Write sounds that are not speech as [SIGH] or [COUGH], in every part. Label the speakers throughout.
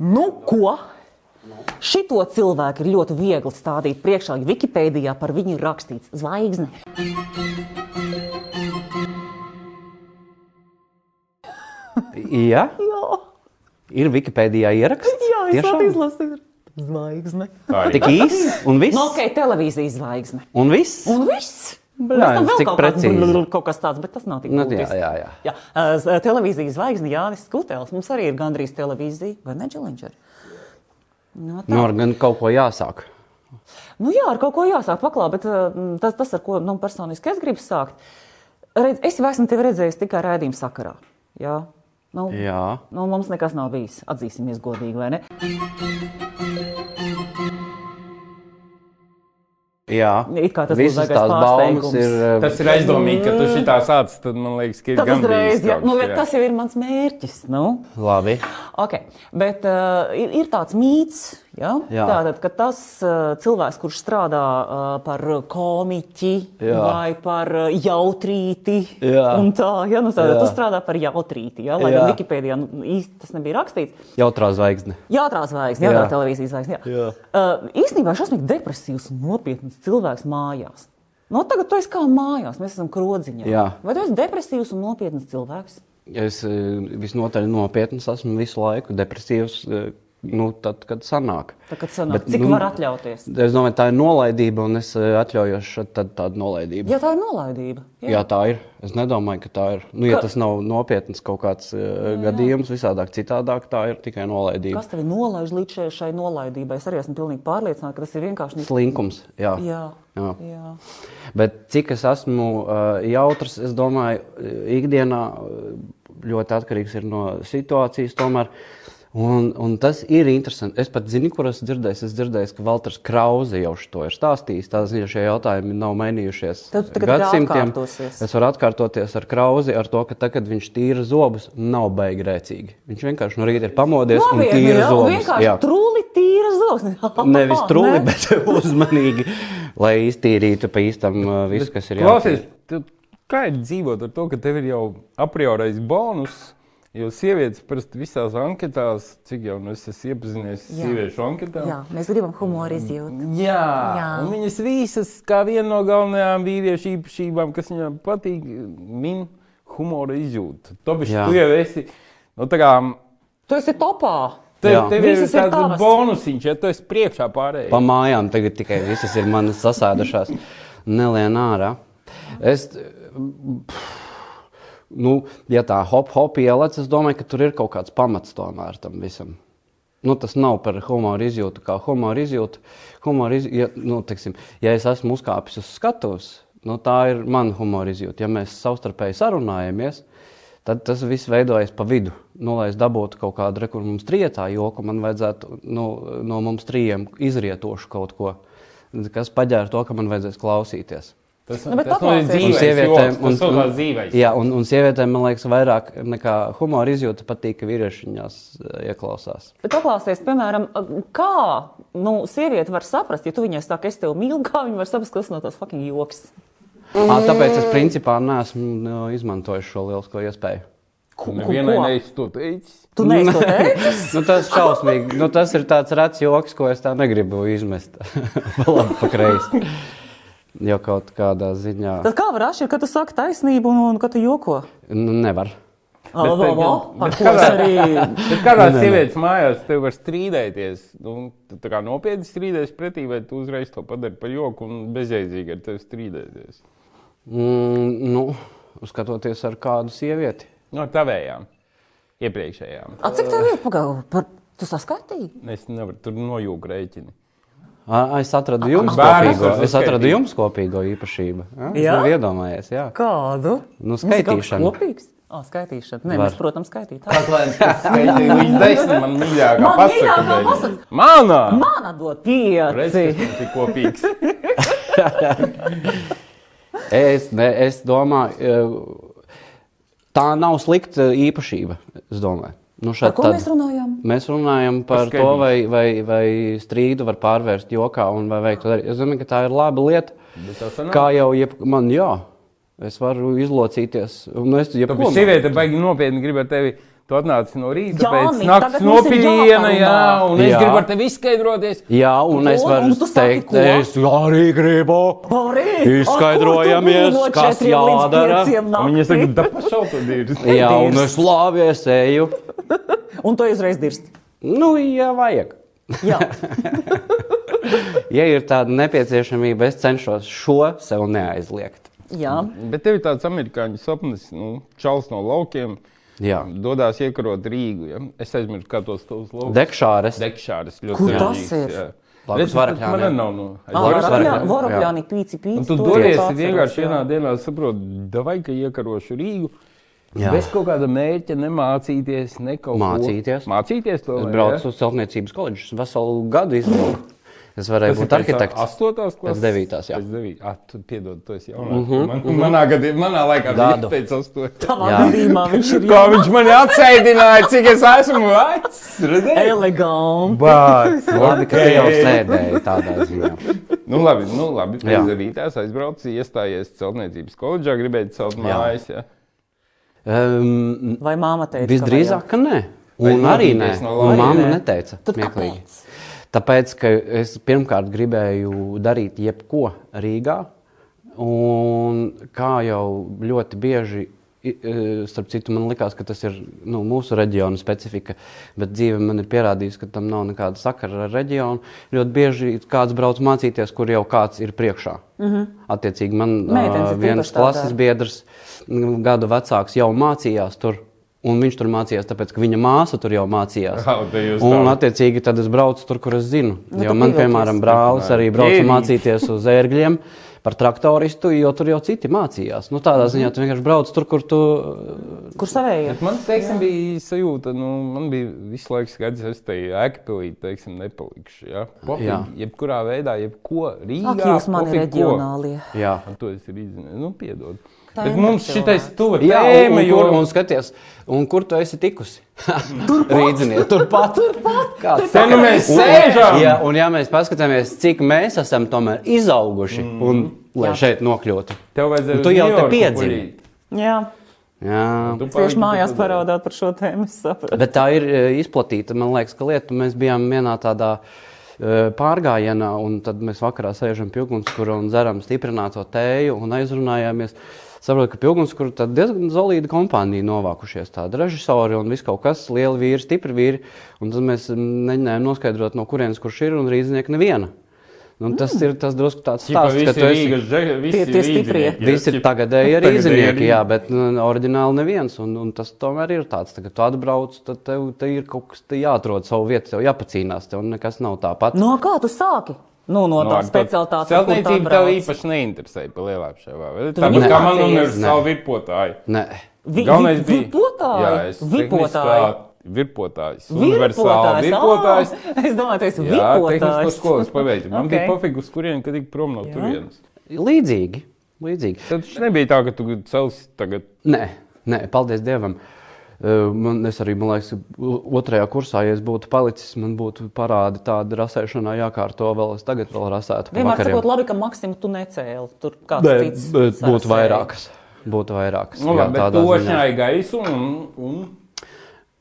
Speaker 1: Nu, ko? Šito cilvēku ir ļoti viegli stādīt priekšā, ja Wikipēdijā par viņu ir rakstīts zvaigzne.
Speaker 2: Jā,
Speaker 1: Jā,
Speaker 2: ir Wikipēdijā ieraksts.
Speaker 1: jā es
Speaker 2: Tiešām?
Speaker 1: tādu izlasīju. Zvaigzne.
Speaker 3: Tā ir.
Speaker 2: Tik īsi un viss.
Speaker 1: Nu, ok, televīzijas zvaigzne.
Speaker 2: Un viss.
Speaker 1: Un viss.
Speaker 2: Bļā,
Speaker 1: Pēc tam vēl
Speaker 2: cik
Speaker 1: kaut kāds
Speaker 2: precīzi.
Speaker 1: blr- blr- kaut kas tāds, bet tas nav tik
Speaker 2: Nu, jā,
Speaker 1: būtiski.
Speaker 2: jā, jā.
Speaker 1: Jā, eh, s- televīzijas zvaigzne Jānis Skutēls. Mums arī ir gandrīz televīzija, vai ne, Dželiņģeri? No, tā.
Speaker 2: Nu, ar gan kaut ko jāsāk.
Speaker 1: Nu, jā, ar kaut ko jāsāk paklāt, bet eh, tas, tas ar ko nu, personiski es gribu sākt, redz, es jau esmu tevi redzējis tikai rādījuma sakarā. Jā. Nu,
Speaker 2: Jā.
Speaker 1: Nu, mums nekas nav bijis. Atzīsimies godīgi, vai ne?
Speaker 2: Jā,
Speaker 1: It kā tas būtu
Speaker 2: Visas
Speaker 1: baigais
Speaker 2: tās baumas
Speaker 1: pārsteigums.
Speaker 2: ir. uh,
Speaker 3: Tas ir aizdomīgi, ka tu šitā sāc, tad man liekas, ka ir
Speaker 1: Mm. Tad
Speaker 3: gan
Speaker 1: uzreiz, jā, nu, bet tas jau ir mans mērķis. Nu.
Speaker 2: Labi.
Speaker 1: Okay. Bet uh, ir, ir tāds mīts, ja?
Speaker 2: Jā.
Speaker 1: Tātad, ka tas uh, cilvēks, kurš strādā uh, par komiķi
Speaker 2: Jā.
Speaker 1: vai par uh, jautrīti,
Speaker 2: Jā.
Speaker 1: un tā, ja? nu, tātad,
Speaker 2: Jā.
Speaker 1: tu strādā par jautrīti, ja? lai
Speaker 2: Jā.
Speaker 1: gan Wikipēdijā nu, īsti tas nebija rakstīts.
Speaker 2: Jautrā zvaigzne.
Speaker 1: Jātrā zvaigznes, jātrā
Speaker 2: Jā.
Speaker 1: televīzijas zvaigznes. Jā.
Speaker 2: Jā.
Speaker 1: Uh, īstenībā šausmīgi depresīvs un nopietns cilvēks mājās. No tagad tu esi kā mājās, mēs esam krodziņā.
Speaker 2: Jā.
Speaker 1: Vai tu esi depresīvs un nopietns cilvēks?
Speaker 2: Es e, visnotaļ nopietns esmu visu laiku depresīvs. e, Nu, tad, kad sanāk.
Speaker 1: Tā, kad sanāk,
Speaker 2: Bet,
Speaker 1: cik
Speaker 2: nu,
Speaker 1: var atļauties?
Speaker 2: Es domāju, tā ir nolaidība, un es e, atļaujos šeit tad tādu nolaidību.
Speaker 1: Jā, tā ir nolaidība.
Speaker 2: Jā. jā, tā ir. Es nedomāju, ka tā ir. Nu, ja
Speaker 1: Ka-
Speaker 2: tas nav nopietns kaut kāds e, gadījums, visādāk citādāk, tā ir tikai nolaidība.
Speaker 1: Kas tevi nolaiž līdz šai, šai nolaidībai? Es arī esmu pilnīgi pārliecināta, ka tas ir vienkārši nīc.
Speaker 2: Slinkums. Jā.
Speaker 1: Jā,
Speaker 2: Jā.
Speaker 1: jā.
Speaker 2: Bet cik es esmu uh, jautrs, es domāju, eh, ikdienā eh, ļoti atkarīgs ir no situācijas. Tomēr. Un, un tas ir interesanti. Es pat zinu, kur esmu dzirdējis. Es dzirdēju, ka Valters Krause jau to ir stāstījis. Tās viņa šie jautājumi nav mainījušies.
Speaker 1: Tad tu tagad
Speaker 2: gadsimtiem.
Speaker 1: atkārtosies.
Speaker 2: Es varu atkārtoties ar Krausi, ar to, ka tad, kad viņš tīra zobus, nav baigi rēcīgi. Viņš vienkārši no rīta ir pamodies un
Speaker 1: Nopietni, nu
Speaker 2: tīra
Speaker 1: jā, un
Speaker 2: zobus.
Speaker 1: vienkārši trūli tīra zvaigznes.
Speaker 2: Nevis
Speaker 1: [LAUGHS]
Speaker 2: trūli, [LAUGHS] ne? bet uzmanīgi, lai iztīrītu pa īstam uh, visu, kas ir
Speaker 3: Klausies, tu, kā ir dzīvot ar to, ka tev ir jau a priorais bonus? Jo sievietes parasti visās anketās, cik jau nu, es esmu iepazinies ar
Speaker 1: Jā.
Speaker 3: sieviešu anketām.
Speaker 1: Jā, mēs gribam humoru izjūt.
Speaker 3: Jā,
Speaker 1: Jā.
Speaker 3: un viņas visas, kā viena no galvenajām vīriešu īpašībām, kas viņam patīk, min humora izjūtu. Topiši,
Speaker 2: Jā.
Speaker 3: tu jau esi, nu, tā kā,
Speaker 1: Tu esi topā.
Speaker 3: tev,
Speaker 2: Jā.
Speaker 3: tev ir
Speaker 1: Visas ir tavas.
Speaker 3: tāds bonusiņš, ja tu esi priekšā pārējai.
Speaker 2: Pa mājām tagad tikai visas ir manas sasēdušās. Nelien ārā. Es, pff, nu, ja tā hop hop ielec, es domāju, ka tur ir kaut kāds pamats tomēr tam visam. Nu, tas nav par humoru izjūtu, kā humoru izjūtu. Humora iz... ja, nu, teiksim, ja es esmu uzkāpis uz skatuves, nu, tā ir mana humora izjūta. Ja mēs savstarpēji sarunājamies, tad tas viss veidojas pa vidu. Nu, lai es dabūtu kaut kādu rekursu, mums trijotā joku, man vajadzētu nu, no mums trijiem izrietošu kaut ko, kas paģēra to, ka man vajadzēs klausīties.
Speaker 3: Tas,
Speaker 1: Nu, bet
Speaker 3: tas nu ir
Speaker 1: paklausies.
Speaker 2: Un
Speaker 3: dzīves
Speaker 2: sievietēm,
Speaker 3: joks, tas ir dzīves.
Speaker 2: jā, un, un sievietēm, man liekas, vairāk nekā humora izjūta patīk, ka vīrieši viņās eh, ieklausās.
Speaker 1: Bet paklāsties, piemēram, kā nu, sieviete var saprast, ja tu viņai saki, es tevi mīlu, kā viņa var saprast, kas no tās fucking joks.
Speaker 2: À,
Speaker 1: Mm.
Speaker 2: tāpēc es principā neesmu nu, izmantojis šo lielisko iespēju.
Speaker 1: Ko, ko,
Speaker 3: Nevienai
Speaker 1: ko?
Speaker 3: neesi to teicis.
Speaker 1: Tu neesi
Speaker 2: [LAUGHS]
Speaker 1: to teicis?
Speaker 2: nu, tas ir šausmīgi. Nu, tas ir tāds rats joks, ko es tā negribu izmest. [LAUGHS] Pa Labi, pakreiz. Jo kaut kādā ziņā
Speaker 1: Tad kā var atšķirt, ka tu saki taisnību un, un ka tu joko?
Speaker 2: nu, nevar.
Speaker 1: Alo,
Speaker 3: Bet,
Speaker 1: alo,
Speaker 3: bet-
Speaker 1: par
Speaker 3: bet
Speaker 1: ko es
Speaker 3: kādā-
Speaker 1: arī.
Speaker 3: Bet kādā sievietes mājās te var strīdēties? Nu, tu tā kā nopietni strīdēties pretī, vai tu uzreiz to padari par joku un bezjēdzīgi ar tevi strīdēties?
Speaker 2: Mm, nu, skatoties ar kādu sievieti.
Speaker 3: No Nu, tavējām, iepriekšējām.
Speaker 1: A, cik tev ir pagaidu? Par... Tu saskaitīji?
Speaker 3: Es nevaru tur nojūt rēķinu.
Speaker 2: Ā, Es atradu jums
Speaker 3: bērns
Speaker 2: kopīgo,
Speaker 3: var
Speaker 2: es atradu
Speaker 3: saskaitīt.
Speaker 2: jums kopīgo īpašību. Ja? Es
Speaker 1: Jā?
Speaker 2: nevaru iedomājies, jā.
Speaker 1: Kādu?
Speaker 2: Nu,
Speaker 1: Mums ir kaut kas
Speaker 2: skaitīšana.
Speaker 1: Kopīgs? O, skaitīšana. Nē,
Speaker 2: Var.
Speaker 1: mēs, protams, skaitītājiem.
Speaker 3: Viņa desmit man mīļākā
Speaker 1: Man
Speaker 3: pasaka.
Speaker 1: mīļākā
Speaker 3: beigās.
Speaker 1: pasaka.
Speaker 3: Manā!
Speaker 1: Man atdod pieci.
Speaker 3: Redzēsim, cik kopīgs.
Speaker 2: Es, ne, es domāju, e, tā nav slikta īpašība. Es domāju, nu,
Speaker 1: Par
Speaker 2: šeit
Speaker 1: ko
Speaker 2: tad-
Speaker 1: mēs runājam?
Speaker 2: Mēs runājam par
Speaker 3: Paskaidro.
Speaker 2: to, vai, vai, vai strīdu var pārvērst jokā un vai veikt to darīt. Es domāju, ka tā ir laba lieta.
Speaker 3: Bet tā sanāk?
Speaker 2: Kā jau jeb, man, jā, es varu izlocīties. Un es, jebko,
Speaker 3: Tāpēc sieviete baigi nopietni grib ar tevi Tu atnāci no rīta,
Speaker 1: Jā,
Speaker 3: pēc
Speaker 1: Mīt,
Speaker 3: naktas
Speaker 1: tagad mums ir
Speaker 3: nopietna,
Speaker 1: jāparunā.
Speaker 3: jā, un es
Speaker 2: Jā.
Speaker 3: gribu ar tevi izskaidroties.
Speaker 2: Jā, un es
Speaker 1: Un-
Speaker 2: varu
Speaker 1: un tu saki,
Speaker 2: teikt,
Speaker 1: ko?
Speaker 2: es arī gribu.
Speaker 1: Arī
Speaker 2: Izskaidrojamies, kas jādara.
Speaker 3: Un
Speaker 1: Viņa
Speaker 3: Viņa saka, tā pašā tur ir.
Speaker 2: Jā, un
Speaker 1: Dirs.
Speaker 2: es slāpies eju.
Speaker 1: Un to uzreiz dirst.
Speaker 2: Nu, ja vajag.
Speaker 1: Jā,
Speaker 2: Ja ir tāda nepieciešamība, es cenšos šo sev neaizliegt.
Speaker 1: jā.
Speaker 3: Bet tev ir tāds amerikāņu sapnis, nu, čels no laukiem.
Speaker 2: Jā,
Speaker 3: Dodas iekarot Rīgu. Ja? Es aizmirsu, kā tos tavus laukus.
Speaker 2: dekšāres.
Speaker 3: Dekšāras ļoti
Speaker 1: Kur
Speaker 3: svarīgs,
Speaker 1: tas ir? Ah,
Speaker 3: jā.
Speaker 2: Blakus
Speaker 3: Redzi,
Speaker 2: Varakļām, jā.
Speaker 3: Man nav nu, no.
Speaker 2: Varakļām.
Speaker 3: Varakļām.
Speaker 2: Varakļā-
Speaker 1: Vorokļāni pīci pīci.
Speaker 3: Un tu
Speaker 1: to
Speaker 3: dodies
Speaker 1: es
Speaker 3: ja
Speaker 1: atceros,
Speaker 3: vienkārši
Speaker 1: jā.
Speaker 3: vienā dienā, saproti, davai, ka iekarošu Rīgu. Jā.
Speaker 2: Jā.
Speaker 3: Bez kaut kāda mērķa nemācīties, ne kaut ko.
Speaker 2: Mācīties.
Speaker 3: Mācīties to
Speaker 2: Es
Speaker 3: vai, jā?
Speaker 2: braucu uz celtniecības koledžu, veselu gadu izlūku. Es varēju būt arhitekts.
Speaker 3: Astotās klases.
Speaker 2: Pēc devītās, jā. Mhm,
Speaker 3: Pēc devītās. Ah, tu piedod, tu esi jaunāks. Mm -hmm. Man, manā gadījumā, manā laikā
Speaker 2: Gadu.
Speaker 3: viņš teica astotās.
Speaker 1: Tavā
Speaker 2: Jā.
Speaker 1: gadījumā viņš
Speaker 3: [LAUGHS]
Speaker 1: ir
Speaker 3: Kā viņš man atsaidināja, cik es esmu vecs? Redzēji?
Speaker 1: elegants.
Speaker 3: Bāc.
Speaker 2: [LAUGHS] Labi, ka tu jau sēdēji tādā ziņā.
Speaker 3: Nu, labi, nu, labi.
Speaker 2: Jā.
Speaker 3: Pēc devītās aizbraucu, iestājies celtniecības koledžā, gribēju celt mājas. Jā.
Speaker 2: Um,
Speaker 1: Vai māma teica? ka
Speaker 2: Visdrīzāk, ka nē.
Speaker 3: Vai
Speaker 2: Un arī nē,
Speaker 3: nobīties no
Speaker 2: un
Speaker 3: laulības?
Speaker 2: mamma
Speaker 3: Nē.
Speaker 2: neteica.
Speaker 1: Tad
Speaker 2: smieklīgi.
Speaker 1: kāpēc?
Speaker 2: Tāpēc, ka es pirmkārt gribēju darīt jebko Rīgā, un kā jau ļoti bieži, i- e, starp citu, man likās, ka tas ir nu, mūsu reģiona specifika, bet dzīve man ir pierādījusi, ka tam nav nekāda sakara ar reģionu. Ļoti bieži kāds brauc mācīties, kur jau kāds ir priekšā. Mm -hmm. Attiecīgi, man
Speaker 1: Mhm. Meitenes
Speaker 2: ā,
Speaker 1: ir
Speaker 2: viens
Speaker 1: tīpaši
Speaker 2: klases
Speaker 1: tādā.
Speaker 2: biedrs, mm, gadu vecāks, jau mācījās tur. Un viņš tur mācījās, tāpēc, ka viņa māsa tur jau mācījās.
Speaker 3: Kā te jūs
Speaker 2: un,
Speaker 3: tā?
Speaker 2: attiecīgi, tad es braucu tur, kur es zinu.
Speaker 1: Nu,
Speaker 2: jo
Speaker 1: tu
Speaker 2: man,
Speaker 1: pievilcies.
Speaker 2: piemēram, brālis arī brauca
Speaker 3: Ķēniņš.
Speaker 2: mācīties uz ērgļiem par traktoristu, jo tur jau citi mācījās. Nu, tādā ziņā tu vienkārši brauc tur, kur tu.
Speaker 1: jau- Kur savējie?
Speaker 3: Man teiksim, bija sajūta, ka nu, man bija visu laiku skaidrs, ka es te ekipelī teiksim, nepalikšu. Ja? Pofīgi,
Speaker 2: Jā.
Speaker 3: jebkurā veidā, jebko Rīgā.
Speaker 1: Ak, jūs mani
Speaker 3: pofīgi ko.
Speaker 1: reģionālie.
Speaker 2: Jā.
Speaker 3: Un To es arī zinu. Nu, piedod.
Speaker 1: Tā
Speaker 3: Bet
Speaker 1: ir
Speaker 3: mums
Speaker 1: cilvēks.
Speaker 3: šitais tuva
Speaker 2: Jā, un,
Speaker 3: tēma,
Speaker 2: un,
Speaker 3: jo
Speaker 2: kur, un skaties, un kur tu esi tikusi? Rīdzinē, turpat. turpat. Kāds
Speaker 3: Te nu mēs sēžam!
Speaker 2: Jā, un ja mēs paskatāmies, cik mēs esam tomēr izauguši, mm. un, lai
Speaker 1: Jā.
Speaker 2: šeit nokļūtu.
Speaker 3: tev vajadzēja
Speaker 2: Nu, tu
Speaker 3: uz
Speaker 2: jau te
Speaker 3: Ņujorku
Speaker 2: piedzini.
Speaker 3: guļīt.
Speaker 1: Jā,
Speaker 2: Jā.
Speaker 3: Tu paliki
Speaker 1: tieši mājās
Speaker 3: tur.
Speaker 1: parādāt par šo tēmu. es sapratu.
Speaker 2: [LAUGHS] Bet tā ir e, izplatīta. Man liekas, ka lieta mēs bijām vienā tādā e, pārgājienā, un tad mēs vakarā sēžam pjūgunskura un dzeram stiprināto tēju un aizrunājāmies. Saprotu, ka pjūgunskura tad diezgan zelīta kompānija novākušies. Tāda režisori un viss kaut kas, lieli vīri, stipri vīri. Un tad mēs mm, mēģinājām noskaidrot, no kurienes kurš ir un rīznieks neviena. Nu, tas ir tas drusku tāds
Speaker 3: Čipa,
Speaker 2: stāsts,
Speaker 3: Mm. visi
Speaker 2: ka tu esi
Speaker 3: Rīgas dže- visi
Speaker 1: Tie- tie
Speaker 3: Rīdzinieki,
Speaker 1: stiprie.
Speaker 3: jā,
Speaker 2: Visi ir
Speaker 3: ķipa.
Speaker 2: tagadēji arī
Speaker 3: Tagadēji
Speaker 2: iznieki,
Speaker 3: arī.
Speaker 2: jā, bet nu, oriģināli neviens. Un, un tas tomēr ir tāds, ka, kad tu atbrauc, tad tev te ir kaut kas te jāatrod savu vietu, tev jāpacīnās, tev nekas nav tāpat.
Speaker 1: No kā tu sāki? Nu, no
Speaker 3: Nu, ar
Speaker 1: tās
Speaker 3: to
Speaker 1: specialitātes. ar kur tā
Speaker 3: Celtniecība tev
Speaker 1: brauc.
Speaker 3: īpaši neinteresēja par lielām šēvām.
Speaker 1: Tu
Speaker 3: Tāpat kā man
Speaker 1: nemācījies?
Speaker 3: un ir
Speaker 2: Nē.
Speaker 3: savu virpotāju.
Speaker 2: Nē.
Speaker 1: Vi-
Speaker 3: Galvenais
Speaker 1: vi-
Speaker 3: bija
Speaker 1: vipotāji?
Speaker 3: Jā, es
Speaker 1: Vipotāji.
Speaker 3: tehniskā Virpotājs. Universāls
Speaker 1: Virpotājs.
Speaker 3: virpotājs.
Speaker 1: ā, Es domāju, tas ir
Speaker 3: Jā, tehnisko
Speaker 1: virpotājs. [LAUGHS]
Speaker 3: skolas pabeigts. Man bija
Speaker 1: Ok.
Speaker 3: pofīgi, uz kurienes, kad tik prom no turienes.
Speaker 2: Līdzīgi. līdzīgi.
Speaker 3: Tad šis nebija tā, ka tu celsi tagad.
Speaker 2: Nē, nē, paldies Dievam. Uh, Man, es arī, man liekas, o- otrajā kursā, ja es būtu palicis, man būtu parādi tāda rasēšanā jākārto vēl. Es tagad vēl rasētu. pa
Speaker 1: Vienmēr
Speaker 2: vakariem.
Speaker 1: sakot, labi, ka Maksim tu necēli. Tur kāds
Speaker 2: Nē,
Speaker 1: cits. Nu,
Speaker 2: bet būtu
Speaker 1: sarasēja.
Speaker 2: vairākas. Būtu vairākas.
Speaker 3: Nu,
Speaker 2: jā,
Speaker 3: labi, bet
Speaker 2: tādā
Speaker 3: tu
Speaker 2: ziņā.
Speaker 3: ošņāji gaisu un, un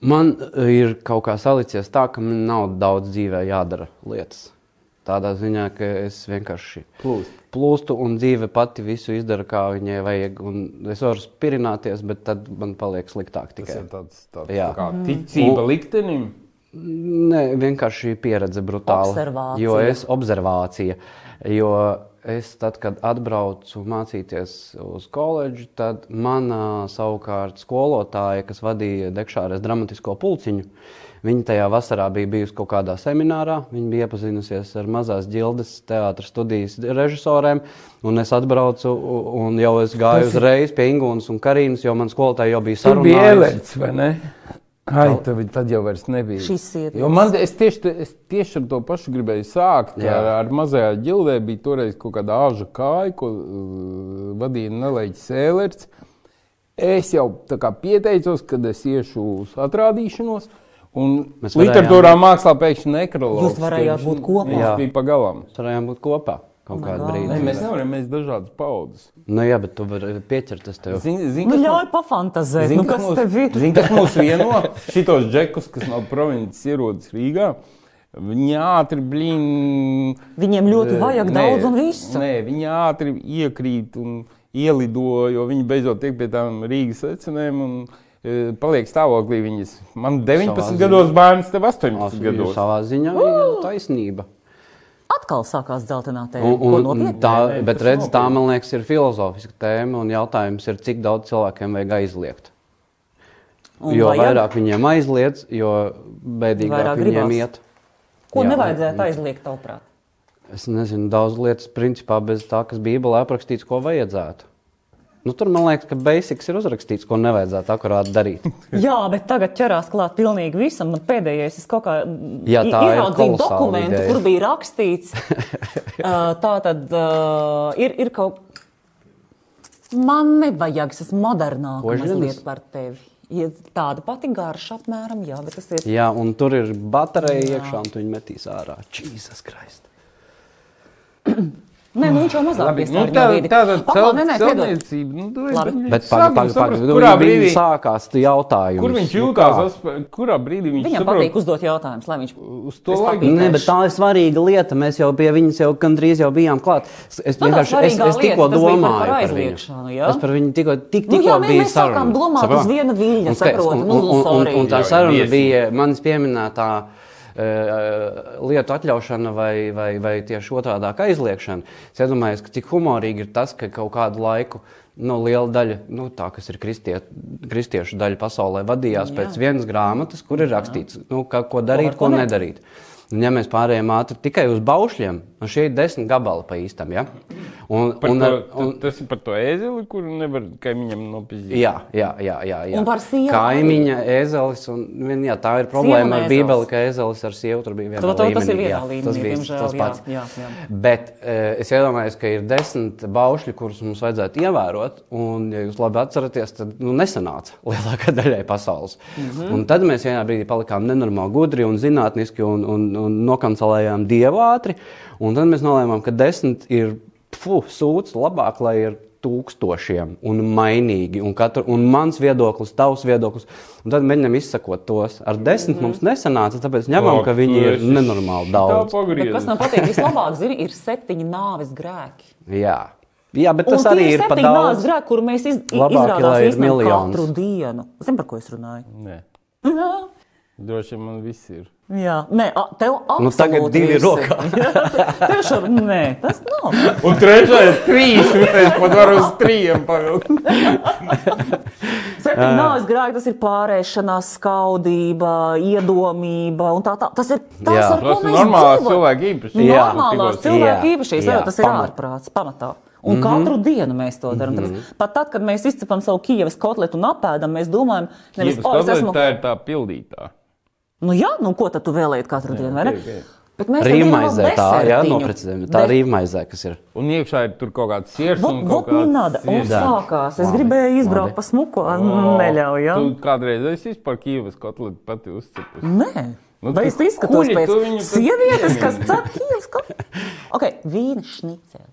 Speaker 2: Man e, ir kaut kā salicies tā, ka man nav daudz dzīvē jādara lietas. Tādā ziņā, ka es vienkārši
Speaker 3: plūst.
Speaker 2: plūstu un dzīve pati visu izdara, kā viņai vajag. Un es varu spirināties, bet tad man paliek sliktāk
Speaker 3: Tas
Speaker 2: tikai.
Speaker 3: ir tāds, tāds
Speaker 2: Jā.
Speaker 3: tā kā
Speaker 1: Mm.
Speaker 3: ticība liktenim.
Speaker 2: Nē, vienkārši pieredze brutāla.
Speaker 1: Observācija.
Speaker 2: Jo es observācija. Jo es tad, kad atbraucu mācīties uz koledžu, tad mana savukārt skolotāja, kas vadīja Dekšāres dramatisko pulciņu, viņa tajā vasarā bija bijusi kaut kādā seminārā. Viņa bija iepazinusies ar mazās ģildes teātras studijas režisoriem, un es atbraucu u- un jau es gāju uzreiz pie Ingūnas un Karīnas, jo man skolotāja jau bija
Speaker 3: Tur bija
Speaker 2: sarunājusi.
Speaker 3: ielas, vai ne? Ai, tev tad jau vairs nebija.
Speaker 1: Šis sievietes.
Speaker 3: Jo man es tieši, te- es tieši ar to pašu gribēju sākt.
Speaker 2: Jā.
Speaker 3: Ar, ar mazajā ģildē bija toreiz kaut kāda āža kāja, ko uh, vadīja Nelēķis Sēlers. Es jau tā kā pieteicos, kad es iešu uz atrādīšanos. Un
Speaker 2: Mēs varējām-
Speaker 3: literatūrā mākslā pēkšņi nekroloģija.
Speaker 1: Jūs varējāt būt kopā?
Speaker 3: Jā,
Speaker 2: Jā.
Speaker 3: bija pagalām.
Speaker 2: Turējām būt kopā. kaut
Speaker 1: Oh my
Speaker 2: kādu
Speaker 1: God.
Speaker 2: brīdi.
Speaker 3: Nē, mēs nevaram, mēs esam dažādas paudzes.
Speaker 2: Nu, jā, bet tu vari pieķerties tev.
Speaker 3: Zini, zin,
Speaker 1: Nu,
Speaker 3: kas
Speaker 1: ļauj pafantāzēt,
Speaker 3: Zini,
Speaker 1: nu, kas tev ir.
Speaker 3: Zini, kas mūs vieno? Šitos džekus, kas no provinces ierodas Rīgā, viņi ātri blīn. eh,
Speaker 1: Viņiem ļoti vajag daudz un visu.
Speaker 3: Nē, viņi ātri iekrīt un ielido, jo viņi beidzot tiek pie tām Rīgas secinēm. Un, e, Paliek stāvoklī viņas. Man 19
Speaker 2: Savā ziņā.
Speaker 3: gados bērns, tev 18
Speaker 2: Tas
Speaker 3: gados.
Speaker 2: savā ziņā ir taisnība.
Speaker 1: Atkal sākās dzeltenā tēma.
Speaker 2: Un,
Speaker 1: Ko
Speaker 2: un,
Speaker 1: nopietni?
Speaker 2: tā,
Speaker 3: Nē, nē,
Speaker 2: bet
Speaker 3: tas
Speaker 2: redz, tā
Speaker 3: nopietni.
Speaker 2: man liekas, ir filozofiska tēma. Un jautājums ir, cik daudz cilvēkiem vajag aizliegt.
Speaker 1: Un
Speaker 2: jo
Speaker 1: vajag?
Speaker 2: vairāk viņiem aizliedz, jo bēdīgāk
Speaker 1: Vairāk
Speaker 2: viņiem
Speaker 1: gribas.
Speaker 2: iet.
Speaker 1: Ko
Speaker 2: Jā.
Speaker 1: nevajadzētu aizliegt, tavuprāt?
Speaker 2: Es nezinu, daudz lietas, principā, bez tā, kas Bībelē aprakstīts, ko vajadzētu. Nu, tur man liekas, ka beigas ir uzrakstīts, ko nevajadzētu akurāti
Speaker 3: [LAUGHS]
Speaker 2: darīt.
Speaker 1: Jā, bet tagad ķerās klāt pilnīgi visam. Man pēdējais ir kaut kā mm,
Speaker 2: Jā,
Speaker 1: i-
Speaker 2: tā ir
Speaker 1: ieraudzīju
Speaker 2: kolosāla
Speaker 1: dokumentu,
Speaker 2: ideja.
Speaker 1: kur bija
Speaker 2: [LAUGHS]
Speaker 1: rakstīts, uh, tā tad uh, ir, ir kaut kas. Man nevajag, es esmu modernāks,
Speaker 2: Kožģenes?
Speaker 1: mazliet par tevi. Ir tāda pati garša, apmēram, jā, bet tas ir.
Speaker 2: Jā, un tur ir baterija iekšā, un tu viņu metīs ārā. Jēzus Kristus!
Speaker 1: Nē, nu viņš jau mazāk
Speaker 3: Labi,
Speaker 1: bija
Speaker 3: nu,
Speaker 1: sārgi
Speaker 3: tā
Speaker 1: no vīdi.
Speaker 3: tāda
Speaker 1: Paklaus, nē, nē, piedod.
Speaker 3: celtniecība. Nu, tu-
Speaker 1: Labi.
Speaker 3: tu-
Speaker 2: Bet pagaidiet,
Speaker 3: sākam saprast,
Speaker 2: pagaidiet,
Speaker 3: kurā
Speaker 2: kurā brīdī
Speaker 3: brīdī
Speaker 2: nu, sākās tas jautājums?
Speaker 3: Kur viņš
Speaker 2: Nu,
Speaker 3: jūtās?
Speaker 2: kā?
Speaker 3: as- Kurā brīdī viņš
Speaker 1: Viņam
Speaker 3: saprot,
Speaker 1: patīk uzdot jautājumus, lai viņš
Speaker 3: Uz to
Speaker 1: Es
Speaker 3: laiku
Speaker 1: papīdēšu.
Speaker 2: Nē, bet tā ir svarīga lieta. Mēs jau pie viņas jau gandrīz jau bijām klāt. Es- Es
Speaker 1: Nu, tā
Speaker 2: vienkārši es,
Speaker 1: svarīgā lieta,
Speaker 2: es tikko
Speaker 1: tas bija par-
Speaker 2: domāju
Speaker 1: par
Speaker 2: par
Speaker 1: aizliekšanu,
Speaker 2: viņu.
Speaker 1: jā?
Speaker 2: Es par viņu tikko tik,
Speaker 1: Nu,
Speaker 2: tikko
Speaker 1: jā, mē-
Speaker 2: bija
Speaker 1: mēs sākām
Speaker 2: saruna.
Speaker 1: glumāt
Speaker 2: Saprot?
Speaker 1: uz viena viļņa,
Speaker 2: Un skaidrs,
Speaker 1: saproti?
Speaker 2: un-
Speaker 1: Nu,
Speaker 2: un- un- un- Un tā
Speaker 3: sorry.
Speaker 2: saruna
Speaker 3: Viesi.
Speaker 2: bija manis pieminētā. eh, Lietu atļaušana vai, vai, vai tieši otrādi aizliekšana. Es iedomājos, ka cik humorīgi ir tas, ka kaut kādu laiku nu, liela daļa, nu, tā, kas ir kristie, kristiešu daļa pasaulē, vadījās Jā. pēc vienas grāmatas, kur ir rakstīts, nu, ka, ko darīt,
Speaker 1: var,
Speaker 2: ko
Speaker 1: ko ne.
Speaker 2: nedarīt darīt. Un, ja mēs pārējām ātri tikai uz baušļiem, tad šie ir desmit gabali pa īstam. Ja? Un,
Speaker 3: Par
Speaker 2: un,
Speaker 3: to,
Speaker 2: ar-
Speaker 3: un, tas ir par to ēzeli, kuru nevar kaimiņam nopazīt.
Speaker 2: Jā, jā, jā, jā, jā.
Speaker 1: Un par sievu
Speaker 2: Kaimiņa ēzelis. Un, nu, vien, jā, tā ir problēma
Speaker 1: un
Speaker 2: ar
Speaker 1: ēzelis.
Speaker 2: Bībeli, ka ēzelis ar sievu tur bija vienā
Speaker 1: To- to-
Speaker 2: līmenī.
Speaker 1: tas ir vienā
Speaker 2: jā,
Speaker 1: līmenī,
Speaker 2: tas bija
Speaker 1: diemžēl,
Speaker 2: tas
Speaker 1: jā,
Speaker 2: pats.
Speaker 1: jā, jā.
Speaker 2: Bet eh, es iedomājos, ka ir desmit baušļi, kurus mums vajadzētu ievērot. Un, ja jūs labi atceraties, tad nu, nesanāca [LAUGHS] lielākā daļai pasaules. Mm -hmm. Un tad mēs vienā brīdī palikām nenormāli gudri un zinātniski un, un, un nokancelējām dievu ātri. Un tad mēs nolēmām, ka desmit ir pfu, sūds labāk, lai ir tūkstošiem un mainīgi. Un, katru, un mans viedoklis, tavs viedoklis. Un tad mēģinām izsakot tos. Ar desmit mm -hmm. mums nesanāca, tāpēc ņemam, ka viņi ir nenormāli
Speaker 1: Bet
Speaker 2: daudz.
Speaker 1: kas
Speaker 3: pagriezis.
Speaker 1: man patīk vislabāk, zini, ir septiņi nāves grēki.
Speaker 2: Jā. Jā, bet
Speaker 1: Un
Speaker 2: [LAUGHS] tas arī
Speaker 1: tie
Speaker 2: ir pa
Speaker 1: septiņi nāves
Speaker 2: daudz.
Speaker 1: grēki, kur mēs iz, i-
Speaker 2: Labāk ir, lai
Speaker 1: izrādās
Speaker 2: ir
Speaker 1: īstenībā
Speaker 2: miljons.
Speaker 1: katru dienu. Zini, par ko es runāju? [LAUGHS]
Speaker 3: Nē. Droši vien man viss ir.
Speaker 1: Jā, nē, a, tev
Speaker 2: Nu, tagad
Speaker 1: absolūti
Speaker 2: divi
Speaker 1: viss ir. [LAUGHS]
Speaker 2: rokā.
Speaker 1: tev šo, nē, tas nav.
Speaker 3: Un trešais, trīs, es pat varu uz trījiem
Speaker 1: [LAUGHS]
Speaker 3: pavilkt.
Speaker 2: [LAUGHS] Ah.
Speaker 1: Septiņi nāves grēki, tas ir pārēšanās, skaudība, iedomība un tā tā. Tas ir tas,
Speaker 2: Jā.
Speaker 1: ar ko
Speaker 3: Tas ir
Speaker 1: mēs
Speaker 3: normāls
Speaker 1: dzīvojam.
Speaker 3: cilvēks īpašs.
Speaker 1: Jā,
Speaker 2: Jā.
Speaker 1: Nu, normālās
Speaker 2: Tikos-
Speaker 1: cilvēku
Speaker 2: jā,
Speaker 1: īpašības,
Speaker 2: jā,
Speaker 1: jā, tas ir
Speaker 2: pamat. Mhm.
Speaker 1: ārprāts pamatā. Un mm -hmm. katru dienu mēs to darām. Mm -hmm. Pat tad, kad mēs izcepam savu Kievas kotletu un apēdam, mēs domājam, nevis,
Speaker 3: Jebkas
Speaker 1: o, es
Speaker 3: kotlet,
Speaker 1: esmu.
Speaker 3: Tā ir tā pildītā.
Speaker 1: Nu, jā, nu, ko tad tu vēlējies katru dienu? vai ne?
Speaker 3: ok, ok.
Speaker 1: Bet mēs tam
Speaker 2: Rīmaizē
Speaker 1: vienam
Speaker 2: tā, jā,
Speaker 1: desertiņu.
Speaker 2: noprecizējumi. Tā
Speaker 1: Bet-
Speaker 2: rīmaizē, kas ir.
Speaker 3: Un iekšā ir tur kaut kāds sirs.
Speaker 1: Vot, vot nu nada, un sākās. Es
Speaker 2: Labi, Oh.
Speaker 1: gribēju izbraukt
Speaker 2: labi.
Speaker 1: pa smuko, nu, neļauju, jā.
Speaker 3: Tu kādreiz esi par Kīvas kotletu pati uzcepusi.
Speaker 1: Nē.
Speaker 3: Nu,
Speaker 1: Vai
Speaker 3: tu
Speaker 1: es izskatos
Speaker 3: kuļi,
Speaker 1: pēc
Speaker 3: tu viņu tad
Speaker 1: sievietes,
Speaker 2: [LAUGHS]
Speaker 1: kas
Speaker 3: piemini.
Speaker 1: cep Kievas kotletu? Ok, vīna šniceli.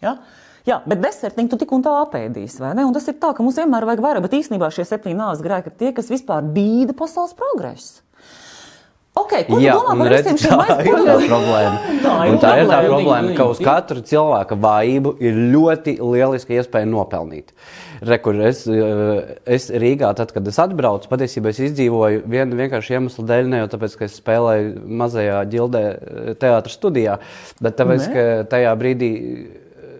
Speaker 1: Ja? Jā, bet desertiņu tu tik un tā apēdīsi, vai ne? Un tas ir tā, ka mums vienmēr vajag vairāk, bet īstenībā šie septiņi nāves grēki ir tie, kas vispār bīda pasaules progresu. Okay, ko tu
Speaker 2: Jā,
Speaker 1: domā
Speaker 2: un
Speaker 1: par
Speaker 2: redz,
Speaker 1: visiem šiem
Speaker 2: tā ir tā
Speaker 1: aizspriedumiem?
Speaker 2: problēma.
Speaker 1: [LAUGHS] Tā ir
Speaker 2: Un tā ir tā
Speaker 1: problēma.
Speaker 2: problēma, ka uz
Speaker 3: Tik-
Speaker 2: katru cilvēku vājību ir ļoti lieliska iespēja nopelnīt. Rekur, es, eh, es Rīgā, tad, kad es atbraucu, patiesībā es izdzīvoju vienu vienkārši iemeslu dēļ, ne jau tāpēc, ka es spēlēju mazajā ģildē eh, teātras studijā, bet tāpēc, ne? ka tajā brīdī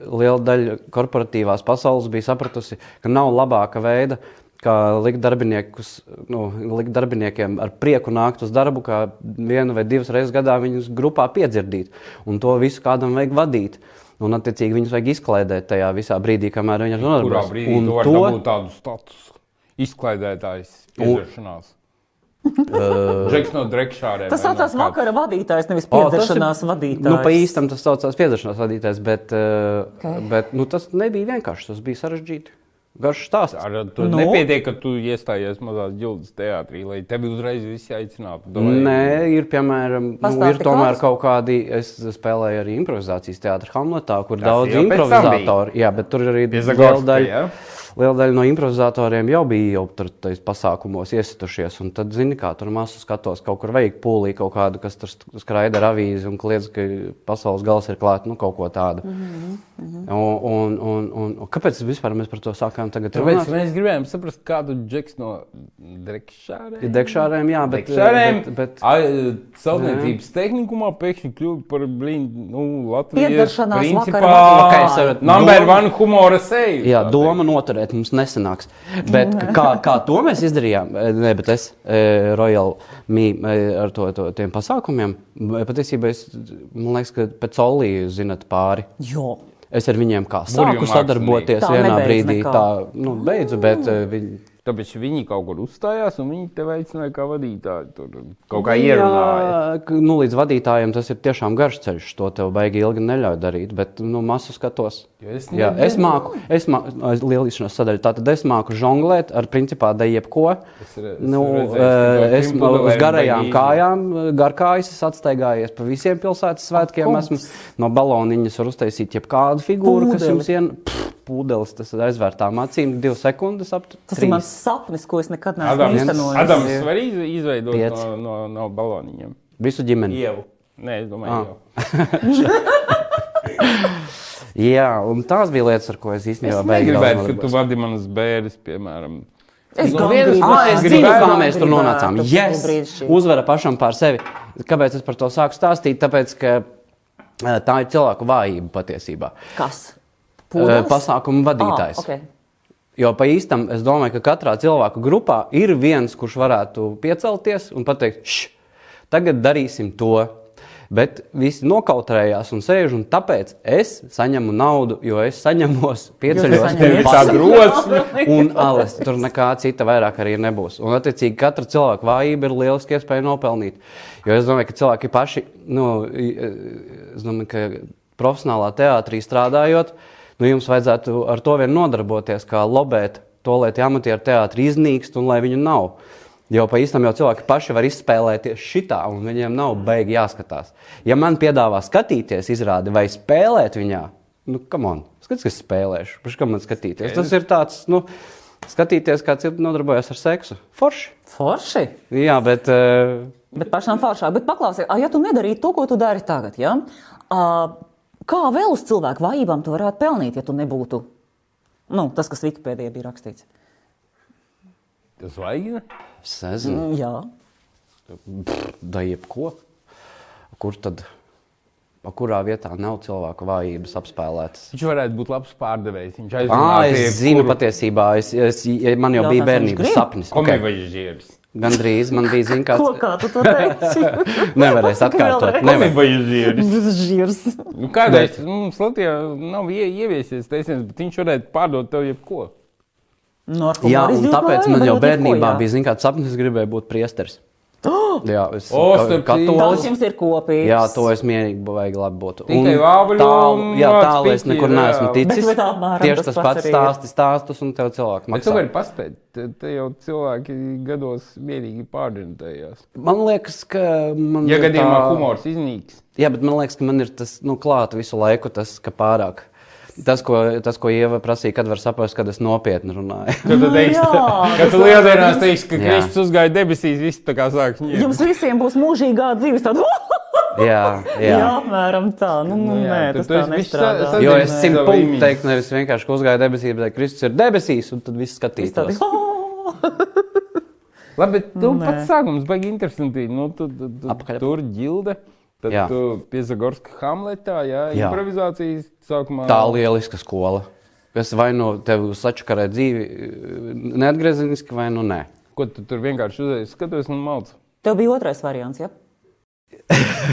Speaker 2: liela daļa korporatīvās pasaules bija sapratusi, ka nav labāka veida. Kā likt, darbiniekus, nu, likt darbiniekiem ar prieku nākt uz darbu, kā vienu vai divas reizes gadā viņus grupā piedzirdīt. Un to visu kādam vajag vadīt. Un, attiecīgi, viņus vajag izklaidēt tajā visā brīdī, kamēr viņi ir
Speaker 3: Kurā
Speaker 2: nodarbināti.
Speaker 3: brīdī tu vari dabūt tādu statusu? Izklaidētājs, [LAUGHS] piedzeršanās. Žeks no drekšārēm.
Speaker 1: Tas
Speaker 3: vai no
Speaker 1: saucās
Speaker 3: kāda.
Speaker 1: vakara vadītājs, nevis
Speaker 2: O, tas ir-
Speaker 1: piedzeršanās vadītājs.
Speaker 2: Nu, pa īstam tas saucās piedzeršanās vadītājs, bet, okay.
Speaker 1: Ok.
Speaker 2: bet nu, tas nebija vienkārši, tas bija sarežģīti. Garš stāsts.
Speaker 3: Ar to
Speaker 1: Nu?
Speaker 3: nu? nepietiek, ka tu iestājies mazās ģildes teātrī, lai tevi uzreiz visi aicinātu. Domāju,
Speaker 2: Nē, ir piemēram, nu, ir
Speaker 1: Pastāsti
Speaker 2: tomēr
Speaker 1: kāds?
Speaker 2: kaut kādi. Es spēlēju arī improvizācijas teātrī Hamletā, kur ir
Speaker 3: Tas
Speaker 2: daudz
Speaker 3: jau pēc tam bija.
Speaker 2: improvizatori. Jā, bet tur arī
Speaker 3: Pie
Speaker 2: liela
Speaker 3: Zagorska,
Speaker 2: daļa,
Speaker 3: jā?
Speaker 2: liela daļa no improvizatoriem jau bija jau tur tajos pasākumos iesaistījušies. Un tad, zini, kā tur masu skatos, kaut kur veikt pūlī kaut kādu, kas tur st- skraida ar avīzi un kliedz, ka pasaules gals ir klāt, nu kaut ko tādu. Mm -hmm. un, un, un, un, un kāpēc vispār mēs par to sākām tagad
Speaker 3: Tāpēc
Speaker 2: runāt?
Speaker 3: mēs gribējām saprast, kādu džeksu no Drekšāriem.
Speaker 2: Dekšārēm, jā, bet,
Speaker 3: Dekšāriem,
Speaker 2: bet,
Speaker 3: bet
Speaker 2: bet
Speaker 3: celtniecības tehnikumā pēkšņi kļuva par blīnu, nu, Latvijas
Speaker 1: Piedaršanās
Speaker 3: principā
Speaker 1: vakara
Speaker 2: vakarā. Ok, sarat,
Speaker 3: number
Speaker 2: doma-
Speaker 3: one humora seju.
Speaker 2: Jā, doma noturēt mums nesanāks. Bet kā, kā to mēs izdarījām? Eh, Nē, bet es e, Royal Mī e, ar to, to, tiem pasākumiem. b- Patiesībā es, man liekas, ka pēc Oliju zinat pāri.
Speaker 1: Jo.
Speaker 2: Es ar viņiem kā
Speaker 3: Burvju
Speaker 2: sāku
Speaker 1: mākslinieki.
Speaker 2: sadarboties
Speaker 1: Tā
Speaker 2: vienā
Speaker 1: nebeidz
Speaker 2: brīdī.
Speaker 1: nekā.
Speaker 2: Tā, nu, beidzu, bet eh, viņi.
Speaker 3: Tāpēc viņi kaut kur uzstājās, un viņi tevi aicināja kā vadītāju. Tur kaut kā ierunāja.
Speaker 2: Jā, k- Nu, līdz vadītājiem tas ir tiešām garš ceļš. To tev baigi ilgi neļauj darīt, bet nu, masu skatos.
Speaker 3: Jo es
Speaker 2: Jā,
Speaker 3: ne-
Speaker 2: es māku, es māku, lielīšanās sadaļu. Tātad es māku žonglēt ar principā da jebko.
Speaker 3: Es re- es
Speaker 2: Nu,
Speaker 3: redzēju,
Speaker 2: eh,
Speaker 3: es
Speaker 2: es
Speaker 3: tikai
Speaker 2: ma- uz
Speaker 3: Wimbledonē
Speaker 2: garajām
Speaker 3: baigi
Speaker 2: kājām, eh, garkājas, es atstaigājies pa visiem pilsētas svētkiem. Esmu no baloniņas var uztaisīt jebkādu figūru, kas
Speaker 1: Pūdeli.
Speaker 2: jums ien... Pff, Pūdeles, tas ir aizvērtām acīm, divas sekundes aptuveni.
Speaker 1: Tas ir mans sapnis, ko es nekad neesmu
Speaker 3: Adams,
Speaker 1: īstenojis.
Speaker 3: Adams var iz- izveidot
Speaker 2: Piec.
Speaker 3: no, no, no baloniņiem.
Speaker 2: Visu ģimeni.
Speaker 3: Ievu. Nē, es domāju, jau.
Speaker 2: Jā, un tās bija lietas, ar ko es
Speaker 3: Es
Speaker 2: īstenībā beigās
Speaker 3: gribētu, ka
Speaker 2: nodarbojos.
Speaker 3: tu vadi manas bērnas, piemēram.
Speaker 1: Es
Speaker 3: No
Speaker 1: domāju,
Speaker 3: vienas
Speaker 1: ka
Speaker 2: Ah, es
Speaker 3: gribētu,
Speaker 2: zinu, kā mēs tur nonācām. Yes!
Speaker 1: Uz...
Speaker 2: Uzvara pašam pār sevi. Kāpēc es par to sāku stāstīt? Tāpēc, ka eh, tā ir cilvēku vājība patiesībā.
Speaker 1: Kas?
Speaker 2: Pūdels?
Speaker 1: Pūdeles?
Speaker 2: Pasākuma Eh, vadītājs.
Speaker 1: Ah, okay.
Speaker 2: Jo pa īstam es domāju, ka katrā cilvēku grupā ir viens, kurš varētu piecelties un pateikt, šš, tagad darīsim to. Bet visi nokautrējās un sēž, un tāpēc es saņemu naudu, jo es saņemos pieceļos.
Speaker 1: saņemat.
Speaker 3: Tev ir tā
Speaker 2: pasaku.
Speaker 3: drosme.
Speaker 2: [LAUGHS] Un alas, tur nekā cita vairāk arī nebūs. Un, attiecīgi, katra cilvēka vājība ir lieliski iespēja nopelnīt. Jo es domāju, ka cilvēki paši, nu, i- e, es domāju, ka profesionālā teātrī strādājot, nu, jums vajadzētu ar to vien nodarboties, kā lobēt to, lai tie amatieru teātri iznīkst un lai viņu nav. Jo pa īstam jau cilvēki paši var izspēlēties šitā, un viņiem nav beigi jāskatās. Ja man piedāvā skatīties, izrādi vai spēlēt viņā, nu, kam on, skaties, kas spēlēšu, paši kam man skatīties. Tas ir tāds, nu, skatīties, kāds ir nodarbojas ar seksu. Forši.
Speaker 1: Forši.
Speaker 2: Jā, bet. eh,
Speaker 1: Bet pašām foršām. Bet paklausies, ja tu nedarītu to, ko tu dari tagad, ja? uh, kā vēl uz cilvēku vājībām tu varētu pelnīt, ja tu nebūtu nu, tas, kas Wikipēdijā bija rakstīts?
Speaker 3: Tas vajag.
Speaker 2: Es nezinu,
Speaker 1: Mm, Jā.
Speaker 2: da jebko. Kur tad? pa Kurā vietā nav cilvēku vājības apspēlētas?
Speaker 3: Viņš varētu būt labs pārdevējs. Viņš
Speaker 2: Ah,
Speaker 3: aizdomāja,
Speaker 2: es zinu, patiesībā, es, es, man jau
Speaker 1: Jā,
Speaker 2: bija
Speaker 1: tas viņš
Speaker 2: bērnības
Speaker 1: grib.
Speaker 2: sapnis.
Speaker 3: Komēdija vai žieris.
Speaker 2: Gan drīz man bija zināms,
Speaker 1: Ko,
Speaker 2: kāds
Speaker 1: kā tu to teici?
Speaker 2: [LAUGHS] Nevarēs
Speaker 1: Pasaki
Speaker 2: atkārtot.
Speaker 1: vēlreiz.
Speaker 2: Nevar.
Speaker 3: Komēdija vai žieris.
Speaker 1: [LAUGHS] Žirs.
Speaker 3: Nu, kādreiz mums Latvijā nav ie, ieviesies teiciens, bet viņš varētu pārdot tev jebko.
Speaker 1: Nu, ar
Speaker 2: Jā,
Speaker 1: humoru
Speaker 2: un
Speaker 1: izjūt
Speaker 2: tāpēc
Speaker 1: vājību
Speaker 2: man jau
Speaker 1: varbūt
Speaker 2: bērnībā
Speaker 1: jebko, jā.
Speaker 2: bija zināms, kāds sapnis, es gribēju būt
Speaker 1: [GASPS]
Speaker 2: priesteris. Jā, es
Speaker 3: O,
Speaker 2: ka-
Speaker 3: starp
Speaker 1: Tas
Speaker 2: katolis.
Speaker 1: jums ir kopīgs.
Speaker 2: Jā, to es mierīgi vajag labi būt.
Speaker 3: Tikai vāveļu
Speaker 2: tālu, jā,
Speaker 3: un
Speaker 2: tālu es
Speaker 3: spiķi,
Speaker 2: nekur
Speaker 3: jā.
Speaker 2: neesmu
Speaker 3: Bet-
Speaker 2: ticis.
Speaker 1: bet apmēram
Speaker 2: Tieši
Speaker 1: tas
Speaker 2: tas
Speaker 1: pats
Speaker 2: pats
Speaker 1: arī ir.
Speaker 2: stāsti, stāstus un tev cilvēku
Speaker 3: Bet tu
Speaker 2: maksā.
Speaker 3: vari paspēt. Te, te jau cilvēki gados mierīgi pārdentējās.
Speaker 2: Man liekas, ka man
Speaker 3: Ja
Speaker 2: ir
Speaker 3: gadījumā
Speaker 2: tā-
Speaker 3: humors iznīks,
Speaker 2: Jā, bet man liekas, ka man ir tas nu, klāts visu laiku, tas, ka pārāk. Tas, ko, tas, ko Ieva prasīja, kad var saprast, kad es nopietni runāju.
Speaker 3: tad tu
Speaker 1: Nu
Speaker 3: teiksi,
Speaker 1: jā,
Speaker 3: ka
Speaker 1: tas
Speaker 3: tu
Speaker 1: var-
Speaker 3: lieldienās teiksi, ka
Speaker 2: Jā.
Speaker 3: Kristus uzgāja debesīs, viss tā kā sāks ņemt.
Speaker 1: Jums visiem būs mūžīgā dzīves [LAUGHS] tāda.
Speaker 2: jā, jā.
Speaker 1: Jā, apmēram tā. Nu, nu,
Speaker 3: Nu jā,
Speaker 1: nē,
Speaker 3: tad
Speaker 1: tas
Speaker 3: tu
Speaker 1: tā
Speaker 3: esi viss
Speaker 1: nestrādā.
Speaker 3: sa- sa-
Speaker 2: Jo es
Speaker 3: Savienojam
Speaker 2: simt
Speaker 3: savu
Speaker 2: punktu
Speaker 3: imīdzi.
Speaker 2: teiktu, nevis vienkārši ka uzgāju debesīs, bet Kristus ir debesīs, un tad viss
Speaker 1: Es tādu,
Speaker 2: skatītos.
Speaker 1: "Oh!"
Speaker 3: Labi, bet tu
Speaker 1: Nē.
Speaker 3: pats sākums baigi interesanti. Nu, tu, tu, tu,
Speaker 2: Apakaļ.
Speaker 3: tur ģilde, tad
Speaker 2: Jā.
Speaker 3: jā. tu piezagorska Hamletā, jā, jā.
Speaker 2: Jā.
Speaker 3: improvizācijas sākumā.
Speaker 2: Tā lieliska skola, kas vai nu tevi sačakarē dzīvi neatgriezeniski, vai nu nē. [LAUGHS]
Speaker 3: Ko tu tur vienkārši uzreiz skaties un malc?
Speaker 1: [LAUGHS] Tev bija otrais variants, ja?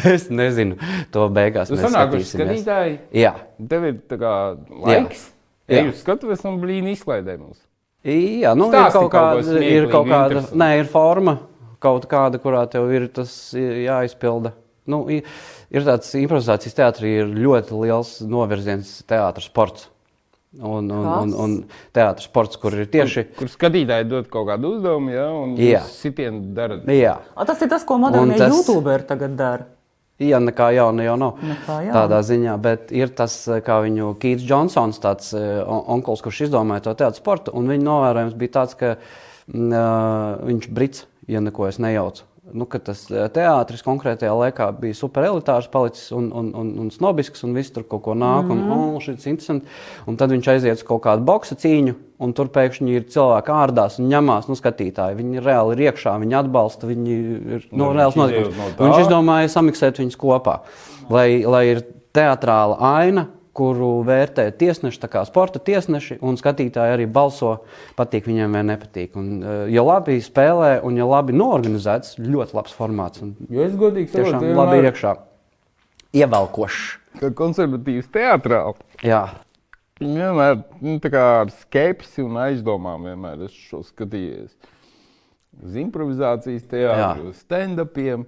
Speaker 2: es nezinu, to beigās
Speaker 3: Tu
Speaker 2: mēs
Speaker 3: sanākuši
Speaker 2: skatīsimies.
Speaker 3: skatītāji,
Speaker 2: Jā.
Speaker 3: tev ir tā kā laiks.
Speaker 2: Jā.
Speaker 3: Jā, jūs skatāties un blīni izlaidē mums.
Speaker 2: Jā, nu, ir
Speaker 3: Stāsti
Speaker 2: kaut
Speaker 3: kaut ko
Speaker 2: kāda, ir
Speaker 3: smieklīgi,
Speaker 2: kaut kāda,
Speaker 3: interesanti.
Speaker 2: nē, ir forma, kaut kāda, kurā tev ir tas jāizpilda. Nu, i- ir tāds improvizācijas teātris, ir ļoti liels novirziens teātris, sports. Un, un,
Speaker 1: Kas?
Speaker 2: un, un teātris, sports, kur ir tieši.
Speaker 3: Kur skatītāji dod kaut kādu uzdevumu, ja, un
Speaker 2: Jā.
Speaker 3: jūs sitienu darat.
Speaker 2: Jā,
Speaker 1: A, tas ir tas, ko modernie
Speaker 2: Un tas-
Speaker 1: tas... YouTuberi tagad dara.
Speaker 2: jā nekā jauna jau nav.
Speaker 1: Nekā jauna.
Speaker 2: Tādā ziņā, bet ir tas, eh, kā viņu Keits Džonsons, tāds eh, on- onkulis, kurš izdomāja to teātris sportu, un viņa novērojums bija tāds, ka mm, eh, viņš brits, ja neko es nejaucu. Nu, ka tas eh, teātris konkrētajā laikā bija superelitārs, palicis un, un, un, un snobisks, un viss tur kaut ko nāk, mm -hmm. un, un šis interesants. Un tad viņš aiziet uz kaut kādu boksa cīņu, un tur pēkšņi ir cilvēki ārdās un ņemās no nu, skatītāji. Viņi reāli ir iekšā, viņi atbalsta, viņi ir nu,
Speaker 3: Nu,
Speaker 2: reāls
Speaker 3: viņš izejot
Speaker 2: notikums.
Speaker 3: no tā.
Speaker 2: Un Viņš izdomāja samiksēt viņus kopā, lai, lai ir teatrāla aina, kuru vērtē tiesneši, tā kā sporta tiesneši, un skatītāji arī balso, patīk viņiem vai nepatīk. Un, eh, ja labi spēlē un ja labi norganizēts, ļoti labs formāts. Un
Speaker 3: Jo es godīgi
Speaker 2: tiešām
Speaker 3: saprotu,
Speaker 2: labi ir
Speaker 3: vienmēr,
Speaker 2: iekšā. Ievelkošs.
Speaker 3: ka konservatīvs teatrāls.
Speaker 2: Jā.
Speaker 3: Vienmēr nu, tā kā ar skepsi un aizdomām vienmēr esmu šo skatījies. Uz improvizācijas teātriem,
Speaker 2: Jā.
Speaker 3: uz stand-upiem.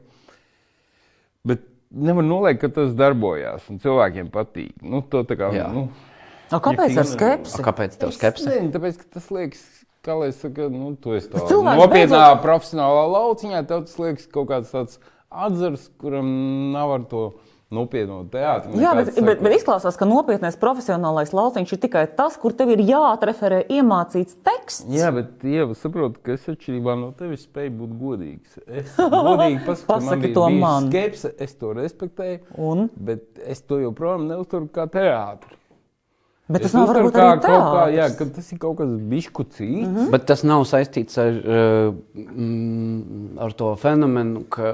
Speaker 3: Bet nevar noliekt, ka tas darbojās un cilvēkiem patīk. Nu, to tā kā,
Speaker 2: Jā.
Speaker 3: nu,
Speaker 1: A, kāpēc ar
Speaker 2: A,
Speaker 1: skepsi?
Speaker 2: Kāpēc tev
Speaker 3: es
Speaker 2: skepse?
Speaker 3: nezinu, tāpēc, ka tas liekas, kā lai saka, nu, tu esi tādā
Speaker 1: cilvēks
Speaker 3: nopietnā,
Speaker 1: beidzot-
Speaker 3: profesionālā lauciņā. Tev tas liekas kaut kāds tāds atzars, kuram nav ar to nopietnu teātru.
Speaker 1: Jā, bet, bet, bet izklausās, ka nopietnais profesionālais lauciņš ir tikai tas, kur tev ir jāatreferē iemācīts teksts.
Speaker 3: Jā, bet Ieva, saprotu, ka es atšķirībā no tevis spēju būt godīgs.
Speaker 1: [LAUGHS]
Speaker 3: Es godīgi pasaku, ka man
Speaker 1: Pasaki
Speaker 3: bija
Speaker 1: to
Speaker 3: bijusi
Speaker 1: man.
Speaker 3: Skepse, es to respektēju,
Speaker 1: Un?
Speaker 3: bet es to joprojām neuzturu kā teātru.
Speaker 1: Bet tas
Speaker 3: Es
Speaker 1: nav
Speaker 3: uztveru
Speaker 1: varbūt arī
Speaker 3: kaut kā, jā,
Speaker 1: tāds.
Speaker 3: ka tas ir kaut kas bišku cīts. Mm -hmm.
Speaker 2: Bet tas nav saistīts ar, eh, mm, ar to fenomenu, ka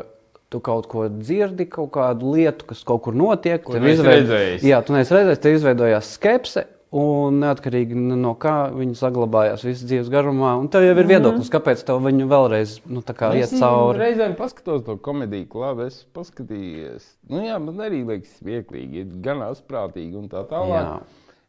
Speaker 2: tu kaut ko dzirdi, kaut kādu lietu, kas kaut kur notiek. tev
Speaker 3: neesi
Speaker 2: izveid-
Speaker 3: redzējis.
Speaker 2: Jā, tu neesi redzējis, tev izveidojās skepse. Un neatkarīgi no kā viņi saglabājās visu dzīves garumā, un tev jau ir viedoklis, kāpēc tev viņu vēlreiz nu, tā kā iet
Speaker 3: Es mm,
Speaker 2: cauri.
Speaker 3: reizēm paskatos to komēdiju, labi, es paskatījos. Nu, jā, man arī liekas, smieklīgi, ir gan asprātīgi un tā tālāk.
Speaker 2: Jā.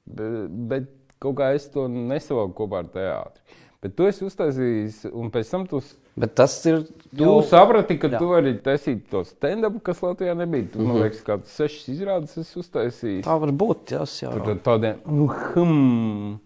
Speaker 3: Bet, bet kaut kā es to nesavalku kopā ar teātri. Bet tu esi uztaisījis, un pēc tam tu
Speaker 2: Bet tas ir.
Speaker 3: Tu
Speaker 2: jau-
Speaker 3: saprati, ka
Speaker 2: Nu, Jā. Mhm.
Speaker 3: jā. tu vari taisīt to stand-up, kas Latvijā nebija. Tu, man liekas, kādas sešas izrādes es uztaisīju.
Speaker 2: Tā var būt. Jā, tas jau ir.
Speaker 3: Tad Tādiem mhm,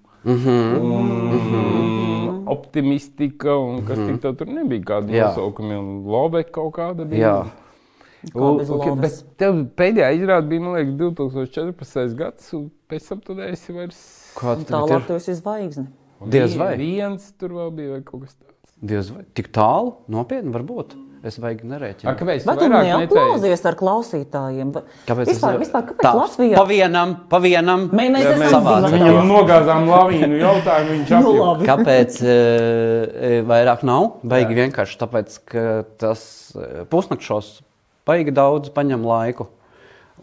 Speaker 3: mhm, optimistika, un kas tik tev tur nebija, kādi
Speaker 2: Jā.
Speaker 3: nosaukumi, un lobe kaut kāda bija.
Speaker 2: Jā.
Speaker 3: U-
Speaker 1: Kā bez
Speaker 3: ok,
Speaker 1: lobes?
Speaker 3: bet tev pēdējā izrāde bija, man liekas, 2014. gads, un pēc tam tu neesi vairs.
Speaker 2: Kāds
Speaker 1: Tālāk
Speaker 2: tagad ir?
Speaker 1: tu esi zvaigzne.
Speaker 2: Diez vai.
Speaker 3: Viens tur vēl bija vai kaut kas tāds.
Speaker 2: Diez vai. Tik tālu, nopietni varbūt. Es vajag
Speaker 3: A,
Speaker 2: nereiķinu.
Speaker 3: kāpēc?
Speaker 1: Bet
Speaker 3: tu
Speaker 1: tu
Speaker 3: vairāk neteici?
Speaker 1: neaplausies ar klausītājiem. Vai-
Speaker 2: Kāpēc tas
Speaker 1: vispār,
Speaker 2: ir-
Speaker 1: vispār, kāpēc
Speaker 2: Tā,
Speaker 1: Latvijā?
Speaker 2: Pa vienam, pa vienam.
Speaker 1: Mē- mēs
Speaker 2: Jā,
Speaker 1: esam
Speaker 2: mēs savā
Speaker 1: divi.
Speaker 2: ziņā.
Speaker 3: Viņam nogāzām lavīnu jautājumu, viņš
Speaker 1: Nu,
Speaker 3: apjūka.
Speaker 1: labi.
Speaker 2: Kāpēc uh, vairāk nav? Baigi vienkārši tāpēc, ka tas eh, pusnakšos baigi daudz paņem laiku.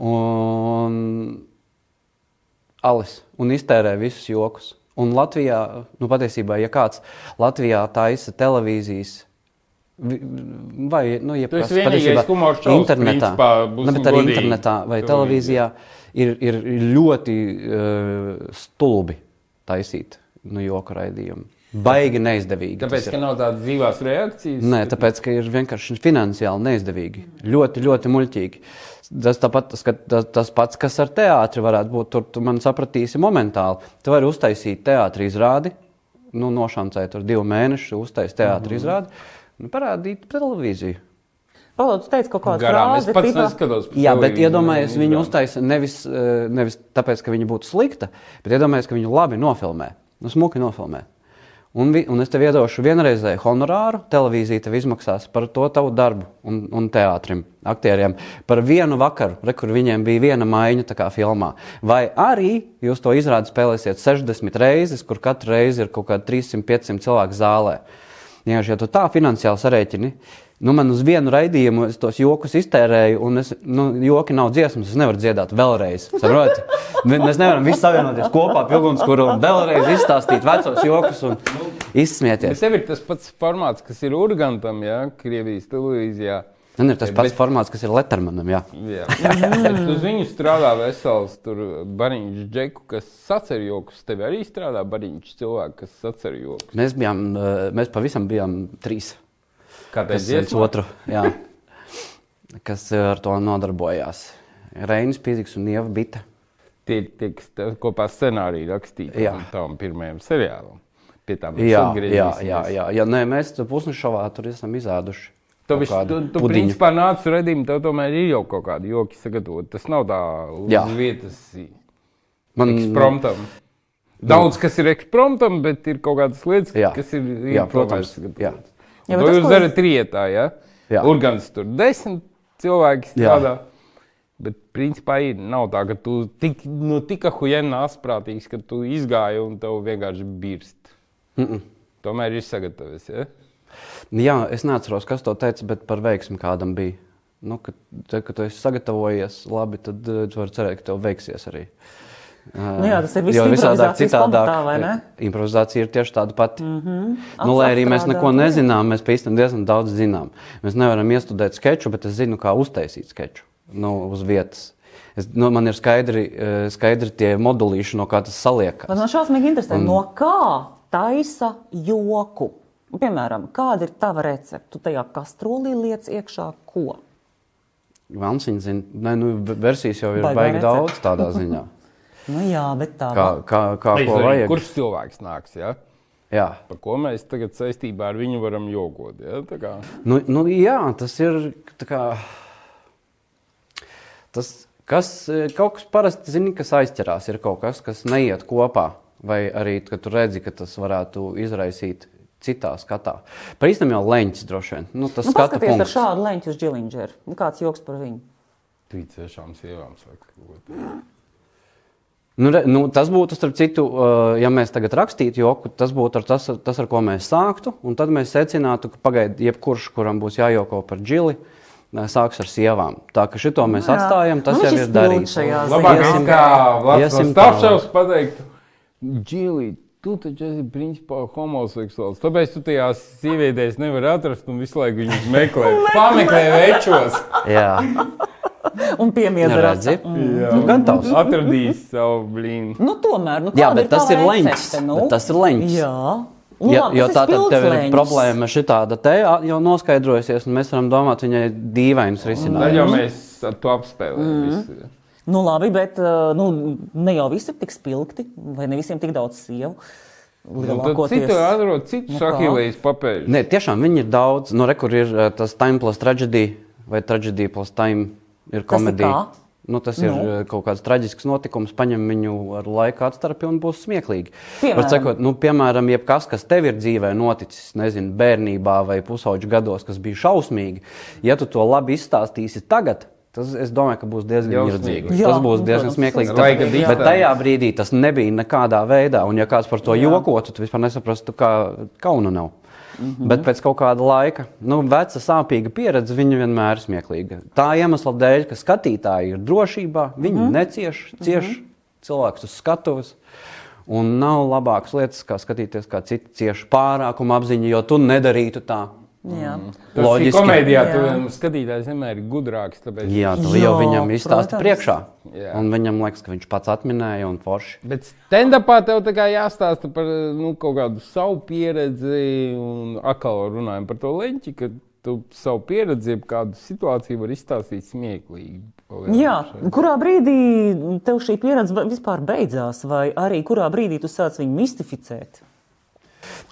Speaker 2: Un alis un iztērē visus jokus. Un Latvijā, nu patiesībā, ja kāds Latvijā taisa televīzijas. vi- Vai, nu, jebkas,
Speaker 3: esi vienīgais
Speaker 2: patiesībā
Speaker 3: humora šovs,
Speaker 2: internetā,
Speaker 3: principā, būsim
Speaker 2: ne, bet arī
Speaker 3: godīgi.
Speaker 2: internetā vai televīzijā
Speaker 3: Televīzijā.
Speaker 2: ir, ir ļoti uh, stulbi taisīt nu, joku raidījumu. Baigi neizdevīgi. tas
Speaker 3: Tāpēc,
Speaker 2: ir.
Speaker 3: ka nav tādas dzīvās reakcijas.
Speaker 2: Nē, tāpēc, ka ir vienkārši finansiāli neizdevīgi. Ļoti, ļoti muļķīgi. Tas, tāpat, tas, ka- tas, tas pats, kas ar teātri varētu būt, tur tu man sapratīsi momentāli. Tu vari uztaisīt teātri izrādi, nu, nošancēt tur divu mēnešu, uztaisīt
Speaker 3: Mhm.
Speaker 2: teātri izrādi, nu, parādīt televīziju.
Speaker 1: Palaidzi, tu teici kaut kādu
Speaker 3: garām es
Speaker 1: frāzi,
Speaker 3: pats
Speaker 1: tipā-
Speaker 3: neskatos. pa
Speaker 2: Jā, bet
Speaker 3: televīziju,
Speaker 2: iedomājieties,
Speaker 3: man
Speaker 2: viņu
Speaker 3: izrāda.
Speaker 2: uztaisīt nevis, eh, nevis tāpēc, ka viņa būtu slikta, bet iedomājieties, ka viņu labi nofilmē, nu, smuki nofilmē. Un, vi, un es tev iedošu vienreizēju honorāru, televīzija tev izmaksās par to tavu darbu un, un teātrim, aktieriem. Par vienu vakaru, re, kur viņiem bija viena maiņa, tā kā filmā. Vai arī jūs to izrādi spēlēsiet 60 reizes, kur katru reizi ir kaut kādi 300-500 cilvēku zālē. Vienkārši, ja tu tā finansiāli sarēķini, nu man uz vienu raidījumu es tos jokus iztērēju, un es, nu, joki nav dziesmas, es nevaru dziedāt vēlreiz. Saproti? [LAUGHS] Me- Mēs nevaram visi savienoties kopā, pilgums, kur un vēlreiz izstāstīt vecos jokus un
Speaker 3: Bet
Speaker 2: izsmieties.
Speaker 3: tev ir tas pats formāts, kas ir Urgantam, ja Krievijas televīzijā.
Speaker 2: Man ir tas pats formāts, kas ir Lettermanam, jā.
Speaker 3: Jā. Bet Uz viņu strādā vesels tur bariņš džeku, kas sacer joks. Tev arī strādā bariņš cilvēku, kas sacer joks.
Speaker 2: Mēs bijām, eh, mēs pavisam bijām trīs.
Speaker 3: Kāpēc?
Speaker 2: Kas viens otru, jā. eh, Kas ar to nodarbojās. Reinis, Pīziks un Ieva Bita.
Speaker 3: Tie tiek sta- kopā scenāriji rakstīti
Speaker 2: Jā.
Speaker 3: tam- tam pirmajam seriālam. Pie tā mēs
Speaker 2: Jā, jā,
Speaker 3: atgriezīsimies.
Speaker 2: jā, jā. ja nē, mēs tur pusnešovā tur esam izēduši.
Speaker 3: Tu,
Speaker 2: kaut
Speaker 3: vis,
Speaker 2: kādu
Speaker 3: tu, tu
Speaker 2: pudiņu.
Speaker 3: principā nāc uz redzējumu, tev tomēr ir jau kaut kāda joki sagatavot. Tas nav tā uz jā.
Speaker 2: Jā.
Speaker 3: vietas
Speaker 2: Man,
Speaker 3: ekspromptam.
Speaker 2: Nu.
Speaker 3: Daudz kas ir ekspromptam, bet ir kaut kādas lietas,
Speaker 2: Jā.
Speaker 3: kas ir
Speaker 2: Jā, protams, jā.
Speaker 1: Jā,
Speaker 3: Jā,
Speaker 1: bet
Speaker 3: to
Speaker 1: tas,
Speaker 3: jūs
Speaker 1: ko
Speaker 3: darat rietā, ja?
Speaker 2: Jā.
Speaker 3: Urgans tur desmit cilvēki
Speaker 2: Jā.
Speaker 3: strādā. Bet, principā, ir, nav tā, ka tu tik, nu, tik huijēni asprātīgs, ka tu izgāji un tev vienkārši birst.
Speaker 2: Mm -mm.
Speaker 3: Tomēr ir sagatavots. Ja?
Speaker 2: Nu Jā, es neatceros, kas to teica, bet par veiksmi kādam bija. Nu, kad, tad, kad tu esi sagatavojies labi, tad eh, tu vari cerēt, ka tev veiksies arī. Eh,
Speaker 1: Nu jā, tas ir viss
Speaker 2: Jo visādāk
Speaker 1: improvizācijas pamatā, vai ne? Mhm.
Speaker 2: eh, Improvizācija ir tieši tāda pati. Mm -hmm. nu,
Speaker 1: Ats-
Speaker 2: lai arī mēs neko
Speaker 1: atstrādāt, jā.
Speaker 2: nezinām, mēs patiesībā diezgan daudz zinām. Mēs nevaram iestudēt sketču, bet es zinu, kā uztaisīt sketču nu, uz vietas. Es, nu, man ir skaidri, eh, skaidri tie modulīši, no kā tas saliekas.
Speaker 1: Man no šausmīgi interesē, mm. no kā taisa joku. Piemēram, kāda ir tava recepte? Tu tajā kastrolī liec iekšā ko?
Speaker 2: Vansiņa zina, ne, nu, v- versijas jau ir
Speaker 1: Baigā
Speaker 2: baigi
Speaker 1: recepte.
Speaker 2: daudz tādā
Speaker 1: [LAUGHS]
Speaker 2: ziņā.
Speaker 1: Nu jā, bet tā.
Speaker 2: Kā, kā, kā
Speaker 3: Vai
Speaker 2: ko
Speaker 3: arī
Speaker 2: vajag?
Speaker 3: Kurš cilvēks nāks? Ja?
Speaker 2: Jā.
Speaker 3: Par ko mēs tagad saistībā ar viņu varam jogot? Ja? Tā kā-
Speaker 2: Nu, nu, jā, tas ir. tā Kā, tas, kas, eh, kaut kas parasti zini, kas aizķerās, ir kaut kas, kas neiet kopā. Vai arī, kad tu redzi, ka tas varētu izraisīt citā skatā. Pa īstenam jau leņķis droši vien. Nu, tas
Speaker 1: Nu,
Speaker 2: skata
Speaker 1: paskaties ar
Speaker 2: punkts.
Speaker 1: šādu leņķu uz Džilingeru. Nu, Kāds joks par viņu?
Speaker 3: Tu tiešām sievām saki, ko tu
Speaker 2: Nu, re, nu, tas būtu, starp citu, uh, ja mēs tagad rakstītu joku, tas būtu ar tas, tas, ar ko mēs sāktu. un Tad mēs secinātu, ka pagaidi, jebkurš, kuram būs jājoko par džili, uh, sāks ar sievām. Tā ka šito mēs
Speaker 1: Jā.
Speaker 2: atstājam, tas
Speaker 1: Nu,
Speaker 2: jau
Speaker 1: viņš
Speaker 2: ir
Speaker 1: izpilda
Speaker 2: darīts.
Speaker 1: šajā
Speaker 3: Labāk
Speaker 1: ziņā.
Speaker 3: ir kā
Speaker 2: Iesim
Speaker 3: Latvijas
Speaker 2: tālāk.
Speaker 3: stāvšavs pateikt, Džili, tu taču esi principā homoseksuāls. Tāpēc tu tajās sievietēs nevar atrast un visu laiku viņus meklē. Pameklē večos.
Speaker 2: Jā, Nu,
Speaker 1: Un piemiet
Speaker 2: redzi.
Speaker 1: rāzi.
Speaker 2: Nu, gan tavs.
Speaker 3: Atradīs savu blīnu.
Speaker 1: Nu, tomēr, nu,
Speaker 2: Jā,
Speaker 1: kāda
Speaker 2: bet
Speaker 1: tava
Speaker 2: tas ir leņķis.
Speaker 1: recepte, Nu?
Speaker 2: Bet tas ir leņķis.
Speaker 1: Jā, nu,
Speaker 2: Jo,
Speaker 1: labi,
Speaker 2: jo
Speaker 1: tas
Speaker 2: tā tad tev ir
Speaker 1: pilns leņķis.
Speaker 2: problēma šitāda te a, jau noskaidrojusies, un mēs varam domāt viņai dīvainus
Speaker 3: Tad jau
Speaker 2: risinājumus.
Speaker 3: mēs ar to apspēlējam. visu.
Speaker 1: Nu, labi, bet eh, nu, ne jau visi ir tik spilgti, vai ne visiem tik daudz sievu.
Speaker 3: Nu, Tad
Speaker 1: Lielākoties.
Speaker 3: citu
Speaker 2: Nu
Speaker 3: atrod, citu
Speaker 1: kā?
Speaker 3: sakīlējas papēļus.
Speaker 2: Nē, tiešām viņi ir daudz. Nu, re, kur ir uh, tas time plus traģedija vai traģedija plus time ir komēdija.
Speaker 1: kā?
Speaker 2: Nu, tas ir
Speaker 1: Nu.
Speaker 2: nu. kaut kāds traģisks notikums, paņem viņu ar laika atstarpi un būs smieklīgi.
Speaker 1: Piemēram?
Speaker 2: Var Sakot, nu, piemēram, jebkas, kas tev ir dzīvē noticis, nezinu, bērnībā vai pusauģu gados, kas bija šausmīgi, ja tu to labi izstāstīsi tagad. Tas, es domāju, ka būs diezgan
Speaker 3: Jausmīgi.
Speaker 2: irdzīgi.
Speaker 1: Jā,
Speaker 2: Tas būs
Speaker 1: nu,
Speaker 2: diezgan
Speaker 1: protams,
Speaker 2: smieklīgi.
Speaker 3: tas ir
Speaker 2: Tāpēc-
Speaker 3: smieklīgi.
Speaker 2: Bet tajā brīdī tas nebija nekādā veidā. Un, ja kāds par to
Speaker 1: Jā.
Speaker 2: jokotu, tad vispār nesaprastu, kā kauna nav. Mm
Speaker 1: Mhm.
Speaker 2: -hmm. Bet pēc kaut kāda laika, nu, veca sāpīga pieredze, viņa vienmēr ir smieklīga. Tā iemesla dēļ, ka skatītāji ir drošībā, viņi
Speaker 1: Mhm.
Speaker 2: mm -hmm. necieš, cieš mm -hmm. cilvēks uz skatuves. Un nav labākas lietas, kā skatīties, kā citi cieš pārākuma apziņu, jo tu nedarītu tā.
Speaker 1: Jā.
Speaker 2: Mm.
Speaker 3: Tas ir
Speaker 2: Loģiski.
Speaker 3: komēdijā, tu
Speaker 1: Jā.
Speaker 3: skatītājs vienmēr ir gudrāks. tāpēc-
Speaker 2: Jā, tu
Speaker 1: Jā,
Speaker 2: jau viņam izstāsti
Speaker 1: protams.
Speaker 2: priekšā.
Speaker 3: Jā.
Speaker 2: Un viņam liekas, ka viņš pats atminēja un forši.
Speaker 3: Bet stand-upā tev tā kā jāstāsta par nu, kaut kādu savu pieredzi, un atkal runājam par to leņķi, ka tu savu pieredzi, jeb kādu situāciju var izstāstīt smieklīgi.
Speaker 1: Jā, kurā brīdī tev šī pieredze va- vispār beidzās, vai arī kurā brīdī tu sāc viņu mistificēt?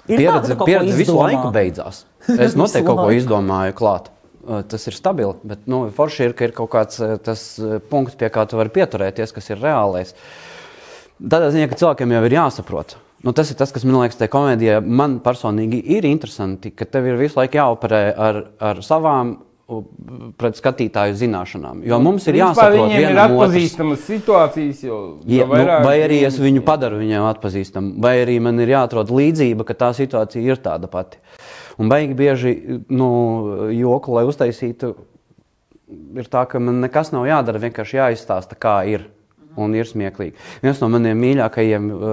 Speaker 1: Ir tā, ka
Speaker 2: pieredze,
Speaker 1: tu kaut ko
Speaker 2: pieredze visu
Speaker 1: izdomā?
Speaker 2: laiku
Speaker 1: [LAUGHS]
Speaker 2: beidzās. Es
Speaker 1: Visu
Speaker 2: noteikti kaut ko
Speaker 1: laiku.
Speaker 2: izdomāju klāt. Uh, Tas ir stabili, bet nu, forši ir, ka ir kaut kāds uh, tas uh, punkts, pie kā tu vari pieturēties, kas ir reālais. Tādā ziņā, ka cilvēkiem jau ir jāsaprot. Nu, tas ir tas, kas man liekas, tajā komēdijā man personīgi ir interesanti, ka tev ir visu laiku jāoperē ar, ar savām u, pret skatītāju zināšanām. Jo mums ir jāsaprot,
Speaker 3: Viņiem ir
Speaker 2: vienam otrs.
Speaker 3: atpazīstamas situācijas, jo
Speaker 2: Ja,
Speaker 3: jo
Speaker 2: nu, vai arī es
Speaker 3: viņi-
Speaker 2: viņu padaru viņiem atpazīstamu, vai arī man ir jāatrod līdzība, ka tā situācija ir tāda pati. Un baigi bieži nu, joku, lai uztaisītu, ir tā, ka man nekas nav jādara, vienkārši jāizstāsta, kā ir. Un ir smieklīgi. Viens no maniem mīļākajiem uh,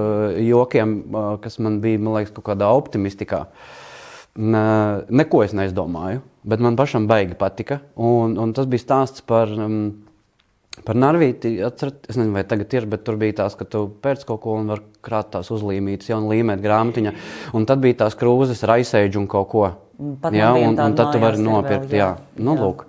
Speaker 2: jokiem, uh, kas man bija, man liekas, kaut kādā optimistikā, ne, neko es neizdomāju, bet man pašam baigi patika. Un, un tas bija stāsts par. Um, Par narvīti, atcerat, es nezinu, vai tagad ir, bet tur bija tās, ka tu pēc kaut ko un var krāt tās uzlīmītas, jau un līmēt grāmatiņā. Un tad bija tās krūzes ar aizsēdžu un kaut ko.
Speaker 1: Mm, pat
Speaker 2: jā,
Speaker 1: man viena
Speaker 2: un,
Speaker 1: tāda
Speaker 2: un tad tu vari
Speaker 1: mājās ir
Speaker 2: nopirkt.
Speaker 1: vēl, jā.
Speaker 2: Jā, nu,
Speaker 1: Jā.
Speaker 2: lūk.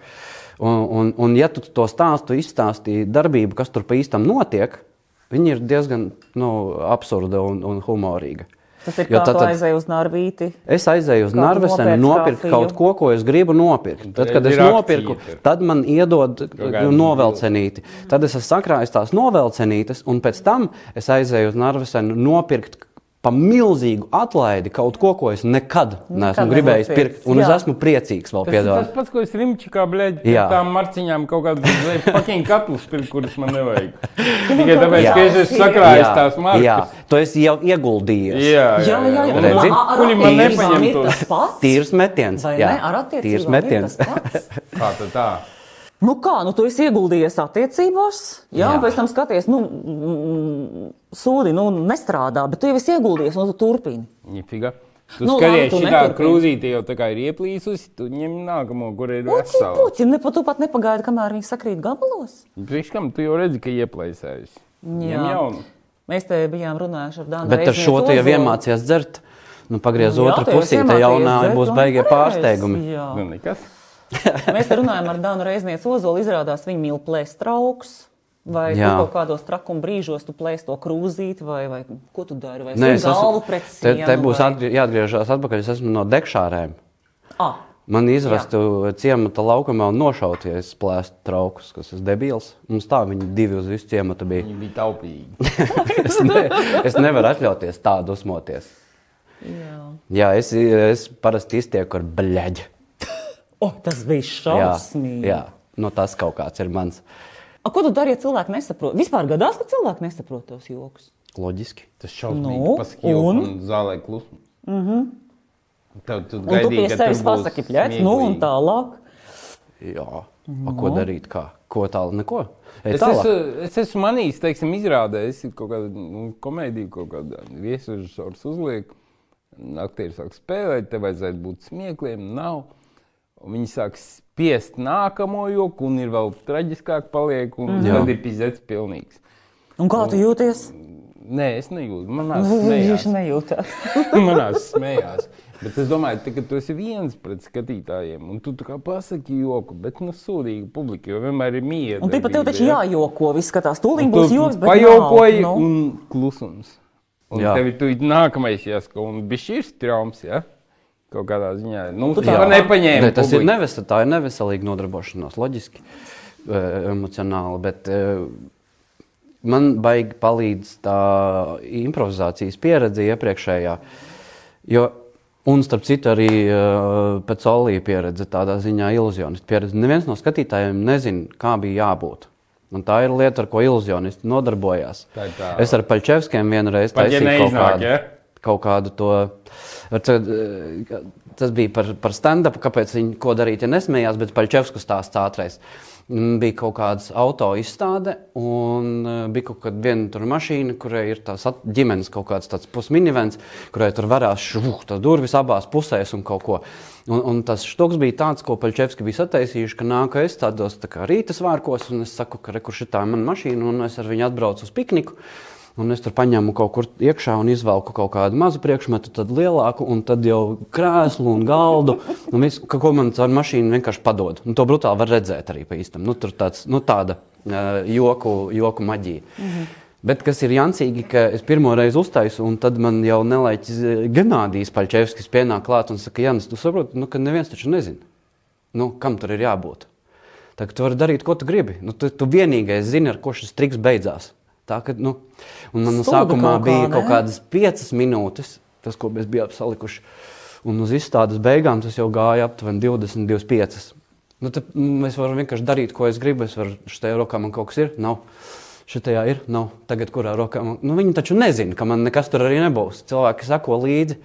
Speaker 2: Un, un, un, ja tu to stāstu izstāstīji darbību, kas tur pa īstam notiek, Viņi ir diezgan nu, absurda un, un humorīga.
Speaker 1: Tas ir
Speaker 2: Jo
Speaker 1: kā
Speaker 2: tad-
Speaker 1: tad,
Speaker 2: tad-
Speaker 1: tad... aizēju uz Nārvīti.
Speaker 2: Es aizēju uz
Speaker 1: Kādu
Speaker 2: Narvesenu,
Speaker 1: nopērc
Speaker 2: nopirku
Speaker 1: kafiju.
Speaker 2: kaut ko, ko es gribu nopirkt. Tad,
Speaker 3: tad
Speaker 2: kad
Speaker 3: ir
Speaker 2: es
Speaker 3: akcija
Speaker 2: nopirku,
Speaker 3: tur.
Speaker 2: tad man iedod nu,
Speaker 3: kādu
Speaker 2: novelcenīti. Tad es esmu sakrājis tās novelcenītes, un pēc tam es aizēju uz Narvesenu nopirkt pa milzīgu atlaidi kaut ko, ko es nekad neesmu gribējis
Speaker 1: nenopirks,
Speaker 2: pirkt. Un es
Speaker 1: jā.
Speaker 2: esmu priecīgs vēl
Speaker 3: Tas ir tas
Speaker 2: piedāvāt.
Speaker 3: pats, ko es rimčikā blēdu
Speaker 2: Jā.
Speaker 3: par tām marciņām, kaut kādas fucking katlus, pirkt, kuras man
Speaker 1: [LAUGHS]
Speaker 3: nevajag. Tikai tāpēc, ka es esmu sakrājis tās
Speaker 2: jā,
Speaker 3: marciņas.
Speaker 2: tu esi jau ieguldījies.
Speaker 3: Jā,
Speaker 1: Jā, jā, jā.
Speaker 3: Un
Speaker 2: Redzi?
Speaker 1: Ar- ar
Speaker 3: Kuļi man
Speaker 1: attiecībām
Speaker 3: nepaņem
Speaker 1: ir
Speaker 3: to.
Speaker 1: tas pats?
Speaker 2: Tīrs metiens.
Speaker 1: Vai
Speaker 2: jā.
Speaker 1: ne? Ar
Speaker 2: Tīrs
Speaker 1: attiecībām ir
Speaker 2: metiens.
Speaker 1: tas
Speaker 2: [LAUGHS]
Speaker 1: pats.
Speaker 3: Kā tad tā?
Speaker 1: Nu kā, nu tu esi ieguldījies attiecībās, jā,
Speaker 2: Jā.
Speaker 1: jā. pēc tam skaties, nu, mm, sūdi, nu, nestrādā, bet tu jau esi ieguldījies, nu, tu turpini.
Speaker 3: Nifiga. Tu
Speaker 1: Nu,
Speaker 3: nu,
Speaker 1: labi,
Speaker 3: skaties,
Speaker 1: tu
Speaker 3: šitā
Speaker 1: neturpini.
Speaker 3: krūzīte jau tā kā ir ieplīsusi, tu ņem nākamo, kur ir
Speaker 1: Puci,
Speaker 3: vesela.
Speaker 1: puci, ne, tu pat nepagaidi, kamēr viņi sakrīt gabalos.
Speaker 3: Priekškam, tu jau redzi, ka ieplīsējusi.
Speaker 1: Jā.
Speaker 3: Ņem jaunu.
Speaker 1: Mēs te bijām runājuši ar Dānu.
Speaker 2: Bet ar šo te jau iemācījās dzert. Nu, pagriez
Speaker 1: Nu, jā,
Speaker 2: otru
Speaker 1: tu jau
Speaker 2: pusē,
Speaker 1: esi
Speaker 2: tā jaunā
Speaker 1: iemācījies
Speaker 2: būs
Speaker 1: dzert,
Speaker 2: beigie
Speaker 1: un pareizi.
Speaker 2: pārsteigumi.
Speaker 1: Jā.
Speaker 3: Nu, nekas.
Speaker 1: Mēs te runājam ar Dānu Reiznieci Ozolu. Izrādās, viņa mīl plēst trauks. Vai tu
Speaker 2: Jā.
Speaker 1: kaut kādos trakuma brīžos tu plēsi to krūzīti, vai, vai ko tu dari? Vai
Speaker 2: Nē,
Speaker 1: es galvu pret
Speaker 2: te,
Speaker 1: sienu?
Speaker 2: te būs
Speaker 1: vai...
Speaker 2: atgrie, jāatgriežas atpakaļ. Es esmu no dekšārēm.
Speaker 1: Ah,
Speaker 2: Man izrastu ciemata laukumā un nošauties plēst traukus, kas ir debils. Mums tā viņi divi uz visu ciematu
Speaker 1: [LAUGHS]
Speaker 2: bija.
Speaker 3: Viņi bija taupīgi.
Speaker 2: es, ne, es nevaru atļauties tādu dusmoties.
Speaker 1: jā.
Speaker 2: Jā, es, es parasti iztieku ar bļaģi.
Speaker 1: O, tas bija
Speaker 2: Jā,
Speaker 1: šausmīgi.
Speaker 2: jā. Nu, tas kaut kāds ir mans
Speaker 1: A, ko tu dari, ja cilvēki nesaprot? Vispār gadās, ka cilvēki nesaprot tos joks.
Speaker 2: loģiski.
Speaker 3: Tas
Speaker 1: Nu,
Speaker 3: šausmīgi. Paskīja un
Speaker 1: un? Mhm.
Speaker 3: zālē klusums. Tad tu
Speaker 1: Un tu pie
Speaker 3: gaidīji, ka
Speaker 1: sevis
Speaker 3: tur būs
Speaker 1: pasaki, pļēc, nu un
Speaker 3: smieklīgi.
Speaker 1: tālāk.
Speaker 2: Jā, no. ko darīt? Kā? Ko tālu? Neko. Ej,
Speaker 3: Es
Speaker 2: tālāk.
Speaker 3: esmu, es esmu manījis, teiksim, izrādējis ir kaut kādu nu, komēdiju, kaut kādu viesužus uzliek. Aktieri sāk spēlēt, tev vajadzētu būt smiekliem, nav. Un viņi sāk spiest nākamo joku, un ir vēl traģiskāk paliek, un
Speaker 1: Mhm.
Speaker 3: mm. tad ir pizets pilnīgs.
Speaker 1: Un kā tu jūties? Nu,
Speaker 3: Nē, es nejūtu,
Speaker 1: [LAUGHS]
Speaker 3: manās
Speaker 1: Viņš
Speaker 3: Nu, smējās.
Speaker 1: nejūtas. [LAUGHS]
Speaker 3: [LAUGHS] manās smējās. Bet es domāju, te, ka tu esi viens pret skatītājiem, un tu tā kā pasaki joku, bet nu sūdīgi publika, jo vienmēr ir mīja.
Speaker 1: Un tipā tev taču jājoko, viss skatās. Tūlīt
Speaker 3: Tu
Speaker 1: būs joks, bet nu.
Speaker 3: pajokoji
Speaker 1: nav,
Speaker 3: un klusums. Un
Speaker 2: Jā.
Speaker 3: tev ir tūlīt nākamais jāsaka, un bija šis traumas. Ja? Kaut kādā ziņā. Nu, tu
Speaker 1: tā
Speaker 3: tā
Speaker 1: kā-
Speaker 3: nepaņēmi.
Speaker 2: Ne, tas ir
Speaker 3: publiku.
Speaker 2: nevesa, tā ir neveselīga nodarbošanās, loģiski, e, emocionāli. Bet, e, man baigi palīdz tā improvizācijas pieredze iepriekšējā. Jo, un, starp citu, arī e, pēc olīja pieredze, tādā ziņā iluzionistu pieredze. Neviens no skatītājiem nezina, kā bija jābūt. Un tā ir lieta, ar ko iluzionisti nodarbojās.
Speaker 3: Tā ir tā.
Speaker 2: Es ar Paļķevskiem vienreiz
Speaker 3: Pat ja
Speaker 2: taisīju kaut
Speaker 3: neiznāk,
Speaker 2: kādu.
Speaker 3: ja?
Speaker 2: Kaut kādu to, ar to, eh, tas bija par, par stand-up, kāpēc viņi ko darīja. Ja nesmējās, bet Paļķevsku stāsts ātrēs. Mm, Bija kaut kāda auto izstāde, un eh, bija kaut kāda viena tur mašīna, kurai ir tās at- ģimenes kaut kāds tāds pusminivens, kurai tur varās šūkt tās durvis abās pusēs un kaut ko. Un, un tas štoks bija tāds, ko Paļķevski bija sataisījuši, ka nāku es tādos tā kā rītas vārkos, un es saku, ka rekur šitā ir mana mašīna, un es ar viņu atbraucu uz pikniku. Un es tur paņēmu kaut kur iekšā un izvelku kaut kādu mazu priekšmetu, tad lielāku, un tad jau krēslu un galdu. Un visu, ka, ko man ar mašīnu vienkārši padod. Un to brutāli var redzēt arī pa īstam. Nu, tur tāds, nu, tāda uh, joku, joku maģija. Mhm. Bet kas ir jancīgi, ka es pirmo reizi uztaisu, un tad man jau nelaiķis eh, Ganādijs Paļķevskis pienāk klāt un saka, Jānis, tu saproti, nu, ka neviens taču nezina, nu, kam tur ir jābūt. Tā kā tu vari darīt, ko tu gribi. Nu, tu, tu vienīgais zini, ar ko šis triks beidzās. Tā, ka, nu, un man no
Speaker 1: Stulbi
Speaker 2: sākumā
Speaker 1: kaut kā,
Speaker 2: bija
Speaker 1: ne?
Speaker 2: kaut kādas piecas minūtes, tas, ko mēs bijām salikuši. Un uz izstādes beigām tas jau gāja aptuveni 20, 25. Nu, tad, mm, mēs varam vienkārši darīt, ko es gribu. Es varu, šitajā rokā man kaut kas ir, nav. Šitajā ir, nav. Tagad, kurā rokā man. Nu, viņi taču nezina, ka man nekas tur arī nebūs. Cilvēki sako līdzi.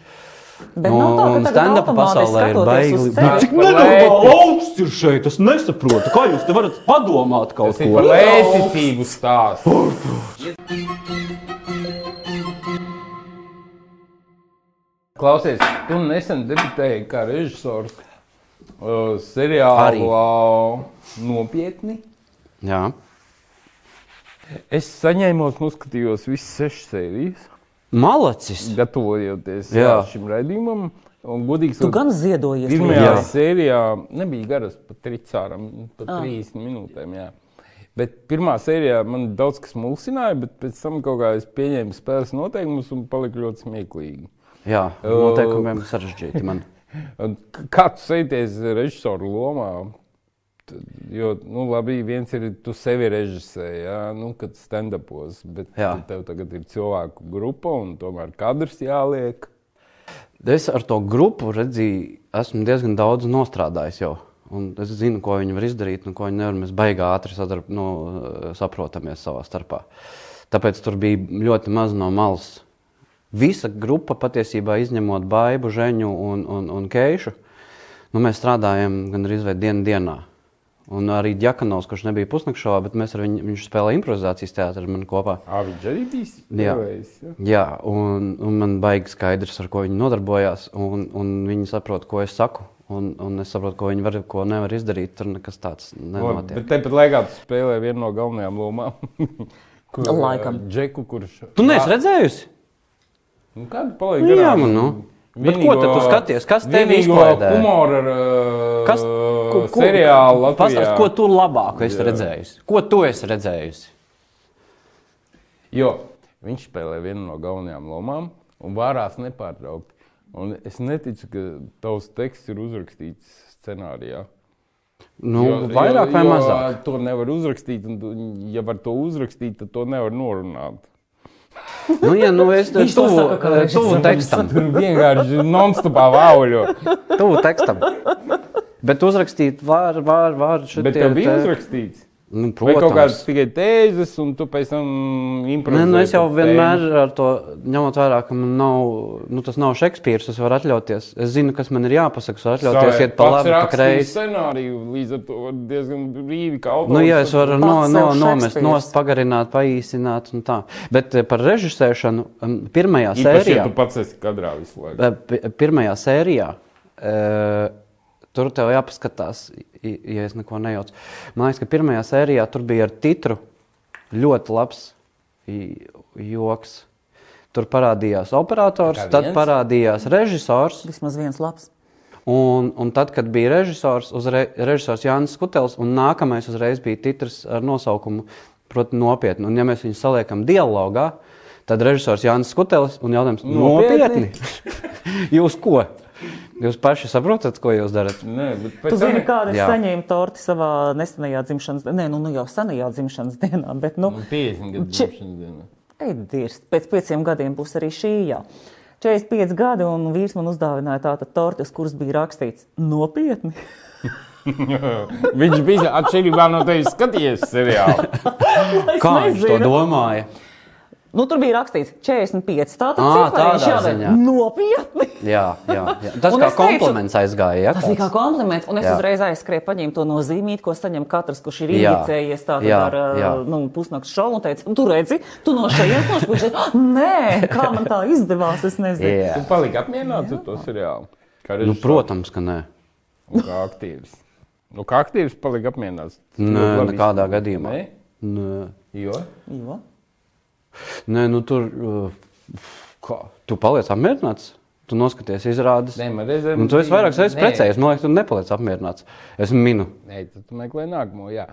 Speaker 1: bet nav tā,
Speaker 2: Un
Speaker 1: ka
Speaker 2: stand-up
Speaker 1: stand-up pasaulē ir baigi.
Speaker 3: Tas
Speaker 1: baigi.
Speaker 3: ir par lēti-
Speaker 2: augsts ir šeit? Es nesaprotu, kā jūs te varat padomāt kaut
Speaker 3: Tas ir par lētību stāsts. Klausies, tu nesen debitēji kā režisors uh,
Speaker 2: Arī.
Speaker 3: seriālā nopietni.
Speaker 2: Jā,
Speaker 3: Es saņēmu, noskatījos visas sešas sērijas,
Speaker 2: malacis.
Speaker 3: gatavojoties jā.
Speaker 2: Jā.
Speaker 3: šim raidījumam. Un, godīgi
Speaker 1: Tu
Speaker 3: sakot,
Speaker 1: gan ziedojies.
Speaker 3: pirmajā
Speaker 2: Jā.
Speaker 3: sērijā nebija garas, pat tricāram, pat 30 minūtēm. Jā. Bet pirmā sērijā man daudz kas mulsināja, bet pēc tam kaut kā es pieņēmu spēles noteikumus un paliku ļoti smieklīgi.
Speaker 2: Jā, noteikumiem sarežģīti. Man.
Speaker 3: Un k- Kā tu sēties režisoru lomā? Tad, Jo, nu, labi, viens ir tu sevi režisēji, jā, nu, kad stand-upos, bet jā.
Speaker 2: Jā.
Speaker 3: tev tagad ir cilvēku grupa un tomēr kadrs jāliek.
Speaker 2: [LAUGHS] Es ar to grupu redzēju, esmu diezgan daudz nostrādājis jau. Un es zinu, ko viņi var izdarīt, un ko viņi nevar. Mēs baigā ātri sadarb, nu, saprotamies savā starpā. Tāpēc tur bija ļoti maz no malas. Visa grupa patiesībā izņemot baidu, žēņu un, un, un keišu. Nu, mēs strādājam gandrīz vai dienu dienā. Un arī Džekanovs, kurš nebija pusnakšovā, bet mēs ar viņu, viņš spēlēja improvizācijas teātrī ar mani kopā.
Speaker 3: Ā, viņš arī bija
Speaker 2: Jā.
Speaker 3: spēlējis. jā?
Speaker 2: Jā, un, un man baigi skaidrs, ar ko viņi nodarbojās. Un, un viņi saprot, ko es saku. Un, un es saprotu, ko viņi var, ko nevar izdarīt. Tur nekas tāds
Speaker 3: Labi,
Speaker 2: nenotiek.
Speaker 3: Bet tepat laikā tu spēlē vienu no galvenajām lomām. [LAUGHS] Kur,
Speaker 1: Laikam.
Speaker 3: Džeku, kurš.
Speaker 2: Tu neesi redzējusi?
Speaker 3: Nu, Kādu palaidu?
Speaker 2: Nu, jā, nu, nu. Bet ko tad tu skaties? Kas tev izklaidē?
Speaker 3: Humora
Speaker 2: Kas,
Speaker 3: uh, seriāla
Speaker 2: pastāst,
Speaker 3: Latvijā.
Speaker 2: ko tu labāko esi
Speaker 3: Jā.
Speaker 2: redzējusi? Ko tu esi redzējusi?
Speaker 3: Jo viņš spēlē vienu no galvenajām lomām un vārās nepārtraukti. Un es neticu, ka tavs teksts ir uzrakstīts scenārijā.
Speaker 2: Nu, vairāk vai mazāk?
Speaker 3: To nevar uzrakstīt, un tu, ja var to uzrakstīt, tad to nevar norunāt.
Speaker 2: Nu, jā, nu, es
Speaker 1: Viņš to
Speaker 2: tuvu, eh,
Speaker 1: saka, ka viņš
Speaker 2: tuvu
Speaker 1: ir
Speaker 2: tekstam.
Speaker 3: Tur vienkārši nonstopā vāuļo.
Speaker 2: Tuvu tekstam. Bet uzrakstīt var, var, var. eh,
Speaker 3: Bet tev bija uzrakstīts.
Speaker 2: Nu,
Speaker 3: Vai kaut
Speaker 2: protams.
Speaker 3: kādas tikai tēzes, un tu pēc tam
Speaker 2: Nē,
Speaker 3: improvizēji.
Speaker 2: nu es jau
Speaker 3: par tēmu?
Speaker 2: vienmēr ar to ņemot vērā, ka man nav, nu, tas nav Šekspīrs. Es varu atļauties. Es zinu, kas man ir jāpasaka. Es varu atļauties
Speaker 3: Savai-
Speaker 2: iet pa
Speaker 3: pats
Speaker 2: labi, pa
Speaker 3: rakstīju
Speaker 2: kreisi.
Speaker 3: scenāriju, līdz ar to var diezgan brīvi kā autors.
Speaker 2: Nu, jā, es varu no,
Speaker 1: Pats
Speaker 2: no,
Speaker 1: sev
Speaker 2: nomest,
Speaker 1: Šekspīrs.
Speaker 2: nost, pagarināt, paīsināt un tā. Bet eh, par režisēšanu em, pirmajā
Speaker 3: Īpaši,
Speaker 2: sērijā.
Speaker 3: ja tu pats esi kadrā visu laiku.
Speaker 2: Eh, pi- Pirmajā sērijā. eh, Tur tev jāpaskatās, i- ja es neko nejaucu. Man liekas, ka pirmajā sērijā tur bija ar titru ļoti labs i- joks. Tur parādījās operators,
Speaker 3: Kā
Speaker 2: tad
Speaker 3: viens?
Speaker 2: parādījās režisors.
Speaker 1: Vismaz viens labs.
Speaker 2: Un, un tad, kad bija režisors, uzre, režisors Jānis Kutels, un nākamais uzreiz bija titrs ar nosaukumu, proti, nopietni. Un, ja mēs viņus saliekam dialogā, tad režisors Jānis Kutels un jautājums,
Speaker 3: Nopietni?
Speaker 2: nopietni? [LAUGHS] jūs ko? Jūs paši saprotat, ko jūs darat?
Speaker 3: Nē, bet
Speaker 1: Tu
Speaker 3: pēc tam
Speaker 1: zini, kāda ir
Speaker 2: Jā.
Speaker 1: saņēma torti savā nesenajā dzimšanas dienā, nu, nu jau senajā dzimšanas dienā, bet, nu,
Speaker 2: Mm.
Speaker 3: Man 50 gadu
Speaker 1: Či-
Speaker 3: dzimšanas diena.
Speaker 1: Edgars, pēc pieciem gadiem būs arī šī. Jā. 45 gadi, un vīrs man uzdāvināja tādu torti, uz kuras bija rakstīts nopietni. [LAUGHS]
Speaker 3: Viņš bija atšķirībā no tevis skatījies seriālu.
Speaker 1: Es
Speaker 2: Kā viņš to
Speaker 1: nezinu.
Speaker 2: domāja?
Speaker 1: Nu, tur bija rakstīts 45. Tā tad
Speaker 2: Ā,
Speaker 1: cipariņš
Speaker 2: tādā
Speaker 1: jāved.
Speaker 2: ziņā.
Speaker 1: nopietni.
Speaker 2: Jā, jā, jā. tas
Speaker 1: Un
Speaker 2: kā
Speaker 1: es teicu-
Speaker 2: kompliments aizgāja.
Speaker 1: Tas bija kā
Speaker 2: Ja?
Speaker 1: kompliments, un es jā.
Speaker 2: Jā.
Speaker 1: uzreiz aizskrēju, paņēmu to nozīmīti, ko saņem katrs, kurš ir
Speaker 2: Jā.
Speaker 1: inicējies tādā
Speaker 2: Jā,
Speaker 1: ar jā.
Speaker 2: jā.
Speaker 1: nu, pusnakts šovu un teica, "Un tu redzi, tu no šejienes nošpūši. "Ah, Nē, kā man tā izdevās, es nezinu.
Speaker 2: Jā.
Speaker 3: Tu paliki apmierināts ar to seriālu. Kā
Speaker 2: Nu,
Speaker 3: režisors
Speaker 2: protams, ka nē.
Speaker 3: un Kā aktīvs. Nu, kā aktīvs palika apmierināts.
Speaker 2: Nē,
Speaker 3: Ļoti labi
Speaker 2: nekādā
Speaker 3: izskatās.
Speaker 2: gadījumā.
Speaker 3: Nē?
Speaker 2: Nē.
Speaker 3: Jo?
Speaker 1: Jo.
Speaker 2: Nē, nu tur uh, kā? tu paliec apmierināts. Tu noskaties, izrādes.
Speaker 3: Nē, man reizēm
Speaker 2: Nu, tu esi
Speaker 3: bija-
Speaker 2: vairākas reizes
Speaker 3: nē.
Speaker 2: precējies. Man liekas, tu nepaliec apmierināts. Es minu.
Speaker 3: Nē, tad tu meklē nākamo. Jā.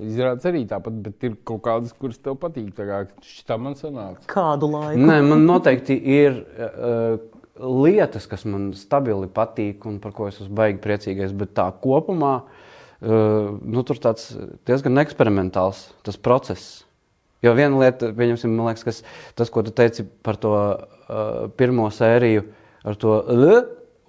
Speaker 3: Izrādās arī tāpat, bet ir kaut kādas, kuras tev patīk. Tā kā tā man sanāca.
Speaker 1: Kādu laiku?
Speaker 2: Nē, man noteikti ir uh, lietas, kas man stabili patīk un par ko es esmu baigi priecīgais. Bet tā kopumā uh, nu, tur tāds diezgan eksperimentāls tas process. Jo viena lieta, pieņemsim, man liekas, kas, tas, ko tu teici par to uh, pirmo sēriju ar to L.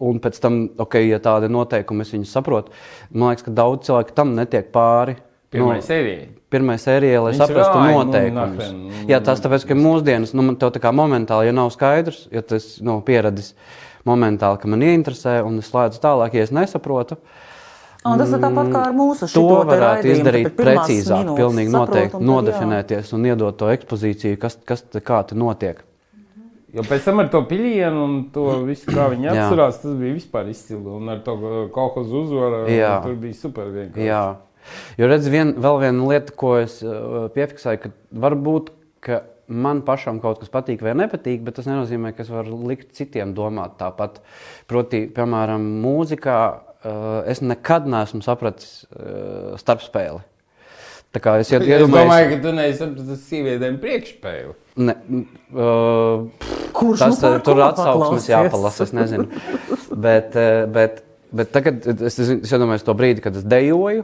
Speaker 2: Un pēc tam, ok, ja tādi noteikumi es viņu saprotu, man liekas, ka daudz cilvēku tam netiek pāri.
Speaker 3: Pirmā
Speaker 2: Nu,
Speaker 3: sērija.
Speaker 2: Pirmā sērija, lai
Speaker 3: Viņš
Speaker 2: saprastu
Speaker 3: rāja, nu,
Speaker 2: noteikumus.
Speaker 3: napen.
Speaker 2: Jā, tas tāpēc, ka mūsdienas nu, man tev tā kā momentāli, ja nav skaidrs, ja tas nav pieradis momentāli, ka man ieinteresē un es slēdzu tālāk, ja es nesaprotu.
Speaker 1: Un tas ir tāpat kā ar mūsu
Speaker 2: Nu, To
Speaker 1: šito te
Speaker 2: varētu
Speaker 1: raidījumu,
Speaker 2: izdarīt
Speaker 1: tāpēc pirmās
Speaker 2: precīzāk,
Speaker 1: minūtes
Speaker 2: pilnīgi
Speaker 1: saprotam,
Speaker 2: noteikti
Speaker 1: tad jā.
Speaker 2: nodefinēties un iedot to ekspozīciju, kas, kas te kā te notiek.
Speaker 3: Jo pēc tam ar to pilienu un to visu, kā viņi
Speaker 2: Jā.
Speaker 3: atcerās, tas bija vispār izcili. Un ar to kaut kādu uzvaru
Speaker 2: Jā.
Speaker 3: tur bija super vienkārši.
Speaker 2: Jā, jo redz, vien, vēl viena lieta, ko es uh, piefiksēju, ka varbūt ka man pašam kaut kas patīk vai nepatīk, bet tas nenozīmē, ka es varu likt citiem domāt tāpat. Proti, piemēram, eh, mūzikā uh, es nekad neesmu sapratis uh, eh, starpspēli. Tā kā es ied-
Speaker 3: Es domāju,
Speaker 2: iedomājos,
Speaker 3: ka tu nesaproti tas sievietēm priekšspēju.
Speaker 2: ne, uh,
Speaker 1: Kurš
Speaker 2: tas
Speaker 1: nu
Speaker 2: tur,
Speaker 1: par ko
Speaker 2: tur atsauksmes
Speaker 1: paklausies?
Speaker 2: jāpalasa. Es nezinu. bet, eh, bet, bet tagad eh, es, es, es iedomājos to brīdi, kad es dejoju,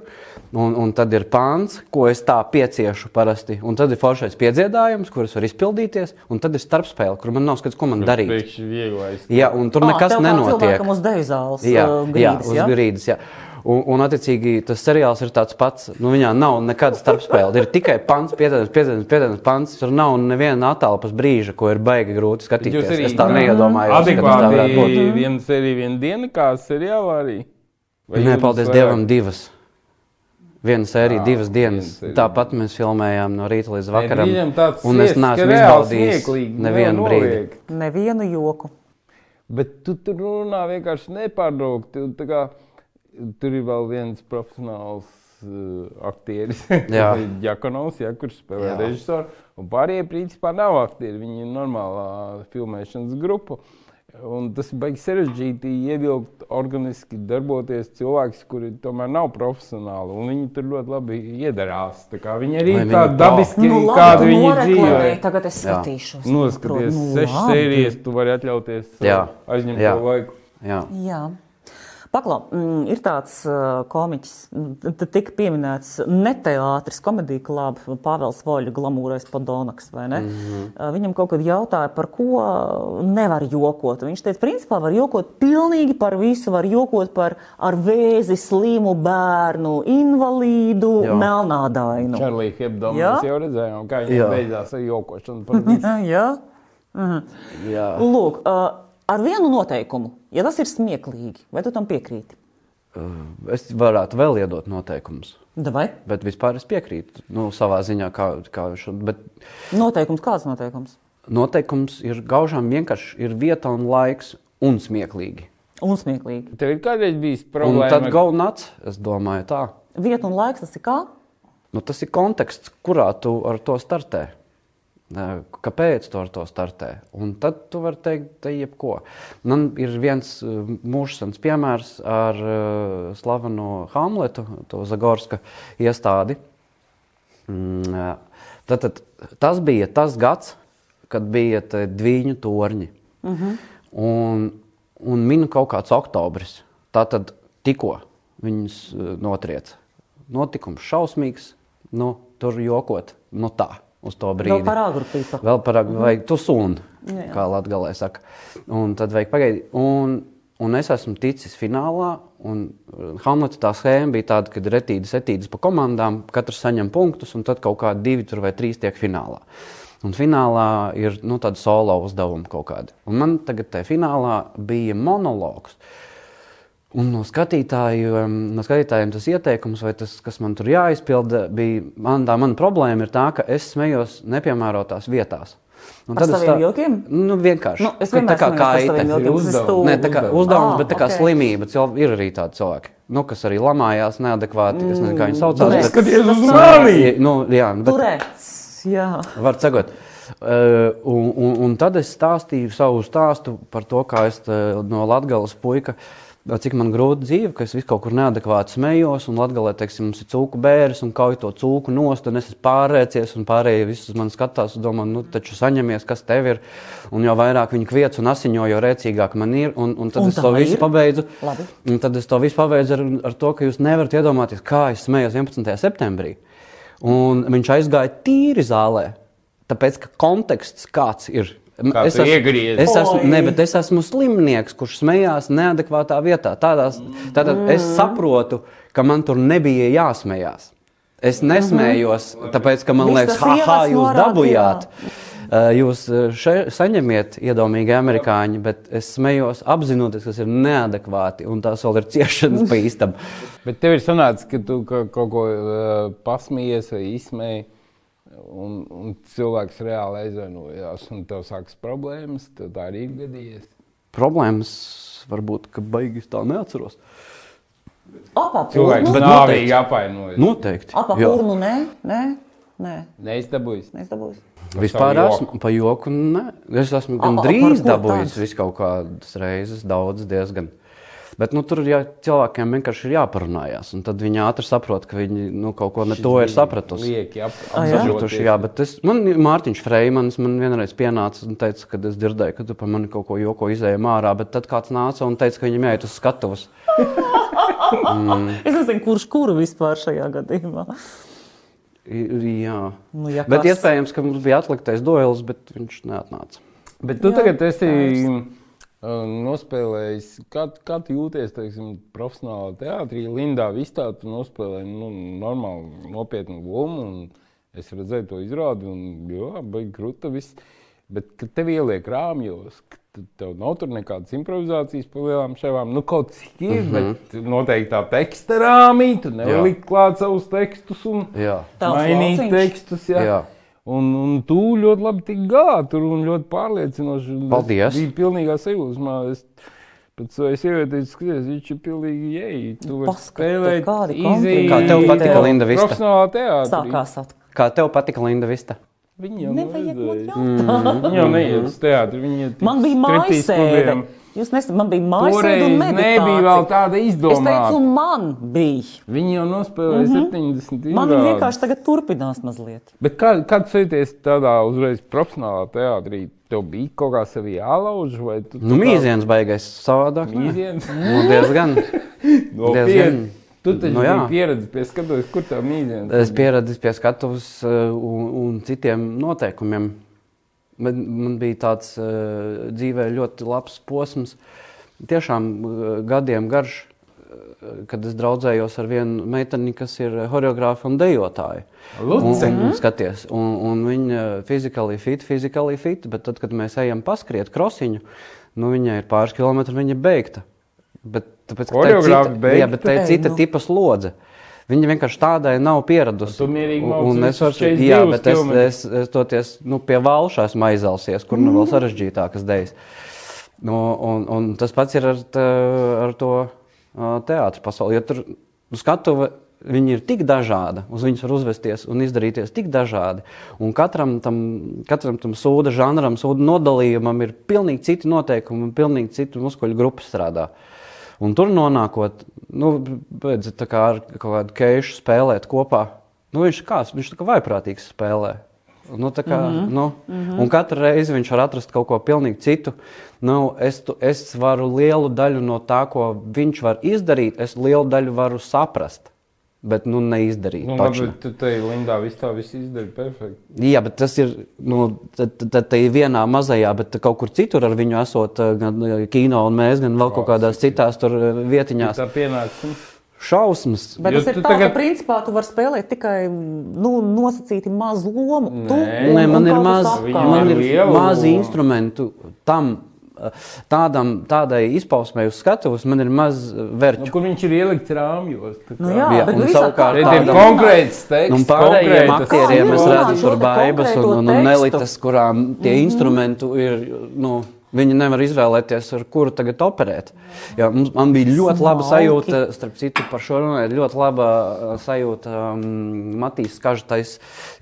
Speaker 2: un, un tad ir pāns, ko es tā pieciešu parasti. Un tad ir foršais piedziedājums, kurus var izpildīties, un tad ir starpspēle, kur man nav skats, ko man darīt.
Speaker 3: Priekšvieglais.
Speaker 2: Jā, un tur nekas
Speaker 1: Ā, tev kā
Speaker 2: nenotiek.
Speaker 1: Cilvēkam uz deju zāles
Speaker 2: Jā,
Speaker 1: uh,
Speaker 2: jā,
Speaker 1: grīdas,
Speaker 2: uz grīdas. Jā. Un, un, attiecīgi, tas seriāls ir tāds pats. Nu, viņā nav nekādas starpspēles. Ir tikai pants, pietiekams, pietiekams, pietiekams pants. Tur nav neviena attēlpas brīža, ko ir baigi grūti skatīties.
Speaker 3: Jūs arī nu,
Speaker 2: Es tā neiedomājos.
Speaker 3: Adekvāti viena sērija, viena diena, kā seriālā arī. Vai eh,
Speaker 2: Nē,
Speaker 3: jums
Speaker 2: paldies
Speaker 3: vairāk?
Speaker 2: Dievam, divas. Viena sērija,
Speaker 3: Jā,
Speaker 2: divas dienas.
Speaker 3: viena sērija.
Speaker 2: Tāpat mēs filmējām no rīta līdz
Speaker 3: Nē,
Speaker 2: vakaram.
Speaker 3: viņam tāds
Speaker 2: un es
Speaker 3: siests, ka
Speaker 2: neesmu
Speaker 3: reāli
Speaker 2: izbaudījis
Speaker 3: smieklīgi, nav
Speaker 2: nevienu brīdi.
Speaker 3: noliegt.
Speaker 1: jā? Nevienu joku.
Speaker 3: Bet tu tur runā vienkārši nepārtraukti. un tā kā Tur ir vēl viens profesionāls uh, aktieris,
Speaker 2: [LAUGHS]
Speaker 3: [LAUGHS]
Speaker 2: Jā.
Speaker 3: Jakonovs, ja, kurš spēlē
Speaker 2: Jā.
Speaker 3: režisoru. Un pārējie principā nav aktieri. Viņi ir normālā filmēšanas grupa. Un tas ir baigi sarežģīti ievilkt, organiski darboties cilvēks, kuri tomēr nav profesionāli. un Viņi tur ļoti labi iedarās. Tā kā Viņi arī
Speaker 2: Vai
Speaker 3: ir
Speaker 2: viņi
Speaker 3: tādi
Speaker 2: tā?
Speaker 3: dabiski,
Speaker 1: Nu, labi, tu
Speaker 3: kādi viņi dzīvo.
Speaker 1: noreklamēji, Tagad es
Speaker 2: Jā.
Speaker 1: skatīšos.
Speaker 3: Noskaties,
Speaker 1: Nu,
Speaker 3: sešas
Speaker 1: labi.
Speaker 3: sērijas, tu vari atļauties uh,
Speaker 2: Jā.
Speaker 3: aizņemt
Speaker 2: Jā.
Speaker 3: to laiku.
Speaker 2: Jā.
Speaker 1: Jā. Paklau, mm, ir tāds uh, komiķis, mm, t- tika pieminēts neteātris, komēdija klāba Pāvils Voļa glamūrais padonaks, vai ne? Mm -hmm. Viņam kaut kad jautāja, par ko uh, nevar jokot. Viņš teica, principā var jokot pilnīgi par visu, var jokot par ar vēzi, slimu bērnu, invalīdu,
Speaker 2: Jā.
Speaker 1: melnādainu.
Speaker 3: Čārlīds Hebdons
Speaker 1: Nu. Jā?
Speaker 3: jau redzējām, kā
Speaker 2: Jā.
Speaker 3: viņš beidzās ar jokošanu. par visu.
Speaker 1: [LAUGHS] Jā? Mhm.
Speaker 2: Jā.
Speaker 1: Lūk, uh, ar vienu noteikumu, ja tas ir smieklīgi, vai tu tam piekrīti?
Speaker 2: Uh, Es varētu vēl iedot noteikumus.
Speaker 1: Vai?
Speaker 2: Bet vispār es piekrītu. Nu, savā ziņā, kā, kā viņš to dara.
Speaker 1: Noteikums, kāds noteikums?
Speaker 2: Noteikums ir gaužām vienkārši ir vieta un laiks un smieklīgi.
Speaker 1: Un smieklīgi.
Speaker 3: [LAUGHS] Tev ir kādreiz bijis
Speaker 2: Un tad
Speaker 3: problēma.
Speaker 2: gaunāts, es domāju, tā.
Speaker 1: Vieta un laiks tas ir kā?
Speaker 2: Nu, tas ir konteksts, kurā tu ar to startē. Nē, Kāpēc tu ar to startē? Un tad tu vari teikt, te jebko. Man ir viens uh, mūžsens piemērs ar uh, slaveno Hamletu, to Zagorska iestādi. Mm, jā. Tātad, tas bija tas gads, kad bija tie diviņu torņi. Uh -huh. un, un minēta kaut kāds oktobris. Tā tad tikko viņus eh, notrieca. Notikums šausmīgs, nu, tur jokot no tā uz to brīdi.
Speaker 1: Vēl par agru tipa.
Speaker 2: Vēl par agru, vai tu sūni,
Speaker 1: Jā, jā.
Speaker 2: kā Latvijā saka. Un tad vajag pagaidīt. Un, un es esmu ticis finālā. Un uh, Hamlets tā schēma bija tāda, ka ir retīdas, etīdas pa komandām, katrs saņem punktus, un tad kaut kādi divi tur vai trīs tiek finālā. Un finālā ir nu, tāda solo uzdevuma kaut kāda. Un man tagad tajā finālā bija monologs. Un no, skatītājiem, no skatītājiem tas ieteikums, vai tas, kas man tur jāizpilda, bija man tā mana problēma, ir tā, ka es smējos nepiemērotās vietās. Un
Speaker 1: Ar saviem
Speaker 2: tā-
Speaker 1: jokiem?
Speaker 2: Nu, vienkārši.
Speaker 1: Nu, es
Speaker 2: Ka
Speaker 1: vienmēr
Speaker 2: tā kā
Speaker 1: esmu par saviem
Speaker 2: kaita.
Speaker 1: jokiem, tas ir
Speaker 3: Uzdevums.
Speaker 1: stulbi.
Speaker 2: Nē, tā kā
Speaker 3: Uzdevums.
Speaker 2: uzdevums,
Speaker 1: Ah,
Speaker 2: bet tā kā
Speaker 1: ok.
Speaker 2: slimība. Cilvē, ir arī tādi cilvēki, nu, kas arī lamājās neadekvāti. Es nezinu, kā viņi saucās.
Speaker 1: Turēts.
Speaker 2: bet-
Speaker 3: Skaties uz
Speaker 1: Mm. Tas
Speaker 3: mani!
Speaker 2: Nu, jā, bet,
Speaker 1: Turēts. Jā.
Speaker 2: Var cegot. Uh, un, un, un tad es stāstīju savu stāstu par to, kā es uh, no Latvijas puika, uh, cik man grūti dzīve, ka es visu kaut kur neadekvāti smējos, un Latvijā, teiksim, mums ir cūku bērns, un kauj to cūku nost, un es esmu pārēcies, un pārējie visus man skatās, un domā, nu, taču saņemies, kas tev ir, un jo vairāk viņi kviec un asiņo, jo rēcīgāk man ir, un, un
Speaker 1: Un
Speaker 2: tad un es
Speaker 1: tā
Speaker 2: to visu
Speaker 1: ir?
Speaker 2: pabeidzu.
Speaker 1: Labi.
Speaker 2: Un tad es to visu pabeidzu ar, ar to, ka jūs nevarat iedomāties, kā es smējos 11. septembrī. Un viņš aizgāja tīri zālē, tāpēc ka konteksts kāds ir. M-
Speaker 3: Kā
Speaker 2: es
Speaker 3: tu
Speaker 2: esmu-
Speaker 3: iegriezi.
Speaker 2: es esmu,
Speaker 1: Oi.
Speaker 2: ne, bet es esmu slimnieks, kurš smējās neadekvātā vietā. Tādās, tātad
Speaker 1: Mm.
Speaker 2: es saprotu, ka man tur nebija jāsmējās. Es nesmējos, tāpēc ka man
Speaker 1: Viss
Speaker 2: liekas,
Speaker 1: tas
Speaker 2: ha, ha,
Speaker 1: ievads
Speaker 2: jūs
Speaker 1: norāda,
Speaker 2: dabūjāt.
Speaker 1: jā.
Speaker 2: Uh, Jūs uh, še, saņemiet iedomīgi amerikāņi, bet es smējos apzinoties, kas ir neadekvāti un tās vēl ir ciešanas pa īstam.
Speaker 3: Bet tev ir sanācis, ka tu ka, kaut ko uh, pasmējies vai izsmēji, un, un cilvēks reāli aizvainojās, un tev sākas problēmas. Tev tā arī ir gadījies.
Speaker 2: Problēmas varbūt, ka beigas tā neatceros.
Speaker 1: Apā
Speaker 3: Cilvēks
Speaker 1: kurnu.
Speaker 2: Bet
Speaker 3: nāvīgi apvainojas.
Speaker 2: Noteikti.
Speaker 1: Apā
Speaker 2: jā.
Speaker 1: kurnu, nē, nē, nē.
Speaker 3: Neizdabūjis.
Speaker 1: Mēs dabūsim.
Speaker 2: Vispār
Speaker 3: Par joku.
Speaker 2: esmu pa joku. Nē. Es esmu
Speaker 1: A, a,
Speaker 2: gandrīz
Speaker 1: par ko
Speaker 2: dabūjis
Speaker 1: tāds?
Speaker 2: visu kaut kādas reizes, daudz diezgan. Bet nu, tur jā, cilvēkiem vienkārši ir jāparunājās. un Tad viņi ātri saprot, ka viņi nu, kaut ko ne to ir sapratusi.
Speaker 3: Lieki, ap,
Speaker 1: Ah, jā?
Speaker 2: Sapratuši, jā, bet es, man Mārtiņš Freimans man vienreiz pienāca un teica, ka es dzirdēju, ka tu par mani kaut ko joko izēji mārā, bet tad kāds nāca un teica, ka viņam jāiet uz skatuves.
Speaker 1: Es nezinu, kurš kuru vispār šajā gadījumā.
Speaker 2: I- Jā,
Speaker 1: Nu, ja
Speaker 2: bet
Speaker 1: kas?
Speaker 2: iespējams, ka mums bija atliktais duels, bet viņš neatnāca.
Speaker 3: Bet tu
Speaker 1: Jā,
Speaker 3: jā, tagad esi uh, nospēlējis, kā, kā tu jūties teiksim, profesionālā teātrī, Lindā Vistā. Tu nospēlēji nu, normālu, nopietnu lomu, un es redzēju to izrādi, un jā, bija grūti viss. Bet, kad tev ieliek rāmjos, ka tu- tev nav tur nekādas improvizācijas par lielām šēvām, nu kaut kas ir, mm -hmm. bet noteikti tā teksta rāmī, tu nevari
Speaker 2: Mhm. Jā.
Speaker 3: likt klāt savus tekstus. Un...
Speaker 2: Jā.
Speaker 1: Tavs
Speaker 3: Mainīt
Speaker 1: lauciņš.
Speaker 3: tekstus, jā. jā.
Speaker 2: Jā.
Speaker 3: Un, un tu ļoti labi tik galā tur un ļoti pārliecinoši. Un es
Speaker 2: Paldies.
Speaker 3: Biju pilnīgā sajūsmā. Es pēc savas sievietes skaties, viņš ir pilnīgi jēji. Tu vari
Speaker 1: Paskat,
Speaker 3: spēlēt
Speaker 1: kādi
Speaker 3: easy,
Speaker 1: komplimenti.
Speaker 2: Kā tev patika Linda Vista?
Speaker 3: Profesionālā teātrī.
Speaker 1: Sākās atkal.
Speaker 2: Kā tev patika Linda Vista?
Speaker 3: Viņa jau
Speaker 1: Nevajag man
Speaker 3: nevajadzēja.
Speaker 1: jautāt.
Speaker 3: Viņa jau neiet uz teātri. Viņa iet
Speaker 1: Man bija
Speaker 3: striptīz
Speaker 1: mājasēde.
Speaker 3: klubiem.
Speaker 1: Jūs nesaprotat, man bija mājasēde
Speaker 3: Toreiz
Speaker 1: un
Speaker 3: nebija vēl
Speaker 1: meditācija.
Speaker 3: tāda
Speaker 1: Es teicu,
Speaker 3: izdomāta.
Speaker 1: man bija.
Speaker 3: Viņa jau nospēlēja 70.
Speaker 1: Mhm. Man
Speaker 3: izrādes.
Speaker 1: vienkārši tagad turpinās mazliet.
Speaker 3: Bet kā, kad jūties tādā uzreiz profesionālā teātrī, tev bija kaut kā sevi jālauž? Vai tu
Speaker 2: Nu, mīziens baigais savādāk. nē.
Speaker 3: mīziens?
Speaker 2: Nu, diezgan.
Speaker 3: Nopietni. Tu taču
Speaker 2: Nu,
Speaker 3: nu,
Speaker 2: jā.
Speaker 3: biji pieredzi pie skatuves, kur tev mīziens.
Speaker 2: Es pieradu pie skatuves eh, un, un citiem noteikumiem. Man, man bija tāds eh, dzīvē ļoti labs posms, tiešām eh, gadiem garš, eh, kad es draudzējos ar vienu meiteni, kas ir choreogrāfa un dejotāja.
Speaker 3: Luce.
Speaker 2: Un, un, skaties, un, un viņa fizikāli fit, fizikāli fit, bet tad, kad mēs ejam paskriet krosiņu, nu, viņai ir pāris kilometri, viņa ir beigta. Bet, tāpēc, ka tā ir
Speaker 3: Horeogrāfa
Speaker 2: cita-
Speaker 3: beigta?
Speaker 2: Jā, bet tā ir
Speaker 1: Ei,
Speaker 2: cita
Speaker 1: nu.
Speaker 2: tipa slodze. Viņa vienkārši tādai nav pieradusi.
Speaker 3: Tu mierīgi
Speaker 2: Un-
Speaker 3: mauc
Speaker 2: un es varu
Speaker 3: visus
Speaker 2: teikt,
Speaker 3: 42
Speaker 2: jā, bet es,
Speaker 3: kilometrus.
Speaker 2: es, es toties nu, pie valšās maizelsies, kur nu vēl sarežģītākas dēļas. Nu, un, un tas pats ir ar, tā, ar to teātrus pasauli. Jo tur skatuve viņi ir tik dažādi, uz viņas var uzvesties un izdarīties tik dažādi. Un katram tam, katram tam sūda žanram, sūda nodalījumam ir pilnīgi citi noteikumi un pilnīgi citu muskuļu grupu strādā. Un tur nonākot, nu, redz, tā kā ar kaut kādu keišu spēlēt kopā, nu, viņš ir kāds, viņš tā kā vaiprātīgs spēlē. Nu, tā kā, mm -hmm. nu, mm -hmm. Un katru reizi viņš var atrast kaut ko pilnīgi citu. Nu, es, tu, es varu lielu daļu no tā, ko viņš var izdarīt, es lielu daļu varu saprast, bet nu, neizdarīt.
Speaker 3: Nu,
Speaker 2: paši.
Speaker 3: labi, tu te Lindā viss tā viss izdarīja perfekti.
Speaker 2: Jā, bet tas ir nu, tad, tad, tad tai vienā mazajā, bet kaut kur citur ar viņu esot, eh, gan eh, kino un mēs, gan vēl kaut kādās citās tur eh,
Speaker 3: Jā.
Speaker 2: vietiņās.
Speaker 3: Tā pienāca.
Speaker 2: Šausmas.
Speaker 1: Bet
Speaker 3: Jo
Speaker 1: tas ir
Speaker 3: tu
Speaker 1: tā, tagad...
Speaker 3: tagad-
Speaker 1: ka principā tu vari spēlēt tikai nu, nosacīti mazu lomu. Tu un-
Speaker 2: Nē, man
Speaker 1: un
Speaker 2: ir
Speaker 1: kaut
Speaker 2: maz,
Speaker 1: kas
Speaker 3: Viņam
Speaker 1: apkārt.
Speaker 2: man ir
Speaker 3: lielu-
Speaker 2: mazi instrumenti tam. eh, Tādam, tādai izpausmei uz skatuves man ir maz eh,
Speaker 3: Nu,
Speaker 2: vērķu.
Speaker 3: kur viņš ir ielikt rāmjos? tā kā?
Speaker 1: Nu, jā,
Speaker 2: Jā,
Speaker 1: jā,
Speaker 2: un
Speaker 1: bet Nu, visā
Speaker 2: savukārt
Speaker 1: kārtā
Speaker 2: tiem
Speaker 3: Rediem
Speaker 1: domā.
Speaker 3: konkrēts Nu, teksts.
Speaker 2: Un pārējiem
Speaker 3: konkrētas-
Speaker 1: Kā
Speaker 2: aktieriem es redzu,
Speaker 1: runāt
Speaker 2: tur
Speaker 1: šo te
Speaker 2: baibas un,
Speaker 1: konkrēto
Speaker 2: un, un
Speaker 1: tekstu? Mhm.
Speaker 2: elites, kurām tie instrumenti ir. Nu, viņi nevar izvēlēties, ar kuru tagad operēt. Jā, mums, man bija ļoti laba
Speaker 1: Smalki.
Speaker 2: sajūta, starp citu, par šo runājot, ļoti laba uh, sajūta. Um, Matīs Kažtais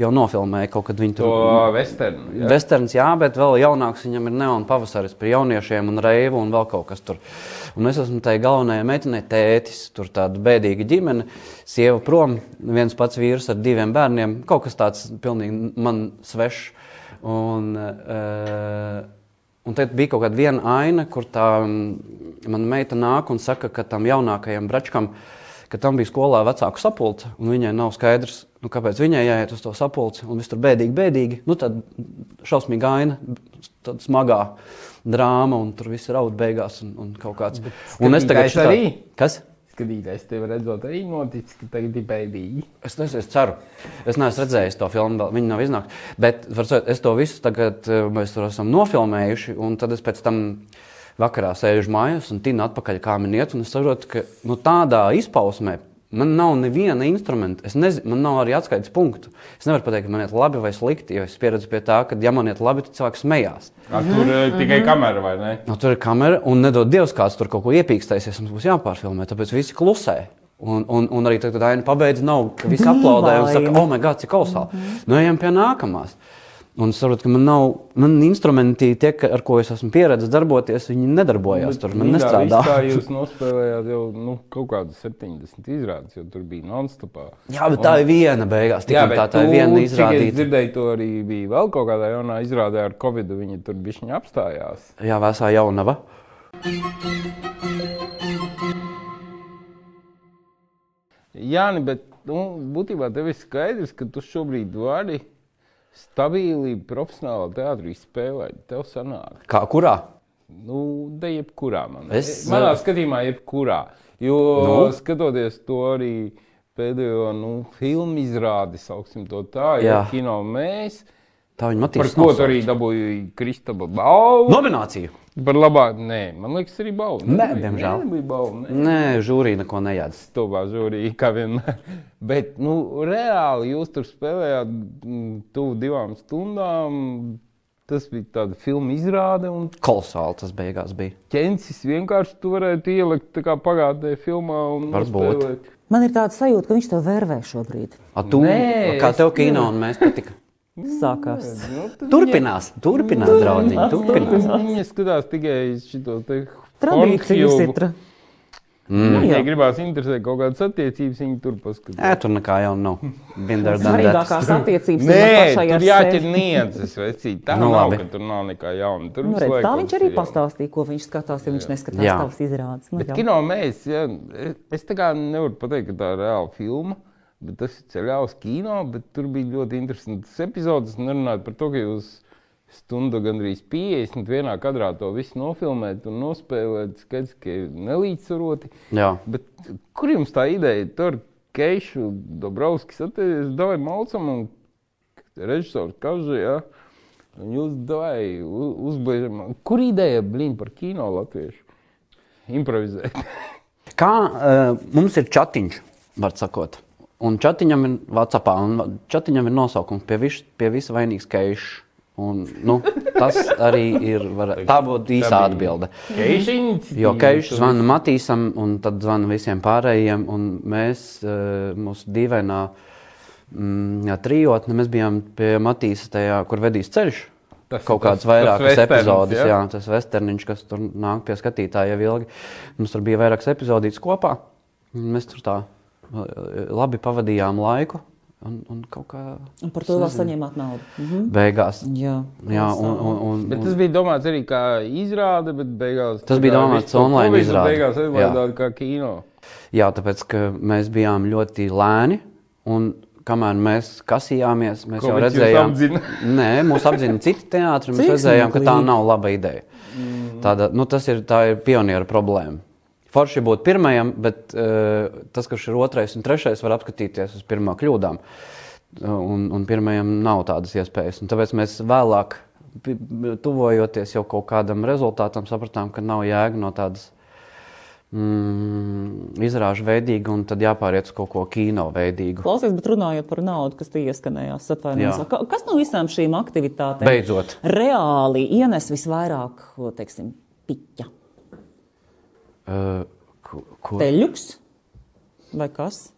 Speaker 2: jau nofilmēja kaut kad viņu
Speaker 3: To
Speaker 2: tur.
Speaker 3: vesternu. jā.
Speaker 2: Vesterns, jā, bet vēl jaunāks viņam ir neona pavasaris par jauniešiem un reivu un vēl kaut kas tur. Un es esmu tai galvenajai meitenei, tētis, tur tāda bēdīga ģimene, sieva prom, viens pats vīrs ar diviem bērniem, kaut kas tāds pilnīgi man svešs. Un, uh, un tad bija kaut kāda viena aina, kur tā mm, mana meita nāk un saka, ka tam jaunākajam bračkam, ka tam bija skolā vecāku sapulce, un viņai nav skaidrs, nu, kāpēc viņai jāiet uz to sapulci, un viss tur bēdīgi, bēdīgi. Nu, tad šausmīga aina, tāda smagā drāma, un tur viss ir raud beigās, un, un kaut kāds. Un es tagad
Speaker 3: skatītājs arī?
Speaker 2: Kas?
Speaker 3: Skatītājs tev redzot, arī noticis, ka tagad ir bēdīgi.
Speaker 2: Es, es, es ceru, es neesmu redzējis to filmu, vēl viņa nav iznākusi. Bet var teikt, es to visu tagad, eh, mēs tur esam nofilmējuši, un tad es pēc tam vakarā sēžu mājās un tinu atpakaļ, kā man iet. un Es saprotu, ka nu, tādā izpausmē man nav neviena instrumenta. Es nezinu, man nav arī atskaites punktu. Es nevaru pateikt, ka man iet labi vai slikti, jo es pieredzu pie tā, ka, ja man iet labi, tad cilvēks smējās.
Speaker 3: Ar tur eh, tikai kamera vai ne?
Speaker 2: Nu, tur ir kamera, un nedod Dievs, kāds tur kaut ko iepīkstēsies. Mums būs jāpārfilmē, tāpēc visi klusē. Un, un, un arī tad, kad aina pabeidz, nav ka visi aplaudē un saka,
Speaker 1: Dīvaini.
Speaker 2: oh, my God, cik kolosāli. Mm -hmm. Nu, ejam pie nākamās. Un es saprotu, ka man nav, man instrumenti, tie, ka- ar ko es esmu pieredzējis darboties, viņi nedarbojās tur. Man nestrādā.
Speaker 3: Nu, Tā jūs nospēlējāt jau nu, kaut kādas 70 izrādes, jo tur bija non-stopā.
Speaker 2: [LAUGHS] Jā, bet tā ir viena beigās.
Speaker 3: Jā,
Speaker 2: Jā,
Speaker 3: bet
Speaker 2: tā, tā ir viena
Speaker 3: izrāde. Es
Speaker 2: izrādīta.
Speaker 3: dzirdēju, to arī bija vēl kaut kādā jaunā izrādē ar Covid. Viņi tur bija viņa apstājās.
Speaker 2: Jā, vēsā jaunava.
Speaker 3: Jā, nē, bet nu, būtībā tev ir skaidrs, ka tu šobrīd vari stabili profesionāli teātrī spēlēt. Tev sanāk,
Speaker 2: Kā kurā?
Speaker 3: nu, te jebkurā man. E,
Speaker 2: Es- eh,
Speaker 3: Manā skatījumā, jebkurā. Jo nu? skatoties to arī pēdējo nu, filmu izrādi, sauksim to tā, ja
Speaker 2: Jā.
Speaker 3: kino mēs.
Speaker 2: Tā viņa
Speaker 3: Par
Speaker 2: matīja.
Speaker 3: ko tu arī dabūji Kristaba balvu?
Speaker 2: Nomināciju.
Speaker 3: Par labā, nē, man liekas, arī balva.
Speaker 2: Nu? Nē,
Speaker 3: Nebija-
Speaker 2: diemžēl.
Speaker 3: Nebija balva. Nē.
Speaker 2: Nē, žūrī neko nejādz.
Speaker 3: Stovā žūrija, kā vienmēr. [LAUGHS] Bet, nu, reāli jūs tur spēlējāt mm, tuvu divām stundām. Tas bija tāds filmu izrāde, un
Speaker 2: Kolosāli tas beigās bija.
Speaker 3: ķēniņš vienkārši tu varētu ielikt tā kā pagātnē filmā. un
Speaker 2: Varbūt.
Speaker 3: nospēlēt.
Speaker 1: Man ir tāds sajūta, ka viņš to vērvē šobrīd.
Speaker 2: A, tu,
Speaker 3: Nē,
Speaker 2: Nē, kā
Speaker 3: es-
Speaker 2: tev kino un mēs patika?
Speaker 1: Sākās.
Speaker 3: Nu, tad
Speaker 2: Turpinās, turpinās, draugi. Turpinās.
Speaker 3: Viņa skatās tikai šo te
Speaker 1: Tradīcijas
Speaker 3: hornfilmu.
Speaker 1: ir. tra-
Speaker 2: Mm.
Speaker 1: Nu,
Speaker 3: Viņai
Speaker 1: jā.
Speaker 3: gribās interesēt kaut kādas attiecības, viņa tur paskatās.
Speaker 2: Nē, tur nekā jau nav. Binder dārgākās.
Speaker 1: Svarīgākās attiecības
Speaker 3: Nē,
Speaker 1: ir pašai ar
Speaker 3: tur
Speaker 1: sevi.
Speaker 3: jāķer nianses, vecīt. Tā
Speaker 2: Nu,
Speaker 3: nu, nav,
Speaker 2: labi.
Speaker 3: ka tur nav nekā jauna. Tur
Speaker 1: Nu,
Speaker 3: visu
Speaker 1: redz, tā
Speaker 3: laiku kaut
Speaker 1: viņš
Speaker 3: kas
Speaker 1: arī
Speaker 3: ir jauns.
Speaker 1: pastāstīja, ko viņš skatās, ja viņš neskatās
Speaker 2: Jā.
Speaker 1: tavas izrādes. Nu,
Speaker 3: Bet
Speaker 1: jā.
Speaker 3: kino mēs, jā, es tā kā nevaru pateikt, ka tā ir reāla filma, bet tas ir ceļā uz kino, bet tur bija ļoti interesants epizodes. Nerunājot par to, ka jūs stundu gandrīz 50 vienā kadrā to visu nofilmēt un nospēlēt, skaidrs, ka ir nelīdzsvaroti.
Speaker 2: Jā.
Speaker 3: Bet kur jums tā ideja? Tur Keišu, Dobrovskis, atteicās, davai malcam un režisors Kažu, jā. Un jūs davai u- uzbiežam. Kur ideja, blīn, par kino latviešu? Improvizēt.
Speaker 2: Kā uh, mums ir chatiņš, var sakot. Un chatiņam ir Vācijā, un chatiņam ir nosaukums pie, viš, pie visa vainīgs keišs. Un, nu, tas arī ir. Var, tā būtu īsa
Speaker 3: Tā bija
Speaker 2: atbilde.
Speaker 3: [LAUGHS] Keiša iniciatīva.
Speaker 2: Jo Keišs zvana Matīsam, un tad zvana visiem pārējiem, un mēs, eh, mūsu dīvainā mm, jā, trijotne, mēs bijām pie Matīsa, tajā, kur vedīs ceļš.
Speaker 3: Tas-
Speaker 2: Tas, kaut
Speaker 3: tas-
Speaker 2: kādas
Speaker 3: tas
Speaker 2: vairākas
Speaker 3: westerns,
Speaker 2: epizodes,
Speaker 3: jā?
Speaker 2: jā? jā, tas vesterniņš, kas tur nāk pie skatītāja jau ilgi. Mums tur bija vairākas epizodes kopā, un mēs tur tā eh, labi pavadījām laiku, un, un kaut kā
Speaker 1: Un par to vēl saņēmāt naudu. Mhm.
Speaker 2: beigās.
Speaker 1: Jā,
Speaker 2: Jā, un, un, un,
Speaker 3: Bet tas bija domāts arī kā izrāde, bet beigās.
Speaker 2: Tas
Speaker 3: tā
Speaker 2: bija
Speaker 3: kā
Speaker 2: domāts
Speaker 3: visu to
Speaker 2: online
Speaker 3: Covidu
Speaker 2: izrāde.
Speaker 3: Beigās
Speaker 2: Jā.
Speaker 3: aizlaidāt kā kino.
Speaker 2: Jā, tāpēc ka mēs bijām ļoti lēni. Un kamēr mēs kasījāmies, mēs
Speaker 3: Ko
Speaker 2: jau
Speaker 3: viņš jūs
Speaker 2: redzējām,
Speaker 3: apdzina?
Speaker 2: [LAUGHS] Nē, mūs apzināja citi teātri. Mēs
Speaker 1: Cik
Speaker 2: redzējām, ka tā
Speaker 1: smieklīgi.
Speaker 2: nav laba ideja. Tāda, nu, tas ir, tā ir pionieru problēma. Forši būtu pirmajam, bet uh, tas, kurš ir otrais un trešais, var apskatīties uz pirmā kļūdām. Un, un pirmajam nav tādas iespējas. Un tāpēc mēs vēlāk, pi- tuvojoties jau kaut kādam rezultātam, sapratām, ka nav jēga no tādas mm, izrāžu veidīga, un tad jāpāriet uz kaut ko kino veidīgu.
Speaker 1: Klausies, bet runājot par naudu, kas tie ieskanējās, atvainojos.
Speaker 2: Jā.
Speaker 1: Ka- Kas no visām šīm aktivitātēm
Speaker 2: Beidzot.
Speaker 1: reāli ienes visvairāk, ko, teiksim, piķa?
Speaker 2: Uh, ko, ko?
Speaker 1: Peļuks vai kas?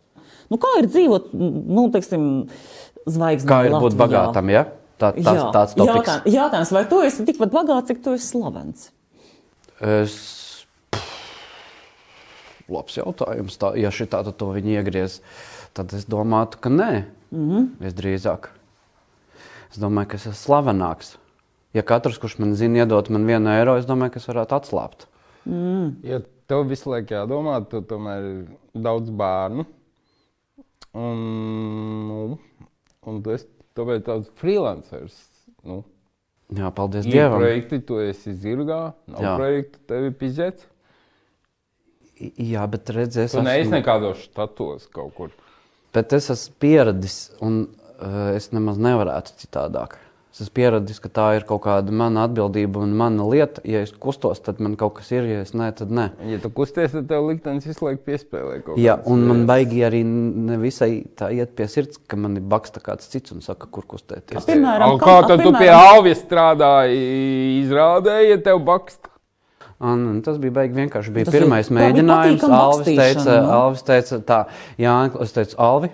Speaker 1: Nu, kā ir dzīvot, nu, teiksim, zvaigznē?
Speaker 2: Kā ir būt
Speaker 1: Latvijā?
Speaker 2: bagātam? Ja? Tā, tas,
Speaker 1: Jā.
Speaker 2: tāds topiks.
Speaker 1: Jautā- Jautājums, vai tu esi tikpat bagāts, cik tu esi slavens?
Speaker 2: Es... pff, Labs jautājums. Tā, ja šī tāda to viņa iegriez, tad es domātu, ka nē. Mm
Speaker 1: Mhm.
Speaker 2: -hmm. Es drīzāk. Es domāju, ka es esmu slavenāks. Ja katrs, kurš man zina, iedot man vienu eiro, es domāju, ka es varētu atslābt.
Speaker 3: Ja tev visu laiku jādomā, tu tomēr ir daudz bērnu. Un, nu, un tu esi tāpēc tāds freelancers. Nu,
Speaker 2: Jā, paldies
Speaker 3: ir
Speaker 2: Dievam.
Speaker 3: projekti, tu esi zirgā, nav Jā.
Speaker 2: Jā.
Speaker 3: projekti, tev ir pizets.
Speaker 2: I- Jā, bet redzēs,
Speaker 3: Tu neesi nekādos štatos kaut kur.
Speaker 2: Bet es esmu pieradis, un uh, es nemaz nevarētu citādāk. Es esmu pieradis, ka tā ir kaut kāda mana atbildība un mana lieta. Ja es kustos, tad man kaut kas ir, ja es nē, tad nē.
Speaker 3: Ja tu kusties, tad tev liktenis visu laiku piespēlē kaut
Speaker 2: Jā,
Speaker 3: kādas
Speaker 2: un man
Speaker 3: lietas.
Speaker 2: baigi arī nevisai tā iet pie sirds, ka man ir baksta kāds cits un saka, kur kustēties.
Speaker 1: Piemēram,
Speaker 3: Au,
Speaker 1: kam-
Speaker 3: Kā tad tu pie
Speaker 1: piemēram-
Speaker 3: Alvija strādāji, izrādēji, ja tev baksta?
Speaker 2: Un, un tas bija baigi vienkārši. Bija
Speaker 1: Tas
Speaker 2: tas pirmais
Speaker 1: ir- tā bija
Speaker 2: mēģinājums.
Speaker 1: patīkama
Speaker 2: Alvis teica,
Speaker 1: bakstīšana, nu.
Speaker 2: Alvis teica, tā, Jā, es teicu, Alvi,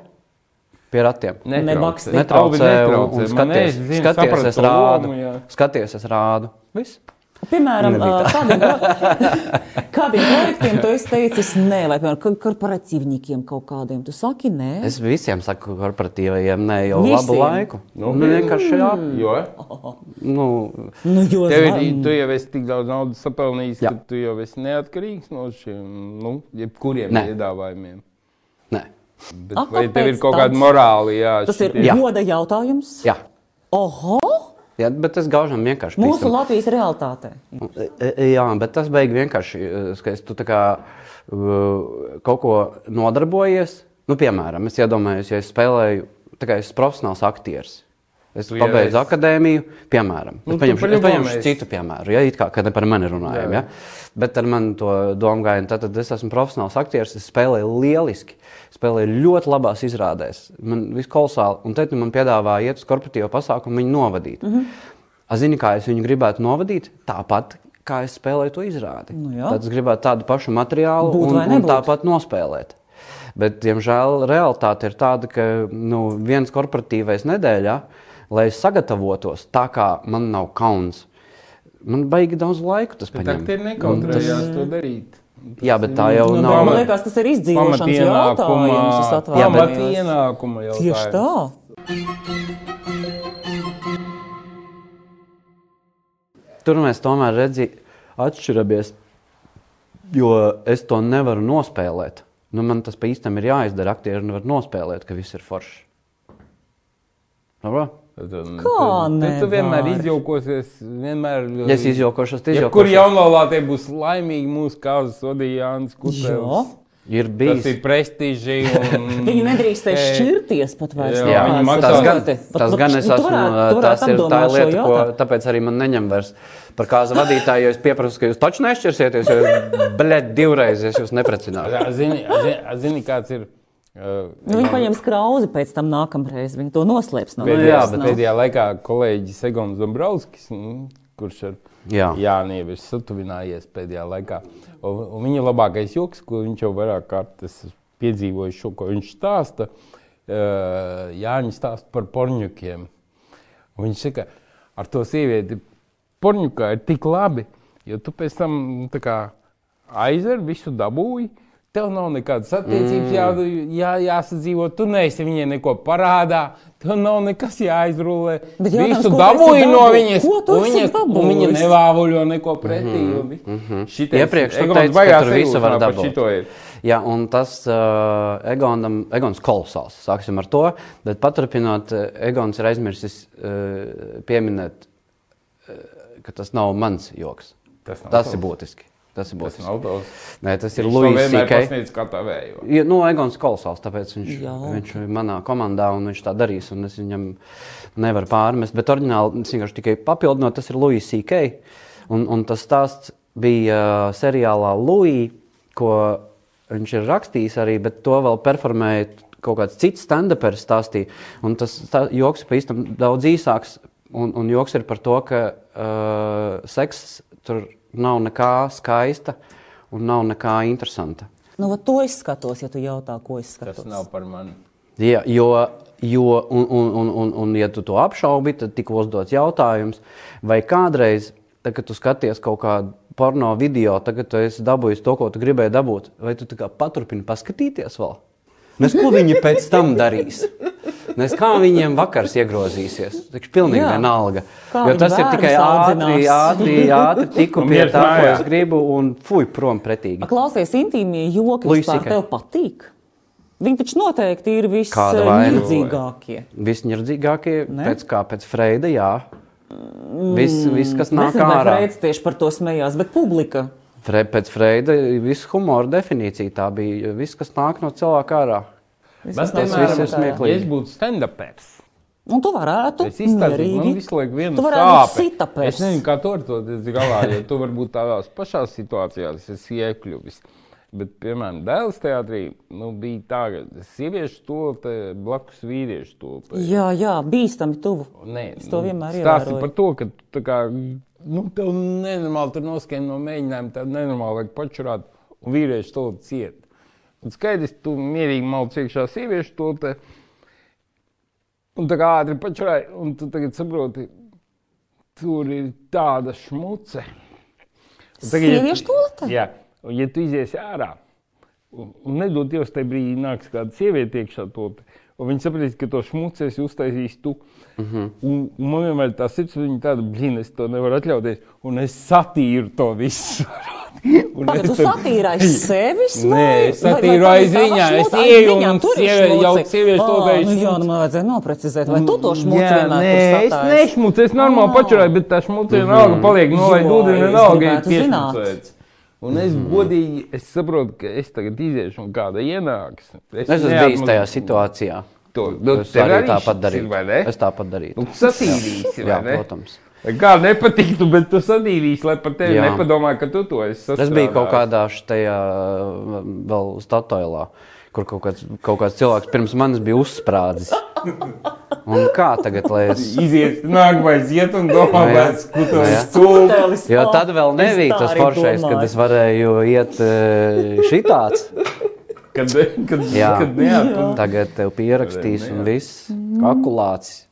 Speaker 2: pie ratiem.
Speaker 1: Nebaksti.
Speaker 2: Netraucē,
Speaker 3: netraucē.
Speaker 2: un, un
Speaker 3: Man
Speaker 2: skaties,
Speaker 3: nezinu,
Speaker 2: skaties,
Speaker 3: sapratu
Speaker 2: es rādu.
Speaker 3: lomu, jā.
Speaker 2: Skaties, es rādu. Viss.
Speaker 1: Piemēram, ā, kādiem, pro- [LAUGHS] kādiem projektiem tu esi teicis nē, vai piemēram, kor- korporatīvniekiem kaut kādiem? Tu saki nē.
Speaker 2: Es visiem saku, korporatīvajiem, ne jau
Speaker 1: Visiem? Mm.
Speaker 2: labu laiku. Nu, vienkārši jā.
Speaker 3: Jo?
Speaker 2: Nu,
Speaker 1: Nu, jo,
Speaker 3: Tev ir,
Speaker 1: zvan-
Speaker 3: tu jau esi tik daudz naudas sapelnījis,
Speaker 2: Jā.
Speaker 3: ka tu jau esi neatkarīgs no šiem, nu, jebkuriem
Speaker 2: Nē.
Speaker 3: piedāvājumiem.
Speaker 2: nē.
Speaker 3: Bet
Speaker 1: Ah,
Speaker 3: vai tev
Speaker 1: kāpēc
Speaker 3: ir kaut
Speaker 1: tāds?
Speaker 3: kāda morāla? Jā,
Speaker 1: Tas ir
Speaker 2: Jā.
Speaker 1: goda jautājums.
Speaker 2: Jā.
Speaker 1: Oho!
Speaker 2: jā, bet es gaužam vienkārši.
Speaker 1: Mūsu
Speaker 2: ticam.
Speaker 1: Latvijas realitāte.
Speaker 2: E- e- Jā, bet tas beigas vienkārši, e, skaist, tu tā kā e, kaut ko nodarbojies. Nu, piemēram, es iedomājos, ja es spēlēju, tā kā es esmu profesionāls aktieris. Es
Speaker 3: Tu jau
Speaker 2: pabeidzu
Speaker 3: esi.
Speaker 2: akadēmiju, piemēram.
Speaker 3: Nu,
Speaker 2: Es
Speaker 3: tu
Speaker 2: paņemšu, es
Speaker 3: paļaujies.
Speaker 2: paņemšu citu piemēru, ja it kā kad ne par mani runājam. Ja? Bet ar mani to domu gājienu, tad, tad es esmu profesionāls aktieris, es spēlēju lieliski, spēlēju ļoti labās izrādēs. Man viss kolosāli, un te nu man piedāvāja iet uz korporatīvo pasākumu, viņu novadīt.
Speaker 1: Mhm.
Speaker 2: Mm -hmm. A, Zini, kā es viņu gribētu novadīt, tāpat kā es spēlēju to izrādi.
Speaker 1: Nu jā.
Speaker 2: Tad es gribētu tādu pašu materiālu,
Speaker 1: Būt
Speaker 2: un,
Speaker 1: vai
Speaker 2: un
Speaker 1: nebūt?
Speaker 2: tāpat nospēlēt. Bet, diemžēl, realitāte ir tāda, ka nu, viens korporatīvais nedēļā, lai es sagatavotos tā, kā man nav kauns, man baigi daudz laika tas
Speaker 3: tā
Speaker 2: paņemt.
Speaker 3: ir nekautrējās to darīt.
Speaker 2: Jā, bet tā jau
Speaker 1: Nu,
Speaker 2: nav.
Speaker 1: tā, man liekas, tas ir izdzīvošanas jautājums. es
Speaker 2: Jā, bet-
Speaker 1: atvainojos.
Speaker 3: Pamatienākuma jautājums.
Speaker 1: Tieši tā.
Speaker 2: Tur mēs tomēr redzi, atšķiramies. Jo es to nevaru nospēlēt. Nu, man tas pa īstam ir jāizdara. Aktieri nevar nospēlēt, ka viss ir forši. Labi?
Speaker 3: Tad, um,
Speaker 1: Kā
Speaker 3: tad- tad Tu
Speaker 1: nevar?
Speaker 3: vienmēr izjokosies, vienmēr.
Speaker 2: Ja es izjokošos, tad
Speaker 3: Ja
Speaker 2: izjokošos.
Speaker 3: kur jaunolātie būs laimīgi mūsu kāzas vadīja Jānis
Speaker 1: Jā.
Speaker 3: Kutevs.
Speaker 2: ir
Speaker 3: Tas
Speaker 2: bijis?
Speaker 3: ir
Speaker 1: [LAUGHS]
Speaker 3: prestiži un.
Speaker 1: Viņi nedrīkstēja
Speaker 3: Ei,
Speaker 1: šķirties pat vairs.
Speaker 3: Mm. Jā,
Speaker 2: Jā,
Speaker 3: viņi
Speaker 1: Tās-
Speaker 3: maksā-
Speaker 2: tas gan,
Speaker 1: Pat-
Speaker 2: tas
Speaker 1: pat-
Speaker 2: gan es
Speaker 1: tu
Speaker 2: esmu.
Speaker 1: varētu- tu
Speaker 2: Tas
Speaker 1: varētu
Speaker 2: ir tā
Speaker 1: apdomāt šo
Speaker 2: lieta, ko,
Speaker 1: jautājumu.
Speaker 2: tāpēc arī man neņem vairs par kāzu vadītāju. jo Es pieprasu, ka jūs taču nešķirsieties, jo, [LAUGHS] blēd, divreiz es jūs neprecināšu.
Speaker 3: Jā, Zini, zini- zini, kāds ir. Uh,
Speaker 1: Nu, viņi paņems krauzi pēc tam nākamreiz. Viņi to noslēps no
Speaker 2: Pēdējā-
Speaker 1: manis.
Speaker 2: jā,
Speaker 3: Pēdējā,
Speaker 2: bet- nu-
Speaker 3: bet pēdējā laikā kolēģis Egons Dombrovskis, nu, kurš ar
Speaker 2: Jā.
Speaker 3: Jānis nu, ir satuvinājies pēdējā laikā, un, un viņa labākais joks, ko viņš jau vairāk kārtas piedzīvojis, šo, ko viņš stāsta, uh, Jānis stāsta par porņukiem. Un Viņš saka, ar to sievieti porņukā ir tik labi, jo tu pēc tam tā kā, aizver visu dabūji. Tev nav nekādas attiecības, mm. jā, jāsadzīvo. Tu neesi viņai neko parādā. Tev nav nekas jāizrulē.
Speaker 1: Bet
Speaker 3: Viņa
Speaker 1: jautājums, ko
Speaker 3: visu
Speaker 1: tu
Speaker 3: dabūji
Speaker 1: esi
Speaker 3: no
Speaker 1: dabū-
Speaker 3: viņas.
Speaker 1: ko tu
Speaker 3: un
Speaker 1: esi
Speaker 3: viņa, un viņa
Speaker 1: dabūjis?
Speaker 3: nevāvuļo neko pretī. Mm -hmm.
Speaker 2: Iepriekš tu teici, ka tur visu var dabūt. Jā, un tas uh, Egonam, Egons kolosāls. Sāksim ar to. Bet paturpinot, eh, Egons ir aizmirsis uh, pieminēt, uh, ka tas nav mans joks.
Speaker 3: Tas nav
Speaker 2: tas
Speaker 3: tavs.
Speaker 2: ir būtiski. Tas ir
Speaker 3: Tas
Speaker 2: būtiski.
Speaker 3: nav tavs.
Speaker 2: Nē, tas ir
Speaker 3: Viņš to
Speaker 2: Luis
Speaker 3: vienmēr
Speaker 2: Falks.
Speaker 3: pasniedz kā tavējo.
Speaker 2: Ja, nu, Egons ir kolosāls, tāpēc viņš,
Speaker 1: Jā.
Speaker 2: viņš ir manā komandā un viņš tā darīs. un Es viņam nevaru pārmest. Bet oriģināli es vienkārši tikai papildinu, tas ir Luis C.K. Un, un tas stāsts bija uh, seriālā Luis, ko viņš ir rakstījis arī, bet to vēl performēja kaut kāds cits stand-upers stāstīja. Un tas tā, joks ir pa īstam daudz īsāks. Un, un joks ir par to, ka uh, sekss tur nav nekā skaista un nav nekā interesanta.
Speaker 1: Nu, vat to es skatos, ja tu jautā, ko es
Speaker 3: Tas
Speaker 1: skatos.
Speaker 3: nav par mani.
Speaker 2: Jā, jo, jo un, un, un, un, un, ja tu to apšaubi, tad tika uzdots jautājums, vai kādreiz, tā, kad tu skaties kaut kādu porno video, tagad tu esi dabūjis to, ko tu gribēji dabūt, vai tu tā kā paturpini paskatīties vēl? Nes ko viņi pēc tam darīs? Nes kā viņiem vakars iegrozīsies? Tas ir pilnīgi
Speaker 1: Jā.
Speaker 2: vienalga.
Speaker 1: Kā
Speaker 2: Jo
Speaker 1: viņi
Speaker 2: tas ir tikai
Speaker 1: bērnus
Speaker 2: ātri, ātri, ātri tiku
Speaker 3: Un
Speaker 2: pie
Speaker 3: iet
Speaker 2: tā, ko
Speaker 3: mājā.
Speaker 2: es gribu, un fuj, prom pretīgi.
Speaker 1: Klausies, intīmie joki
Speaker 2: Luis
Speaker 1: vispār
Speaker 2: Sikai.
Speaker 1: tev patīk. Viņi taču noteikti ir
Speaker 2: Kāda vaina?
Speaker 1: visnirdzīgākie.
Speaker 2: Visnirdzīgākie,
Speaker 1: Ne?
Speaker 2: pēc kā pēc Freida, jā. Viss, vis, kas nāk
Speaker 1: Nesen vai
Speaker 2: ārā.
Speaker 1: Mm, Freids tieši par to smējās, bet publika.
Speaker 2: Fre, pēc Freida viss humora definīcija tā bija. Viss, kas nāk no cilvēka ārā.
Speaker 3: Bet,
Speaker 1: Tas
Speaker 3: piemēram,
Speaker 1: viss ir
Speaker 2: smieklīgi.
Speaker 3: Ja es būtu stand-upers.
Speaker 1: Un Nu, tu varētu
Speaker 3: Es izstāstīju, man
Speaker 1: mierīgi.
Speaker 3: visu laiku viena
Speaker 1: Tu varētu
Speaker 3: sāpe.
Speaker 1: būt sitapers.
Speaker 3: Es nezinu, kā tu ar to tiec galā, jo tu varbūt tādās pašās situācijās esi iekļuvis. Bet, piemēram, Dēls teātrī nu, bija tā, ka sieviešu topa blakus vīriešu topa.
Speaker 1: Jā, jā, bīstami tuvu.
Speaker 3: Nē, nu,
Speaker 1: Es to vienmēr
Speaker 3: stāsti
Speaker 1: ievēroju.
Speaker 3: par to, ka tu tā kā, nu, tev nenormāli tur noskan no mēģinājuma, tev nenormāli vajag pačurāt, un vīrieši to ciet. Un skaidrs, tu mierīgi malci iekšā sieviešu to te. Un tā kā ātri pačrai, un tu tagad saproti, tur ir tāda šmuce. Un tagad, ja-
Speaker 1: Sieviešu tualete?
Speaker 3: Jā, un ja tu iziesi ārā, un, un nedod Dievs, tajā brīdī nāks kāda sieviete iekšā topā. Un viņi saprot, ka to šmuci esi uztaisījis tu. Mm
Speaker 2: Mhm.
Speaker 3: -hmm. un, un man vienmēr tā sirds bija tāda, blīna, es to nevaru atļauties. Un es satīru to visu. [LAUGHS] Un [LAUGHS]
Speaker 1: Pagaidu,
Speaker 3: tad-
Speaker 1: satīra aiz sevis?
Speaker 3: Nē, es satīru aiz viņa. Es ieju un sievi- jau sieviešu topā ir
Speaker 1: Nu, jā, nu, man vajadzēja noprecizēt, vai tu to šmuci vienmēr
Speaker 3: nē,
Speaker 1: tur
Speaker 3: es
Speaker 1: satājies?
Speaker 3: nešmucu, es normāli pačurāju, bet tā
Speaker 2: Mhm.
Speaker 3: šmuca vienalga paliek nolaid
Speaker 1: Jo,
Speaker 3: ūdeni,
Speaker 1: es
Speaker 3: vienalga ir
Speaker 1: gribētu zināt.
Speaker 3: piešmucēts. Un es godīgi, es saprotu, ka es tagad iziešu un kāda ienāks.
Speaker 2: Es esmu bijis tajā situācijā.
Speaker 3: To- nu,
Speaker 2: es
Speaker 3: tev
Speaker 2: arī
Speaker 3: arī
Speaker 2: tāpat
Speaker 3: šis ir,
Speaker 2: darīju.
Speaker 3: vai ne?
Speaker 2: Es tāpat darīju.
Speaker 3: Tu satīrīsi, vai
Speaker 2: Jā,
Speaker 3: ne?
Speaker 2: protams.
Speaker 3: Kā nepatiktu, bet tu sadīvīsi, lai par tevi
Speaker 2: Jā.
Speaker 3: nepadomā, ka tu to esi sastrādājis.
Speaker 2: Es biju kaut kādā šajā vēl statujā, kur kaut kāds, kaut kāds cilvēks pirms manis bija uzsprādzis. Un kā tagad, lai es.
Speaker 3: Iziet, nākamais iet un domā,
Speaker 2: Jā.
Speaker 3: vai es
Speaker 2: Jā.
Speaker 3: kutos stūlu.
Speaker 1: Telis,
Speaker 2: Jo
Speaker 1: o,
Speaker 2: tad vēl
Speaker 1: Oh, es
Speaker 2: nebija
Speaker 1: tā
Speaker 2: tas
Speaker 1: arī
Speaker 2: foršais, kad
Speaker 1: domāju.
Speaker 2: es varēju iet e, šitāds.
Speaker 3: Kad, kad,
Speaker 2: Jā.
Speaker 3: kad neatpūst.
Speaker 2: Tagad tev pierakstīs un viss akulāts.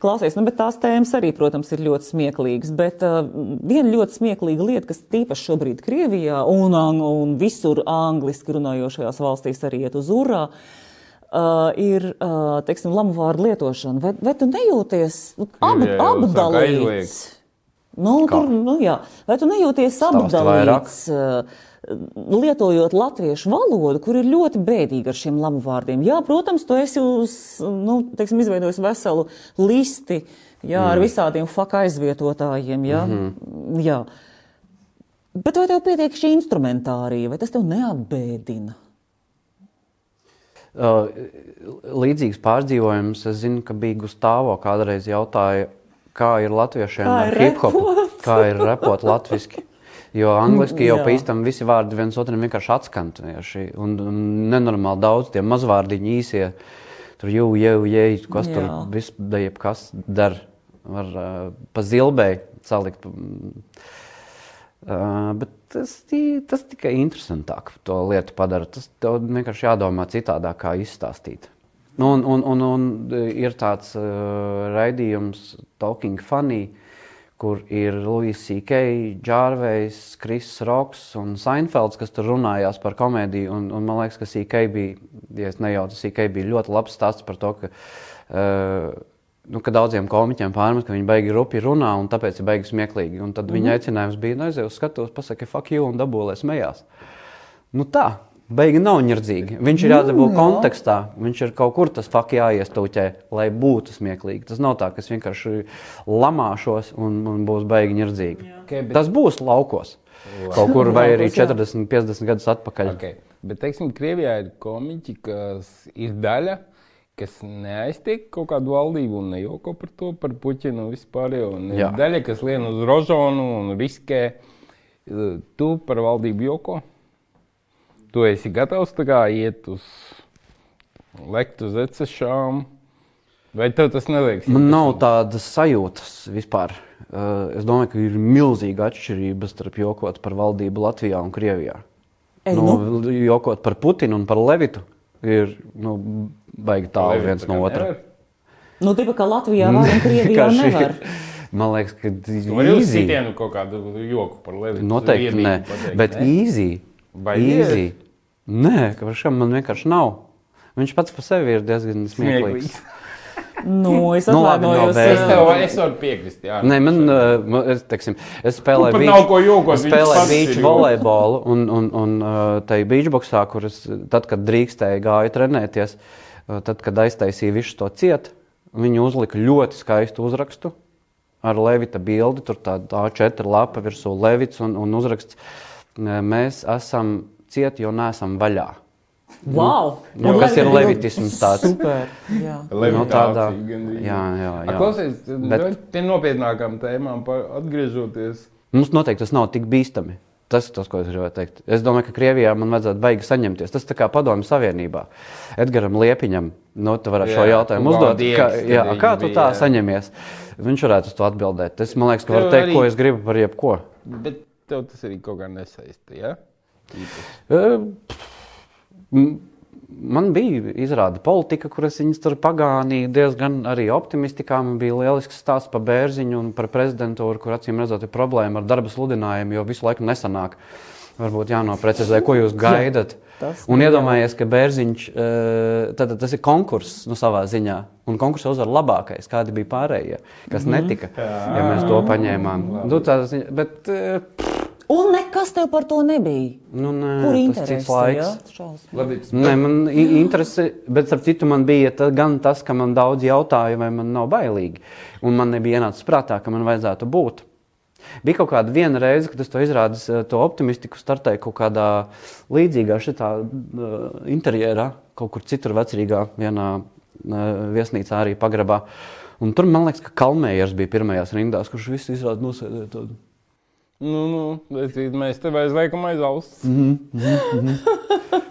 Speaker 1: Klausies, nu, bet tās tēmas arī, protams, ir ļoti smieklīgas. Bet uh, viena ļoti smieklīga lieta, kas tīpaši šobrīd Krievijā un, ang- un visur angliski runājošajās valstīs arī iet uz urā, uh, ir uh, teiksim, lamu vārdu lietošana. Vai, vai tu nejūties nu, ab,
Speaker 3: Krievijā jau sāk
Speaker 1: apdalīts?
Speaker 3: aizliegt.
Speaker 1: Nu, tur, nu, jā. vai tu nejūties apdalīts, uh, lietojot latviešu valodu, kur ir ļoti bēdīga ar šiem lamu vārdiem? Jā, protams, tu esi uz, nu, teiksim, izveidojis veselu listi jā, mm. ar visādiem faka aizvietotājiem. Jā. Mm
Speaker 2: Mhm.
Speaker 1: -hmm. jā. Bet vai tev pietiek šī instrumentārija, vai tas tev neapbēdina?
Speaker 2: Uh, līdzīgs pārdzīvojums, es zinu, ka bija Gustavs, kas kādreiz jautāja, kā ir latviešiem
Speaker 1: Kā
Speaker 2: ar
Speaker 1: ir
Speaker 2: hip hopu,
Speaker 1: repot?
Speaker 2: kā ir repot latviešu. Jo angliski jau
Speaker 1: jā.
Speaker 2: pa īstam visi vārdi viens otram vienkārši atskanējuši. Un, un nenormāli daudz tie mazvārdiņi īsie. Tur jau, jau, jau, kas tur
Speaker 1: Jā.
Speaker 2: vispār kas dara. Var uh, pa zilbei salikt. mm, Uh, bet tas, tī- tas tikai interesantāk to lietu padara. Tas tev vienkārši jādomā citādāk, kā izstāstīt. Nu, un, un, un, un e, ir tāds uh, raidījums, Talking Funny, kur ir Louis C.K., Džārvejs, Kris Roks un Seinfelds, kas tur runājās par komēdiju. Un, un man liekas, ka C.K. bija, ja es nejaucu, C.K. bija ļoti labs stāsts par to, ka, uh, nu, ka daudziem komiķiem pārmet, ka viņi baigi rupi runā un tāpēc ir baigi smieklīgi. Un tad mm -hmm. viņa aicinājums bija, nu, aiziet uz skatuves, pasaki, fuck you, un dabūlēs mejās. Nu tā, beigi nav ņirdzīgi. Viņš ir jādabū kontekstā. Viņš ir kaut kur tas fakts jāiestūķē, lai būtu smieklīgi. Tas nav tā, ka es vienkārši lamāšos un, un būs beigi ņirdzīgi.
Speaker 3: Okay, bet-
Speaker 2: Tas būs laukos. Kaut kur vai arī 40, 50 gadus atpakaļ.
Speaker 3: Okay. Bet, teiksim, Krievijā ir komiķi, kas ir daļa, kas neaiztiek kaut kādu valdību un nejoko par to, par Puķinu un vispār. Un ir
Speaker 2: Jā.
Speaker 3: daļa, kas lien uz rožonu un riskē. Uh, Tu par valdību joko? Tu esi gatavs tā kā iet uz lekt uz ecešām? Vai tev tas neliekas?
Speaker 2: Man nav tādas sajūtas vispār. Uh, Es domāju, ka ir milzīga atšķirība starp jokot par valdību Latvijā un Krievijā.
Speaker 1: Ei,
Speaker 2: Nu, jokot par Putinu un par Levitu ir nu, baigi tālu
Speaker 3: Levitu
Speaker 2: viens
Speaker 3: tā
Speaker 2: no
Speaker 3: kā
Speaker 2: otra.
Speaker 3: nevar?
Speaker 1: Nu, tā kā Latvijā var un [LAUGHS]
Speaker 2: [LAUGHS]
Speaker 1: Krievijā
Speaker 2: Vienkārši-
Speaker 1: nevar.
Speaker 2: Man liekas, ka
Speaker 3: Tu vari uz
Speaker 2: īzī.
Speaker 3: citienu kaut kādu joku par Levinu.
Speaker 2: Noteikti nē, bet īzī.
Speaker 3: Vai
Speaker 2: īzī. Nē, ka par šiem man vienkārši nav. Viņš pats par sevi ir diezgan smieklīgs.
Speaker 3: Smieklīgs.
Speaker 1: Nu,
Speaker 2: [LAUGHS]
Speaker 1: es
Speaker 2: Nu, labi, nav
Speaker 1: atvainojos.
Speaker 2: bēdas.
Speaker 3: Es
Speaker 1: jā.
Speaker 3: tev es varu piekrist, jā.
Speaker 2: Nē, man, uh, man- es, teiksim, es spēlēju
Speaker 3: pat
Speaker 2: beach-
Speaker 3: nav ko jokot,
Speaker 2: es
Speaker 3: viņš
Speaker 2: spēlēju
Speaker 3: pats ir
Speaker 2: beach
Speaker 3: joks.
Speaker 2: volejbolu, un, un, un uh, tajā beachboxā, kur es, tad, kad drīkstēju, gāju trenēties, uh, tad, kad aiztaisīju visu to cietu, viņi uzlika ļoti skaistu uzrakstu ar Levita bildi. Tur tāda tā četra lapa virsū Levits un, un uzraksts: Mēs esam cieti, jo neesam vaļā.
Speaker 1: Wow.
Speaker 2: Nu,
Speaker 1: Un
Speaker 2: kas ir
Speaker 1: Levi-
Speaker 2: levitisms tāds?
Speaker 1: Super. Jā.
Speaker 2: Nu, tādā- jā, jā, jā.
Speaker 3: Klausies,
Speaker 2: Bet-
Speaker 3: bet... nopietnākām tēmām par- atgriežoties.
Speaker 2: Mums noteikti tas nav tik bīstami. Tas ir tas, ko es gribēju teikt. Es domāju, ka Krievijā man vajadzētu baigi saņemties. Tas ir kā padomju savienībā. Edgars Liepiņam, no tu varētu šo
Speaker 3: Jā,
Speaker 2: jautājumu
Speaker 3: tu
Speaker 2: uzdot.
Speaker 3: valdieks,
Speaker 2: Kā,
Speaker 3: tad
Speaker 2: jā,
Speaker 3: viņi
Speaker 2: kā tu
Speaker 3: bija,
Speaker 2: tā
Speaker 3: jā.
Speaker 2: saņemies? Viņš varētu uz to atbildēt. Es man liekas, ka
Speaker 3: Tev
Speaker 2: varu teikt,
Speaker 3: arī-
Speaker 2: ko es gribu par jebko.
Speaker 3: Bet tev tas arī kaut kā nesaistīja. Ja?
Speaker 2: E, pff, m, Man bija izrāda politika, kuras viņas tur pagānīja diezgan arī optimistiskā. Man bija lielisks stāsts par bērziņu un par prezidentūru, kur acīm redzot ir problēma ar darba sludinājumu, jo visu laiku nesanāk. Varbūt jānoprecizē, ko jūs gaidat. Jā,
Speaker 1: tas
Speaker 2: un iedomājieties, ka bērziņš, tad, tad tas ir konkurss nu, savā ziņā. Un konkursā uzvar labākais, kādi bija pārējie,
Speaker 1: Mhm.
Speaker 2: kas netika, ja mēs to paņēmām. Nu, tā, ziņa- bet, eh,
Speaker 1: Un nekas tev par to nebija.
Speaker 2: nu, nē,
Speaker 1: Kur
Speaker 2: tas
Speaker 1: interesi?
Speaker 2: cits laiks.
Speaker 1: jā? Šausmas.
Speaker 2: [LAUGHS]
Speaker 3: Labi,
Speaker 2: Nē, man i- interese, bet starp citu, man bija ta, gan tas, ka man daudz jautāja, vai man nav bailīgi. Un man nebija ienācis prātā, ka man vajadzētu būt. Bija kaut kāda viena reize, kad es to izrādīju, eh, to optimistiku startēju kaut kādā līdzīgā šitā eh, interjerā, kaut kur citur vecrīgā, vienā eh, viesnīcā arī pagrabā. Un tur, man liekas, ka Kalmējers bija pirmajās rindās, kurš visu izrādi nosēdēja tādu.
Speaker 3: nu, nu, redzīt, mēs tev aizliekam aiz auss.
Speaker 2: Mhm.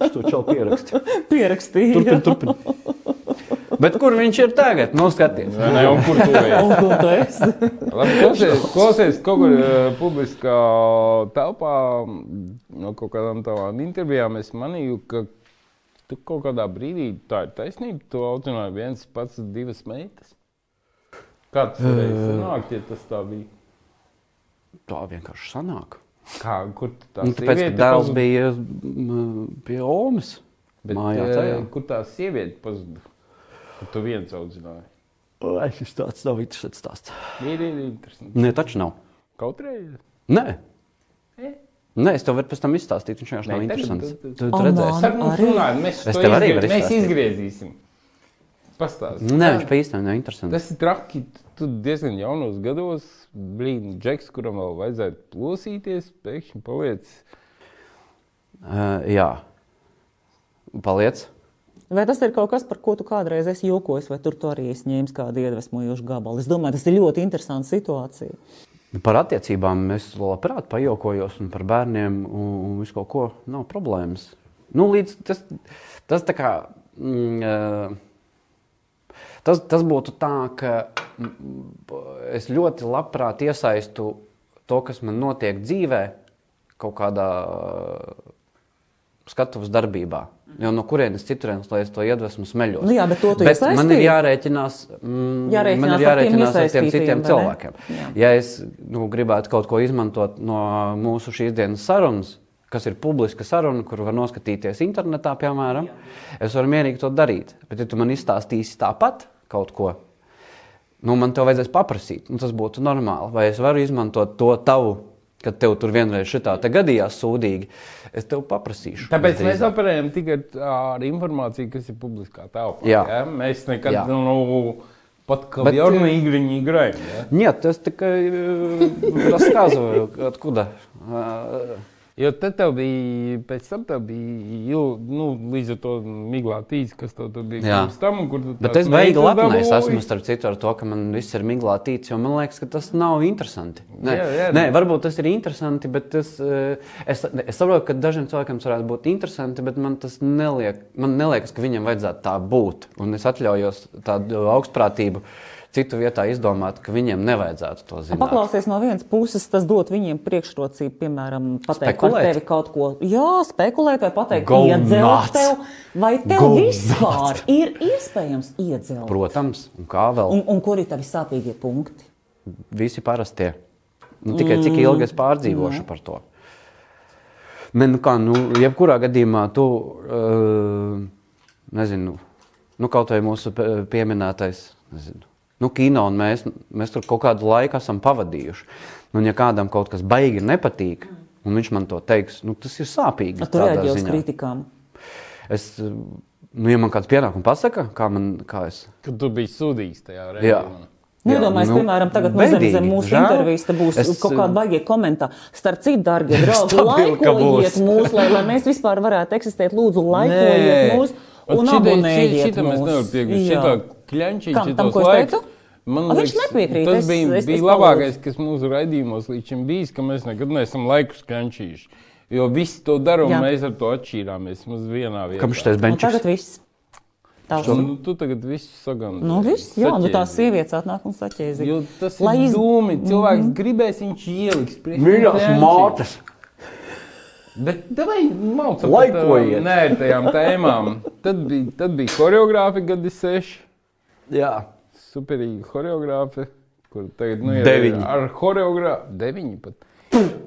Speaker 2: Es to čau pierakstu.
Speaker 1: Pierakstīju.
Speaker 2: Turpin, turpin. Bet kur viņš ir tagad? Nu, skaties.
Speaker 3: Vai ne? Un kur tu
Speaker 2: [LAUGHS]
Speaker 3: ej?
Speaker 1: Un ko tu esi?
Speaker 3: Labi, Klausies, klausies kaut kur eh, publiskā telpā, mm, no kaut kādām tādām intervijām, es manīju, ka tu kaut kādā brīdī, tā ir taisnība, tu audzināji viens pats divas meitas. Kāds nāk, ja tas tā bija?
Speaker 2: Tā vienkārši sanāk.
Speaker 3: Kā, kur tu tā
Speaker 2: Nu, tāpēc, ka
Speaker 3: sieviete
Speaker 2: dēls
Speaker 3: pazuda?
Speaker 2: bija mm, pie Omas.
Speaker 3: Bet,
Speaker 2: mājā,
Speaker 3: eh,
Speaker 2: tajā.
Speaker 3: kur tā sieviete pazuda? Kad tu viens audzināji.
Speaker 2: Ai, šis tāds nav interesants stāsts.
Speaker 3: Ir, ir interesanti.
Speaker 2: Nē, taču nav.
Speaker 3: Kaut reiz.
Speaker 2: Nē. Nē, es tev varu pēc tam izstāstīt. Viņš vienkārši nav
Speaker 3: Nē, tagad
Speaker 2: interesants.
Speaker 3: tu- tu-
Speaker 2: Tu,
Speaker 1: Oh,
Speaker 2: tu redzēsi.
Speaker 1: man.
Speaker 3: Starp mums
Speaker 1: Arī?
Speaker 3: runājot, mēs
Speaker 2: Es
Speaker 3: to
Speaker 2: tev arī
Speaker 3: izgrie-
Speaker 2: varu
Speaker 3: mēs
Speaker 2: izstāstīt.
Speaker 3: izgriezīsim. Pastāstiet.
Speaker 2: Nē, viņš pēc īstenībā nav interesants.
Speaker 3: Tas ir traki. Tu diezgan jaunos gados, blīni, džeks, kuram vēl vajadzētu plosīties, pēkšņi paliec.
Speaker 2: Uh, jā. Paliec.
Speaker 1: Vai tas ir kaut kas, par ko tu kādreiz esi jokojis, vai tur tu arī esi ņēmis kādu iedvesmojošu gabalu? Es domāju, tas ir ļoti interesants situācija.
Speaker 2: Nu, Par attiecībām es labprāt pajokojos, un par bērniem un, un visu kaut ko nav problēmas. Nu, līdz, tas, tas, tā kā, mm, eh, tas, tas būtu tā, ka mm, es ļoti labprāt iesaistu to, kas man notiek dzīvē, kaut kādā eh, skatuves darbībā. Jo no kurienes citurienes, lai es to iedvesmu smeļos.
Speaker 1: Nu jā, bet to tu
Speaker 2: bet man ir
Speaker 1: iesaistīji?
Speaker 2: jārēķinās, mm,
Speaker 1: Jārēķinās ar
Speaker 2: man ir
Speaker 1: tiem
Speaker 2: jārēķinās ar tiem
Speaker 1: iesaistītajiem,
Speaker 2: citiem
Speaker 1: vai ne?
Speaker 2: cilvēkiem.
Speaker 1: Jā.
Speaker 2: Ja es nu, gribētu kaut ko izmantot no mūsu šīs dienas sarunas, kas ir publiska saruna, kur var noskatīties internetā, piemēram, es varu mierīgi to darīt. Bet, ja tu man izstāstīsi tāpat kaut ko, nu, man tev vajadzēs paprasīt, un tas būtu normāli. Vai es varu izmantot to tavu, kad tev tur vienreiz šitā te gadījās sūdīgi, es tev paprasīšu.
Speaker 3: Tāpēc mēs
Speaker 2: Visdrīzāk.
Speaker 3: operējam tikai ar- ar informāciju, kas ir publiskā telpā.
Speaker 2: Jā.
Speaker 3: Ja? Mēs nekad
Speaker 2: Jā.
Speaker 3: nav pat kā
Speaker 2: Bet, eh,
Speaker 3: jaunu īgriņu grēm. Ja?
Speaker 2: Нет, я [LAUGHS] только рассказываю, откуда. Э,
Speaker 3: Jo tad tev bija, pēc tam tev bija, jau, nu, līdz ar to miglā tīs, kas tev tur bija
Speaker 2: Jā.
Speaker 3: pirms tam, un kur tu
Speaker 2: Bet
Speaker 3: tās
Speaker 2: es beigās
Speaker 3: meitas
Speaker 2: lepnēju,
Speaker 3: dabūji.
Speaker 2: esmu starp citu ar to, ka man viss ir miglā tīts, jo man liekas, ka tas nav interesanti. Nē,
Speaker 3: Jā, jā.
Speaker 2: nē varbūt tas ir interesanti, bet tas, eh, es, es saprotu, ka dažiem cilvēkiem tas varētu būt interesanti, bet man tas neliek, man neliekas, ka viņam vajadzētu tā būt. Un es atļaujos tādu augstprātību citu vietā izdomāt, ka viņiem nevajadzētu to zināt.
Speaker 1: Paklausies no vienas puses, tas dod viņiem priekšrocību, piemēram, pateikt par
Speaker 2: Spekulēt.
Speaker 1: tevi kaut ko. Jā, spekulēt, vai pateikt,
Speaker 2: Go
Speaker 1: iedzelt
Speaker 2: nuts.
Speaker 1: tev, vai tev
Speaker 2: Go
Speaker 1: vispār ir iespējams iedzelt.
Speaker 2: Protams, un kā vēl?
Speaker 1: Un, un kur ir tavi sāpīgie punkti?
Speaker 2: Visi parastie. Nu, tikai cik ilgi es pārdzīvošu
Speaker 1: Mm.
Speaker 2: par to. Ne, nu kā, nu, jebkurā gadījumā tu, uh, nezinu, nu, kaut vai mūsu pe- pieminētais, nezinu, nu, kino un mēs, mēs tur kaut kādu laiku esam pavadījuši. Nu, Un ja kādam kaut kas baigi nepatīk, un viņš man to teiks, nu, tas ir sāpīgi.
Speaker 1: Ar to
Speaker 2: tādā
Speaker 1: reaģē uz
Speaker 2: ziņā.
Speaker 1: kritikām.
Speaker 2: Es, uh, nu, ja man kāds pienāk un pasaka, kā man, kā es.
Speaker 3: Kad tu biji sūdīgs tajā
Speaker 2: Jā.
Speaker 3: reizē.
Speaker 1: Nedomājiet, nu, piemēram, tagad no zem,
Speaker 2: bēdīgi,
Speaker 1: zem mūsu
Speaker 2: žēl.
Speaker 1: intervijas te būs es,
Speaker 2: Es, eh,
Speaker 1: kaut kāda baigta komentāra. Starp citu, darbie draugi,
Speaker 2: Stabilu, ka
Speaker 1: laikojiet
Speaker 2: būs.
Speaker 1: mūs, lai, lai mēs vispār varētu eksistēt. Lūdzu, laikojiet mūs un abonējiet
Speaker 3: Šitā mēs nevaram
Speaker 1: mūs.
Speaker 3: piekrist.
Speaker 1: Jā.
Speaker 3: Šitā kļančiņa,
Speaker 1: Kam? Tam,
Speaker 3: šitos
Speaker 1: ko es
Speaker 3: laikus.
Speaker 1: teicu?
Speaker 3: Man
Speaker 1: A, viņš nepiekrīt.
Speaker 3: Tas
Speaker 1: Es-
Speaker 3: bija,
Speaker 1: es- es
Speaker 3: bija
Speaker 1: palūdzu.
Speaker 3: labākais, kas mūsu raidījumos līdz šim bijis, ka mēs nekad neesam laikus kļančījuši. Jo visi to dara, un
Speaker 1: Jā.
Speaker 3: mēs ar to atšķīrāmies. Mums vienā vietā.
Speaker 2: Kam šitais
Speaker 1: Un
Speaker 2: benčis?
Speaker 1: Nu, tagad viss. Tavs.
Speaker 3: Nu, tu tagad viss sagandini.
Speaker 1: Nu, viss, jā, nu tās sievietes atnāk un saķēzi.
Speaker 3: Jo tas
Speaker 1: Lai
Speaker 3: ir
Speaker 1: iz- Mhm.
Speaker 3: iz... dūmi. Cilvēks gribēs, viņš ieliks. priekš mums
Speaker 2: Mīļās
Speaker 3: kļančīši.
Speaker 2: mātes!
Speaker 3: Bet viņi mācīja
Speaker 2: Laikojiet.
Speaker 3: Nē, ar tajām tēmām. Tad bija, tad bija choreogrāfi gadi seši.
Speaker 2: Jā,
Speaker 3: Superīgi choreogrāfi. Kur tagad nu, ir
Speaker 2: Deviņi.
Speaker 3: Ar choreogrāfu. Deviņi pat.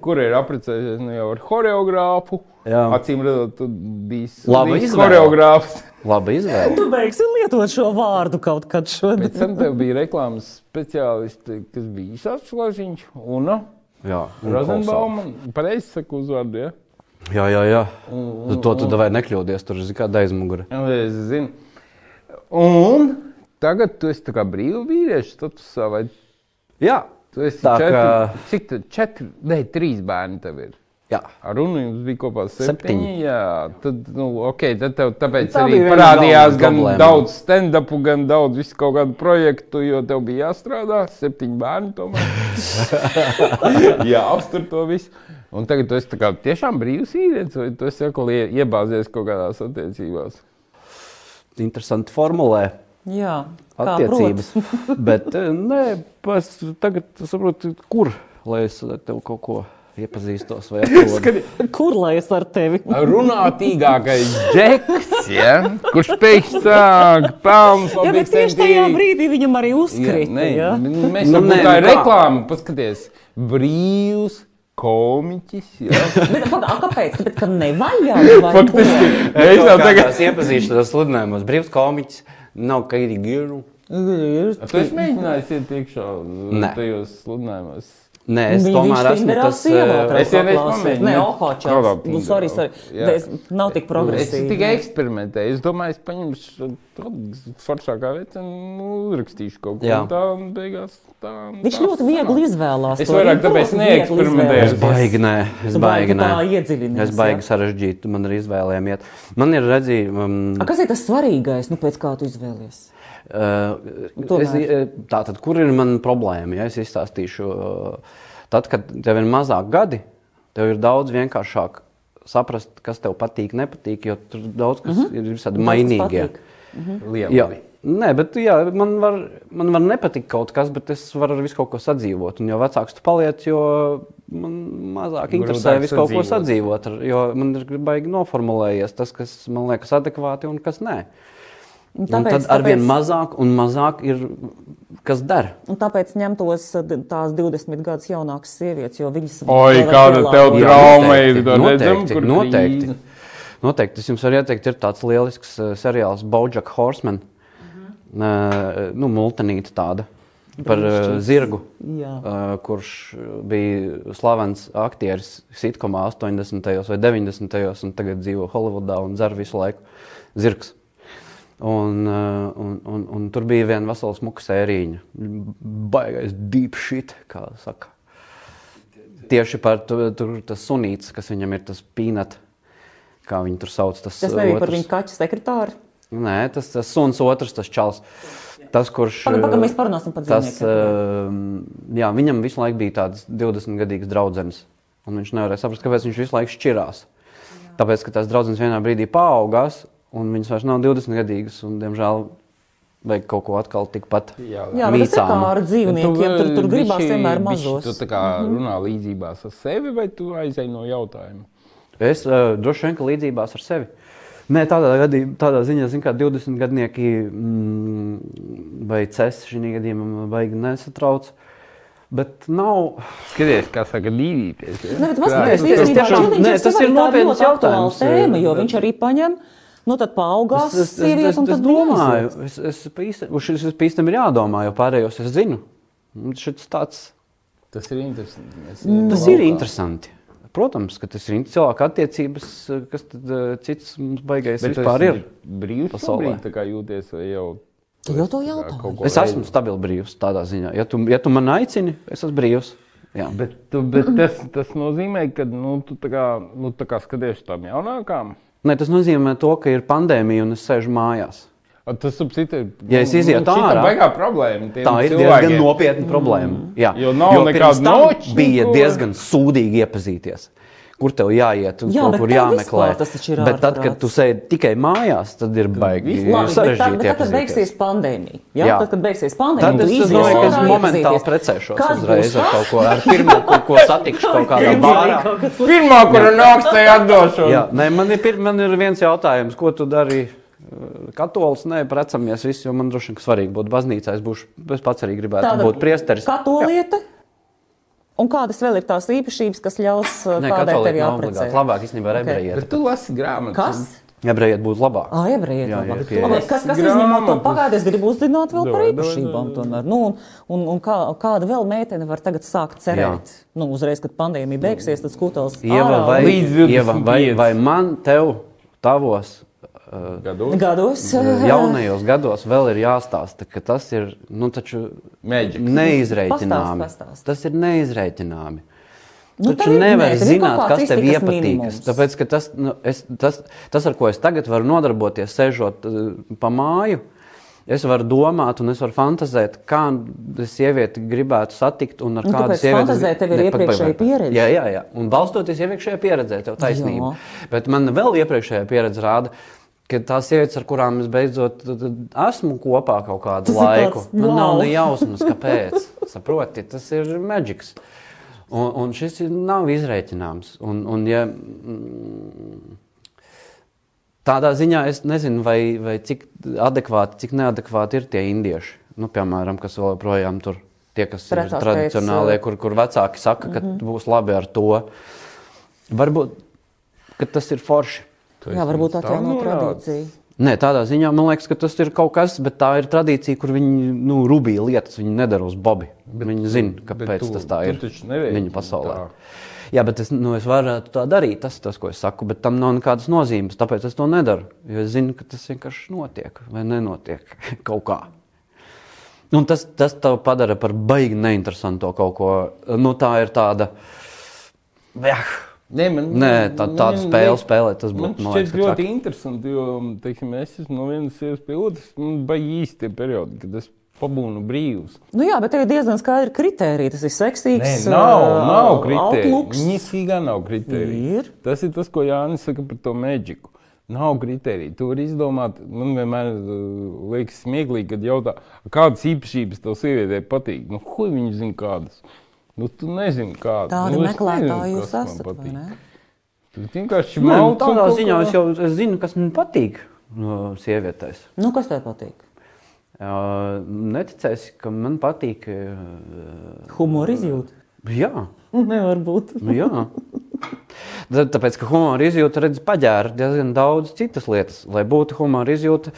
Speaker 3: Kur ir apprecējies nu, jau ar choreogrāfu?
Speaker 2: Jā.
Speaker 3: Acīm redzot, tu biji
Speaker 2: Laba
Speaker 3: labs
Speaker 2: izvēle.
Speaker 3: choreogrāfs.
Speaker 2: labi izvēle.
Speaker 1: Tu beigsi lietot šo vārdu kaut kad šodien.
Speaker 3: Pēc tam tev bija reklāmas speciālisti, kas bija Isārs Loziņš un
Speaker 2: Jā, un
Speaker 3: Rozenbaum. Pareizi saku uzvārdu, ja?
Speaker 2: kolosāli. Jā, jā, jā. Uz to tu davai nekļūdies, tur ir kāda aizmugure.
Speaker 3: Jā, Nu, Es zinu. Un tagad tu esi tā kā brīvs vīrietis statusā. Vai
Speaker 2: Jā,
Speaker 3: tu esi
Speaker 2: Tā
Speaker 3: četri,
Speaker 2: kā-
Speaker 3: kā... cik tu četri, ne, trīs bērni tev ir?
Speaker 2: jā.
Speaker 3: Ar runu jums bija kopā septiņi.
Speaker 2: Septiņi.
Speaker 3: Jā, tad, nu, ok, tad tev tāpēc
Speaker 2: Tā
Speaker 3: arī
Speaker 2: bija viena
Speaker 3: parādījās
Speaker 2: galvenā
Speaker 3: gan
Speaker 2: problēma.
Speaker 3: daudz stand-upu, gan daudz visu kaut kādu projektu, jo tev bija jāstrādā, septiņi
Speaker 2: [LAUGHS]
Speaker 3: bērni tomēr. Jā, apstur to visu. Un tagad tu esi tā kā tiešām brīvs īrietis, vai tu esi atkal ie- iebāzies kaut kādās attiecībās?
Speaker 2: Interesanti formulē.
Speaker 1: Jā, kā
Speaker 2: attiecības.
Speaker 1: proti.
Speaker 2: Bet eh, nē, es tagad saprotu, kur lai es ar tevi kaut ko iepazīstos. vai atrodu.
Speaker 1: Kur lai es ar tevi?
Speaker 3: Runātīgākais džeks, [LAUGHS] ja? kurš pēkšņi sāk pelnīt
Speaker 1: Jā, bet tieši tajā brīdī viņam arī uzkrīt.
Speaker 3: nē,
Speaker 1: Jā,
Speaker 3: m- Mēs
Speaker 2: Nu,
Speaker 3: tam
Speaker 2: nē,
Speaker 3: tā
Speaker 2: nu
Speaker 3: ir
Speaker 2: kā?
Speaker 3: reklāma. Paskaties, brīvs komiķis. [LAUGHS] jā.
Speaker 1: bet pagā, kāpēc? Tāpēc, ka
Speaker 3: [LAUGHS]
Speaker 1: nevajag. vai
Speaker 3: Faktiski, es jau tagad.
Speaker 2: iepazīšanās sludinājumos. Brīvs komiķis nav kairīgi gīru.
Speaker 1: Nu, ko?
Speaker 3: Tu esi mēģinājis iet iekšā nu,
Speaker 2: Nē.
Speaker 3: tajos sludinājumos.
Speaker 2: Nē, es
Speaker 1: Viņi-
Speaker 2: tomēr
Speaker 1: viņš
Speaker 2: esmu
Speaker 1: Tinderā
Speaker 2: tas.
Speaker 1: sievu
Speaker 2: eh,
Speaker 3: es jau reiz
Speaker 1: atklāsīja.
Speaker 3: pamēģināju.
Speaker 1: Nē, Ohočāns.
Speaker 3: Kādā
Speaker 1: oh, Nu, sorry, sorry.
Speaker 3: Tinderā? Jā.
Speaker 1: Es nav tik
Speaker 3: Es
Speaker 1: progresīvi.
Speaker 3: tikai eksperimentēju. Es domāju, es paņemšu to foršākā veidā un uzrakstīšu kaut ko
Speaker 2: Jā.
Speaker 3: tādu. Un beigās tā. un
Speaker 1: Viņš
Speaker 3: tā
Speaker 1: ļoti viegli izvēlās.
Speaker 3: Es
Speaker 1: to
Speaker 3: vairāk
Speaker 1: rītu,
Speaker 3: tāpēc
Speaker 1: viegli
Speaker 3: neeksperimentēju.
Speaker 2: Es
Speaker 1: izvēlas.
Speaker 2: baigi nē, es
Speaker 1: Tu baigi
Speaker 2: baigi nē.
Speaker 1: Nu, tā iedziļinies,
Speaker 2: Es baigi
Speaker 1: jā?
Speaker 2: sarežģītu, man ir izvēlējami iet. Man ir redzījumi. Um,
Speaker 1: A, Kas ir tas svarīgais, nu, pēc kā tu izvēlies?
Speaker 2: Uh, es,
Speaker 1: Tomēr.
Speaker 2: uh, tātad, kur ir mana problēma? Ja es izstāstīšu, uh, tad, kad tev ir mazāk gadi, tev ir daudz vienkāršāk saprast, kas tev patīk, nepatīk, jo tur daudz kas mm -hmm. ir visādi
Speaker 1: Mhm.
Speaker 2: mainīgie.
Speaker 1: patīk.
Speaker 3: liela.
Speaker 2: Jā. Nē, bet jā, man, var, man var nepatikt kaut kas, bet es varu ar visu kaut ko sadzīvot. Un jo vecāks tu paliec, jo man mazāk interesē
Speaker 3: Grūtāk
Speaker 2: visu kaut ko
Speaker 3: sadzīvot.
Speaker 2: sadzīvot. ar- Jo man ir baigi noformulējies tas, kas man liekas adekvāti un kas nē.
Speaker 1: Un
Speaker 2: Un
Speaker 1: Tāpēc,
Speaker 2: tad arvien
Speaker 1: tāpēc-
Speaker 2: mazāk un mazāk ir kas dara.
Speaker 1: Un tāpēc ņemtos eh, d- tās 20 gadus jaunākas sievietes, jo viņas
Speaker 3: Oi,
Speaker 1: vēl
Speaker 3: kāda
Speaker 1: lielāka-
Speaker 3: tev
Speaker 2: Jā,
Speaker 3: trauma ir.
Speaker 2: noteikti,
Speaker 3: tā redzam,
Speaker 2: noteikti,
Speaker 3: kur
Speaker 2: noteikti. Noteikti. Es jums varu ieteikt, ir tāds lielisks eh, seriāls Bojack Horseman.
Speaker 1: Mhm.
Speaker 2: Eh, Nu, multinīta tāda par eh, zirgu,
Speaker 1: Jā.
Speaker 2: eh, kurš bija slavens aktieris sitkomā 80. vai 90. un tagad dzīvo Holivudā un dzer visu laiku zirgs. Un, eh, un, un, un tur bija viena vesela smuka sērija. Baigais deep shit, kā saka. Tieši par to, tur tas sunīts, kas viņam ir tas pīnats, kā viņi tur sauc. Tas,
Speaker 1: Tas nebija par
Speaker 2: otrs-
Speaker 1: viņu kaķu sekretāru.
Speaker 2: Nē, tas, tas suns, otrs, tas čels. Tas, kurš. eh,
Speaker 1: Pagaidām, pagaidām, mēs parunāsim par
Speaker 2: tas,
Speaker 1: dzīvniekiem,
Speaker 2: eh, jā, viņam visu laiku bija tāds 20-gadīgs draugs. Un viņš nevarēja saprast, kāpēc viņš visu laiku šķirās. Tāpēc, ka tās draudzes vienā brīdī paaugās, un viņas vairs nav 20-gadīgas, un, diemžēl, vajag kaut ko atkal tikpat
Speaker 1: Jā, bet tas ir kā ar
Speaker 2: mīcāmu.
Speaker 1: dzīvniekiem. Tur, tur gribās vienmēr
Speaker 3: Tu
Speaker 1: mazos. Mhm.
Speaker 3: tā kā runā līdzībās ar sevi, vai tu aizēji no jautājuma?
Speaker 2: Es uh, droši vien ka līdzībās ar sevi. Nē, tādā, gadī, tādā ziņā, zin, kā 20 gadnieki mm, vai cēlā šī gadījumā, baigi nesatrauc. Bet nav.
Speaker 3: Skaties, kā saka, dīvīties. Ja?
Speaker 1: Nē, bet mazliet
Speaker 2: es
Speaker 1: īstenībā
Speaker 2: tiešām-
Speaker 1: šķiliņš
Speaker 2: nē, tas ir
Speaker 1: svarīga, tā
Speaker 2: nopietns
Speaker 1: ļoti aktuāla
Speaker 2: jautājums, eh,
Speaker 1: Tēma, jo
Speaker 2: bet-
Speaker 1: viņš arī paņem, nu tad paaugās
Speaker 2: Es, es, es,
Speaker 1: sievietes
Speaker 2: es,
Speaker 1: un
Speaker 2: es
Speaker 1: tad
Speaker 2: domāju, es, es pa īstam, uz šis pīkstam ir jādomā, jo pārējos es zinu. Un Šis tāds,
Speaker 3: Tas ir interesanti. Mēs,
Speaker 1: Nu,
Speaker 2: tas ir interesanti. Protams, ka tas ir in- cilvēka attiecības, kas tad eh, cits mums baigais
Speaker 3: Bet
Speaker 2: vispār ir.
Speaker 3: brīvs
Speaker 2: pasaulē.
Speaker 3: pasaulē. Tā kā jūties vai jau
Speaker 1: Tu jau to
Speaker 3: tā,
Speaker 1: jautāji.
Speaker 3: kaut ko.
Speaker 2: Es esmu stabils brīvs tādā ziņā. Ja tu, ja tu man aicini, es esmu brīvs. Jā.
Speaker 3: Bet,
Speaker 1: [CLEARS THROAT]
Speaker 3: tu, bet tas, tas nozīmē, ka nu, tu tā kā, nu, tā kā skaties uz tām jaunākām.
Speaker 2: Nē, tas nozīmē, to, ka ir pandēmija un es sēžu mājās.
Speaker 3: A, Tas, ap citu, nu,
Speaker 2: Ja es izietu
Speaker 3: tā
Speaker 2: ārā-
Speaker 3: ir baigā problēma. tiem
Speaker 2: Tā ir
Speaker 3: cilvēkiem.
Speaker 2: diezgan
Speaker 1: Mm.
Speaker 2: nopietna problēma. Jā,
Speaker 3: Jo nav
Speaker 2: pirms
Speaker 3: nekādu
Speaker 2: tam
Speaker 3: nočniku,
Speaker 2: Bija
Speaker 3: vai-
Speaker 2: diezgan sūdīgi iepazīties. kur tev jāiet un
Speaker 1: Jā,
Speaker 2: kaut
Speaker 1: bet
Speaker 2: kur
Speaker 1: tev
Speaker 2: jāmeklē.
Speaker 1: vispār tas taču ir
Speaker 2: bet tad, kad
Speaker 1: ārprāts.
Speaker 2: tu sēdi tikai mājās, tad ir baigi
Speaker 1: Labi, bet tad,
Speaker 2: sarežģīti.
Speaker 1: bet tad, kad
Speaker 2: iepazīties.
Speaker 1: beigsies pandēmija, jā, jā.
Speaker 2: Jā.
Speaker 1: tad, kad beigsies pandēmija,
Speaker 2: Tad
Speaker 1: tu
Speaker 2: es
Speaker 1: iziesi
Speaker 2: domāju, ka es
Speaker 1: ārā,
Speaker 2: momentāli
Speaker 1: iepazīties.
Speaker 2: precēšos
Speaker 1: Kas
Speaker 2: uzreiz
Speaker 1: būs
Speaker 2: ar
Speaker 1: tas?
Speaker 2: kaut ko, ar pirmo, ko,
Speaker 1: [LAUGHS]
Speaker 2: ko satikšu kaut kādā
Speaker 1: Pirmā
Speaker 2: bārā.
Speaker 1: kaut kas liels.
Speaker 3: Pirmā, kura nāks, tai atdošu.
Speaker 2: Jā, nē, man, ir, pir- man ir viens jautājums, ko tu dari. eh, Katolis, nē, precamies visi, jo man droši vien ka svarīgi būtu baznīcā. Es, būšu, es pats arī gribētu Tāda, būt priesteris.
Speaker 1: Katoliete. Un kādas vēl ir tās īpašības, kas ļaus uh,
Speaker 2: Nē,
Speaker 1: kādai tev
Speaker 2: katolieti nav obligāti.
Speaker 1: jāaprecē?
Speaker 2: Labāk īstenībā ir
Speaker 1: Ok.
Speaker 2: ebrejiet.
Speaker 3: Bet tu lasi grāmatu.
Speaker 1: Kas?
Speaker 2: Ebrejiet būtu labāk.
Speaker 1: Ah, ebrejiet,
Speaker 2: Jā,
Speaker 1: jā, jā,
Speaker 2: jā, pieejas.
Speaker 1: kas, kas
Speaker 3: Grāmatas.
Speaker 1: izņemot to pagādi, es gribu uzzināt vēl par
Speaker 3: Dod, dod,
Speaker 1: īpašībām. tomēr. Nu, un, un, un kā, kāda vēl meitene var tagad sākt cerēt?
Speaker 2: Jā.
Speaker 1: Nu, uzreiz, kad pandēmija beigsies, tad skūtels
Speaker 2: Ieva vai,
Speaker 3: Līdz
Speaker 2: Ieva, vai,
Speaker 3: 25.
Speaker 2: vai man, tev, tavos eh,
Speaker 3: Gados.
Speaker 1: gados. [LAUGHS]
Speaker 2: [LAUGHS] jaunajos gados vēl ir jāstāsta, ka tas ir nu, taču
Speaker 3: Magic.
Speaker 2: neizreikināmi.
Speaker 1: Pastāst, pastāst.
Speaker 2: Tas ir neizreikināmi.
Speaker 1: Nu,
Speaker 2: Nu,
Speaker 1: tev
Speaker 2: Taču
Speaker 1: ir
Speaker 2: nevar
Speaker 1: meitene, ir
Speaker 2: zināt,
Speaker 1: kaut kāds
Speaker 2: kas tev
Speaker 1: iztikas
Speaker 2: iepatīkas.
Speaker 1: minimums.
Speaker 2: Tāpēc, ka tas, nu, es, tas, tas, ar ko es tagad varu nodarboties, sēžot eh, pa māju, es varu domāt un es varu fantāzēt, kādu sievieti gribētu satikt un ar
Speaker 1: Nu,
Speaker 2: kādu
Speaker 1: tāpēc
Speaker 2: sievieti. es-
Speaker 1: fantazēt tev ir
Speaker 2: Ne, pat-
Speaker 1: iepriekšēja
Speaker 2: pat- pat-
Speaker 1: pieredze.
Speaker 2: Jā, jā, jā. Un balstoties iepriekšējā pieredzē, tev taisnība.
Speaker 1: Jā.
Speaker 2: Jā. Bet man vēl iepriekšējā pieredze rāda. ka Tās sievietes, ar kurām es beidzot t- t- esmu kopā kaut kādu
Speaker 1: Tas ir
Speaker 2: laiku,
Speaker 1: tāds,
Speaker 2: man
Speaker 1: wow.
Speaker 2: nav ne jausmas,
Speaker 1: [LAUGHS]
Speaker 2: kāpēc. Saproti, tas ir maģisks. Un, un šis ir- nav izreikināms. Un, un, ja, mm, tādā ziņā es nezinu, vai, vai cik adekvāti, cik neadekvāti ir tie indieši. Nu, piemēram, kas vēl joprojām tur tie, kas ir
Speaker 1: Precās pēc,
Speaker 2: tradicionālie,
Speaker 1: uh,
Speaker 2: kur, kur vecāki saka, ka būs labi ar to. Varbūt ka tas ir forši.
Speaker 1: Jā, varbūt tā ir no tradīcija.
Speaker 2: Nē, tādā ziņā man liekas, ka tas ir kaut kas, bet tā ir tradīcija, kur viņi nu, rubīja lietas, viņi nedara uz bobi. Viņi zina, kāpēc
Speaker 3: tu-
Speaker 2: tas tā
Speaker 3: tu
Speaker 2: ir
Speaker 3: taču neveiksi
Speaker 2: viņu pasaulē.
Speaker 3: tā.
Speaker 2: Jā, bet es, nu, es varētu tā darīt, tas ir tas, ko es saku, bet tam nav nekādas nozīmes, tāpēc es to nedaru. Jo es zinu, ka tas vienkārši notiek vai nenotiek [LAUGHS] kaut kā. Nu, Un tas, tas tev padara par baigi neinteresantu kaut ko. Nu, tā ir tāda. Vah,
Speaker 3: Nē, man,
Speaker 2: Nē, tā- tādu spēli spēlēt, tas būtu,
Speaker 3: Man
Speaker 2: man
Speaker 3: šķiet
Speaker 2: liekas,
Speaker 3: ļoti interesanti, jo teiksim, es esmu no vienas sievas pie otras. Man bija īsti tie periodi, kad es pabūnu brīvs.
Speaker 1: Nu jā, bet tev ir diezgan skaidri kriteriji. Tas ir seksīgs. uh, outluks.
Speaker 3: Nīcīgā nav kritērija.
Speaker 1: Ir.
Speaker 3: Tas ir tas, ko Jānis saka par to mēģiku. Nav kritērija. Tu vari izdomāt, man vienmēr uh, liekas smieklīgi, kad jautā, kādas īpašības tev sievietei patīk. Nu, ko viņi zina kādas? Nu, tu nezini, kādas.
Speaker 1: Tādi
Speaker 3: nu, es
Speaker 1: meklētāji
Speaker 3: nezinu,
Speaker 1: jūs
Speaker 3: kas man
Speaker 1: esat. vai
Speaker 3: patīk.
Speaker 1: ne?
Speaker 3: Tu vienkārši
Speaker 2: Nē, nu,
Speaker 3: malc un
Speaker 2: tādā
Speaker 3: kaut
Speaker 2: ziņā
Speaker 3: kā-
Speaker 2: es jau es zinu, kas man patīk no sievietēs.
Speaker 1: Nu, kas tev patīk?
Speaker 2: Uh, neticēsi, ka man patīk. Uh,
Speaker 1: Humora izjūta.
Speaker 2: jā,
Speaker 3: Nu,
Speaker 1: Nevar būt.
Speaker 2: Nu jā. Tā- Tāpēc, ka humora izjūta redz paģēra diezgan daudz citas lietas. Lai būtu humora izjūta,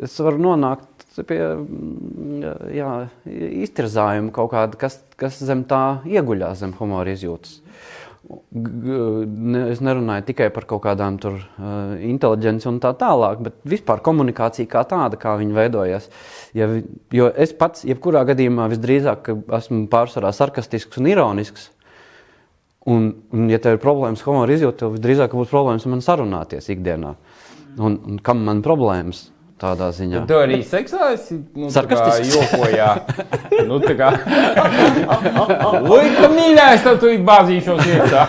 Speaker 2: es varu nonākt pie mm, jā, iztirzājuma kaut kāda, kas, kas zem tā ieguļās zem humora izjūtas. G- g- ne- Es nerunāju tikai par kaut kādām tur uh, inteligenci un tā tālāk, bet vispār komunikācija kā tāda, kā viņa veidojas. Ja, vi- jo es pats, jebkurā gadījumā, visdrīzāk ka esmu pārsvarā sarkastisks un ironisks. Un, un ja tev ir problēmas humora izjūta, tad drīzāk būs problēmas ar mani sarunāties ikdienā. Un, un kam man problēmas tādā ziņā?
Speaker 3: Tu Nu, arī seksā esi nu, tā kā
Speaker 2: Sarkastisks.
Speaker 3: jokojā. nu, tā kā. Lūdzu, mīļākais, tad tu ir bāzīšos iekšā.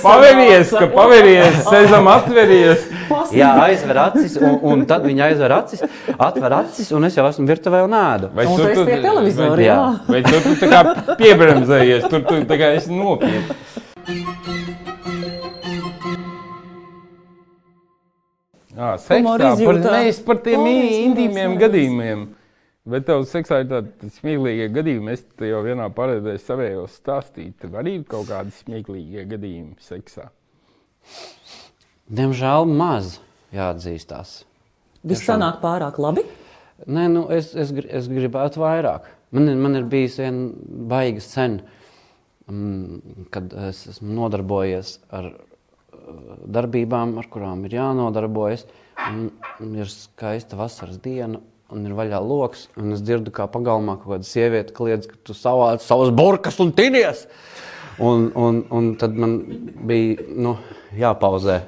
Speaker 3: Paveries,
Speaker 1: [LAUGHS]
Speaker 3: ka paveries, sezam atveries.
Speaker 2: Jā, aizver acis, un, un tad viņa aizver acis, atver acis, un es jau esmu virtuvē un ēdu.
Speaker 3: Vai
Speaker 1: Un tu esi pie televizora.
Speaker 2: vai-
Speaker 1: Jā.
Speaker 2: jā.
Speaker 3: Vai tu, tu tā kā piebremzējies, tur tu tā kā esi nopietni. Jā, seksā,
Speaker 1: Humora
Speaker 3: par,
Speaker 1: izjūtā.
Speaker 3: nevis par tiem
Speaker 1: Humora izjūtā,
Speaker 3: intīmiem
Speaker 1: humora
Speaker 3: gadījumiem. Bet tev seksā ir tādi smieklīgi gadījumi. Es te jau vienā paredzēju savējos stāstīt. Tev arī ir kaut kādi smieklīgi gadījumi seksā.
Speaker 2: Diemžēl maz jāatzīstās.
Speaker 1: Viss sanāk pārāk labi.
Speaker 2: Nē, nu, es, es, gri- es gribētu vairāk. Man, ir- man ir bijis viena baiga scena, mm, kad es esmu nodarbojies ar uh, darbībām, ar kurām ir jānodarbojas. Un, un ir skaista vasaras diena, un ir vaļā lokus. Es dzirdu, kā pagalmā kaut kāda sieviete kliedz, ka tu savāc savas burkas un tinies. Un, un, un tad man bija nu, jāpauzē.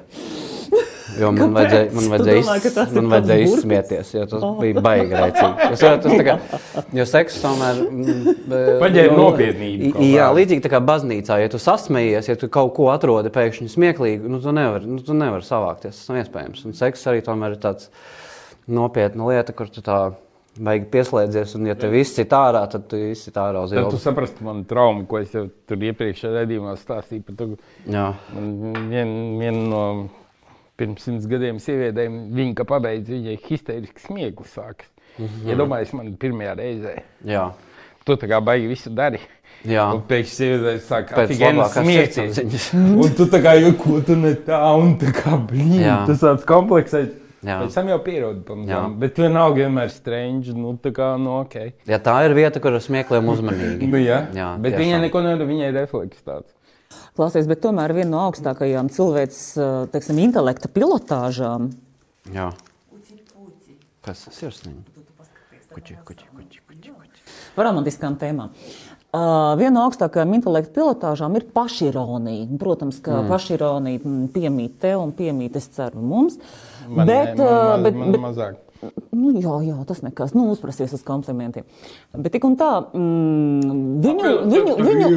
Speaker 2: Jo man
Speaker 1: Kāpēc?
Speaker 2: vajadzēja, man
Speaker 1: Tu
Speaker 2: vajadzēja,
Speaker 1: domā, ka
Speaker 2: iz,
Speaker 1: tas ir
Speaker 2: man
Speaker 1: tāds
Speaker 2: vajadzēja
Speaker 1: burkis?
Speaker 2: izsmieties, jo tas bija baigi rēcīgi. Jo, sa- tas tā kā, jo seks tomēr... mm, be-
Speaker 3: Paņēma
Speaker 2: jo-
Speaker 3: nopietnību kaut
Speaker 2: Jā,
Speaker 3: kādu.
Speaker 2: līdzīgi tā kā baznīcā, ja tu sasmējies, ja tu kaut ko atrodi pēkšņi smieklīgu, nu tu nevari, nu, tu nevari savākties, tas nav iespējams. Un seks arī tomēr ir tāds nopietna lieta, kur tu tā baigi pieslēdzies, un ja tev viss ir ārā, tad tu viss ir ārā uz
Speaker 3: Tad tu
Speaker 2: ielas.
Speaker 3: saprastu manu traumu, ko es jau tur iepriekšējā redzījumā stāstīju par to,
Speaker 2: Jā.
Speaker 3: Man Viena vien no pirms simts gadiem sievietēm, viņa kā pabeidz, viņai histēriski smieklis sākas. Iedomājieties, man pirmajā reizē.
Speaker 2: Jā.
Speaker 3: Tu tā kā baigi visu dari.
Speaker 2: Jā.
Speaker 3: Un pēkšņi sieviete sāk
Speaker 2: Pēc
Speaker 3: afigieni
Speaker 2: labākās
Speaker 3: smieties.
Speaker 2: sirdsapziņas.
Speaker 3: Un tu tā kā jau ko tu ne tā, un tā kā blīvi.
Speaker 2: Jā.
Speaker 3: Tas tāds kompleksēts.
Speaker 2: Jā.
Speaker 3: Pēc tam jau pierodi pamazām.
Speaker 2: Jā.
Speaker 3: Bet vienalga vienmēr strange, nu tā kā, nu ok.
Speaker 2: [LAUGHS] Ja tā ir vieta, kur ar smiekliem uzmanīgi.
Speaker 3: Nu, jā.
Speaker 2: jā
Speaker 3: Bet
Speaker 2: tiešām.
Speaker 3: viņai neko nedara, viņai ir refleks tāds.
Speaker 1: Klausies, bet tomēr viena no augstākajām cilvēks eh, teiksim, intelekta pilotāžām.
Speaker 2: Jā. Kas tas ir? Kuķi, kuķi, kuķi, kuķi, kuķi.
Speaker 1: Par romantiskām tēmām. Uh, viena no augstākajām intelektu pilotāžām ir pašironija. Un, Protams, ka mm. pašironija mm, piemīt tev un piemīt, es ceru, mums.
Speaker 3: Man,
Speaker 1: bet,
Speaker 3: ne,
Speaker 1: uh,
Speaker 3: man,
Speaker 1: bet,
Speaker 3: man, man mazāk.
Speaker 1: Nu, jā, jā, tas nekas. Nu, uzprasies uz komplimentiem. Bet tik un tā, mm, viņu, viņu, viņu.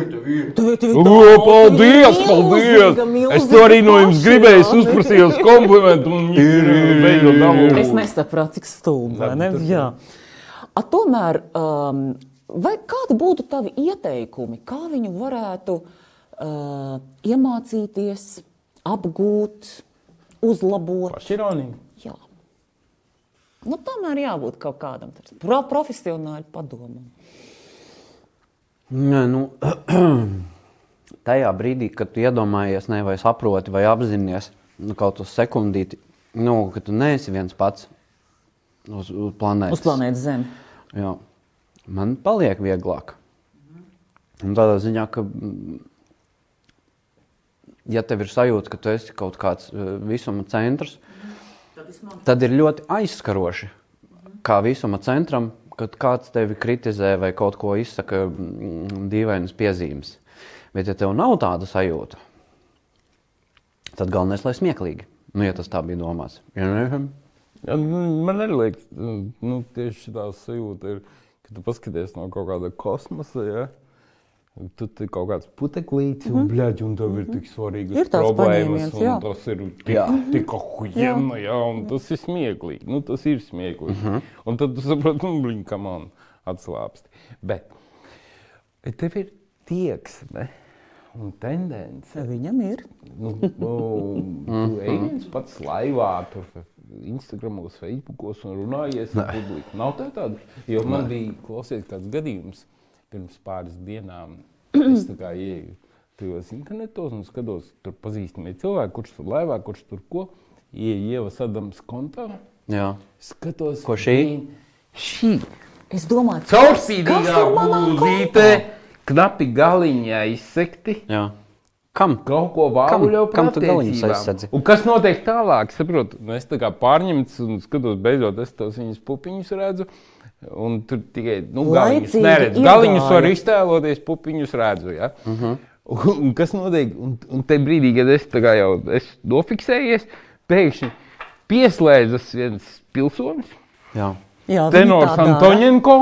Speaker 1: Tev ir- tev ir
Speaker 3: O,
Speaker 1: daudz,
Speaker 3: Nu, paldies,
Speaker 1: tev ir milzīga,
Speaker 3: paldies! Es
Speaker 1: milzīga
Speaker 3: to arī no jums
Speaker 1: pašironi.
Speaker 3: gribēju, es uzprasīju jums komplimentu, un viņi to
Speaker 1: Es
Speaker 3: dabūja.
Speaker 1: nesaprotu, cik stulbi. vai ne?
Speaker 3: tas ir.
Speaker 1: Jā. A, Tomēr, um, vai kādi būtu tavi ieteikumi, kā viņu varētu uh, iemācīties, apgūt, uzlabot?
Speaker 3: Pašironija.
Speaker 1: Jā. Nu, tomēr jābūt kaut kādam tādam pro profesionāli padomam.
Speaker 2: Nē, nu, [CLEARS THROAT] tajā brīdī, kad tu iedomājies, ne, vai saproti, vai apzinājies nu, kaut uz sekundīti, nu, ka tu neesi viens pats uz, uz planētas.
Speaker 1: Uz planētas Zemes.
Speaker 2: Jā. Man paliek vieglāk. Un tādā ziņā, ka, mm, ja tev ir sajūta, ka tu esi kaut kāds eh, visuma centrs, tad ir ļoti aizskaroši, kā visuma centram, kad kāds tevi kritizē vai kaut ko izsaka mm, dīvainas piezīmes. Bet, ja tev nav tāda sajūta, tad galvenais, lai smieklīgi. Nu, ja tas tā bija domāts. Ja ne,
Speaker 3: Ja, nu, Man arī liekas, nu, tieši tā sajūta ir, ka tu paskaties no kaut kāda kosmosa. Ja? Tu tur kaut kāds puteklīts, un, bļaģi, un tev ir tik svarīgas
Speaker 1: Mhm. Ir tāds
Speaker 3: problēmas,
Speaker 1: paņēmiens,
Speaker 3: un
Speaker 1: jā.
Speaker 3: tas ir
Speaker 2: Jā.
Speaker 3: tik huijena, jā, un tas ir smieklīgi. Nu, tas ir smieklīgi. Un tad tu saproti, nu, blīņ, kā man atslābst. Bet tev ir tieksme un tendence
Speaker 1: Viņam ir.
Speaker 3: Nu, nu,
Speaker 1: Mhm.
Speaker 3: tu ej viens pats laivā, tur Instagram, Facebook, un runājies ar publikumu. Nav tā tāda. Jo man bija klausies, kāds gadījums pirms pāris
Speaker 1: [CLEARS THROAT]
Speaker 3: dienām. Es tā kā ieju tajos internetos un skatos, tur pazīstamie cilvēki, kurš tur laivā, kurš tur ko. Ieju ievas Adams kontā,
Speaker 2: jā.
Speaker 3: skatos,
Speaker 2: Ko šī?
Speaker 3: viņa- Šī
Speaker 1: Es domāju, kas, kas
Speaker 3: caurspīdīgā
Speaker 1: ir manā
Speaker 3: būdīte,
Speaker 1: kontā?
Speaker 3: knapi galiņā izsekti.
Speaker 2: jā. Kam?
Speaker 3: Kaut ko vālu
Speaker 2: Kam-
Speaker 3: jau
Speaker 2: kam tu
Speaker 3: par
Speaker 2: galiņus
Speaker 3: attiecībām.
Speaker 2: aizsadzi?
Speaker 3: Un kas notiek tālāk? Saprotu, nu, es tā kā pārņemts un skatos, beidzot, es tos viņas pupiņus redzu. Un tur tikai nu, galiņus
Speaker 1: Laicīgi
Speaker 3: neredzu.
Speaker 1: iegāja.
Speaker 3: Galiņus var iztēloties, pupiņus redzu. Ja? Uh
Speaker 2: Mhm.
Speaker 3: -huh. un, un kas notiek? Un, un te brīdī, kad es tā kā jau esmu nofiksējies, pēkšņi pieslēdzas viens pilsonis
Speaker 2: Jā.
Speaker 1: Jā, viņi tā
Speaker 3: tenors
Speaker 1: dara.
Speaker 3: Antonienko,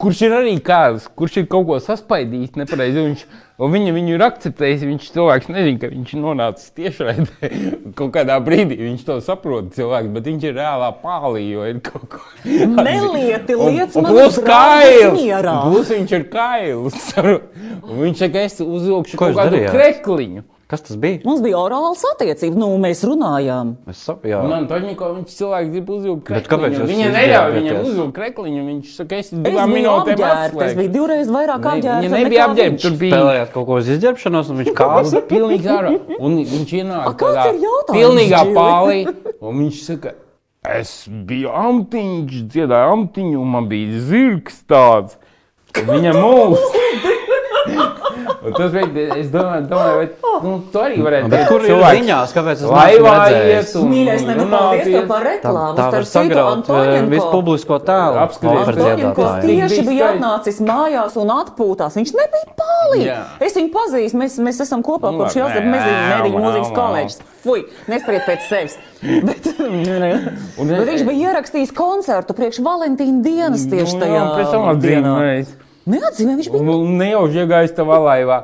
Speaker 3: kurš ir arī kāds, kurš ir kaut ko saspaidījis nepareizi. Viņš, un viņa viņu ir akceptējis. Viņš cilvēks nezina, ka viņš ir nonācis tiešraidē. [LAUGHS] Kaut kādā brīdī viņš to saprot, cilvēks, bet viņš ir reālā pālī, jo ir kaut ko
Speaker 1: Nelieti lietas man
Speaker 3: Plus
Speaker 1: uz rādas
Speaker 3: kails!
Speaker 1: mierā.
Speaker 3: Plus viņš ir kails! [LAUGHS] Un viņš saka, es uzvilkšu
Speaker 2: Ko
Speaker 3: kaut
Speaker 2: jūs
Speaker 3: kādu
Speaker 2: darījāt?
Speaker 3: krekliņu.
Speaker 2: Kas tas bija?
Speaker 1: Mums bija orāls attiecības, nu, mēs runājām.
Speaker 2: Es saprotu,
Speaker 3: Un Antoniņko viņš cilvēks grib uzvilkt
Speaker 2: Bet
Speaker 3: krekliņu.
Speaker 2: kāpēc jūs
Speaker 3: Viņa neļauj viņam
Speaker 2: izģērbjaties?
Speaker 3: uzvilkt krekliņu. Viņš saka, es
Speaker 1: Es
Speaker 3: divām
Speaker 1: biju
Speaker 3: minūtēm
Speaker 1: apģērbta. Es
Speaker 3: atslēgšu.
Speaker 1: biju divreiz vairāk apģērbta.
Speaker 3: Viņa nebija
Speaker 1: nekā
Speaker 3: apģērbta.
Speaker 1: viņš.
Speaker 3: Tur bija
Speaker 2: spēlējāt kaut ko uz izģērbšanos,
Speaker 3: [LAUGHS]
Speaker 2: un viņš
Speaker 3: kāds
Speaker 2: kāza.
Speaker 3: pilnīgi ārā. Un viņš ienāk
Speaker 1: A, kāds ir jautājums,
Speaker 3: pilnīgā
Speaker 1: Džili?
Speaker 3: pālī, un viņš saka, es biju amtiņš,
Speaker 1: [LAUGHS]
Speaker 3: dziedāju amtiņu, un man bija zirgs tāds. Un Viņa mūs. Un Tas bija. Es domāju, domāju vai nu, tu arī varētu
Speaker 2: Bet
Speaker 3: teikt,
Speaker 2: kur ir
Speaker 3: cilvēks
Speaker 2: ziņās, kāpēc es
Speaker 3: laivā
Speaker 2: neesmu redzējis?
Speaker 3: iet un
Speaker 1: Mīļais, ne, nu, paldies tev par
Speaker 2: Tā,
Speaker 1: reklāmu.
Speaker 2: tā var
Speaker 1: Starp citu,
Speaker 2: sagraut eh,
Speaker 1: Antoņenko-
Speaker 2: visu publisko tēlu.
Speaker 3: Apskatieties,
Speaker 2: par
Speaker 1: Antoņenko
Speaker 2: dziedātāju.
Speaker 1: tieši
Speaker 3: Bija
Speaker 1: bija
Speaker 3: skaidrs.
Speaker 1: atnācis mājās un atpūtās. Viņš nebija pāli.
Speaker 3: Jā.
Speaker 1: Es viņu pazīstu, mēs, mēs esam kopā
Speaker 3: Nu,
Speaker 1: kopš
Speaker 3: labi,
Speaker 1: jāsaka
Speaker 3: nē,
Speaker 1: meziņu
Speaker 3: au,
Speaker 1: mūzikas
Speaker 3: au,
Speaker 1: kolēģis. Fui, nespariet pēc
Speaker 3: [LAUGHS]
Speaker 1: sevis. Bet, [LAUGHS] bet
Speaker 3: Un es-
Speaker 1: viņš bija ierakstījis koncertu priekš Valentīna dienas tieši
Speaker 3: Nu,
Speaker 1: tajā
Speaker 3: un pēc tam Nu,
Speaker 1: dienā.
Speaker 3: atzīmēs.
Speaker 1: Neatzīmē, viņš bija
Speaker 3: Un nejauši iegājis tavā laivā.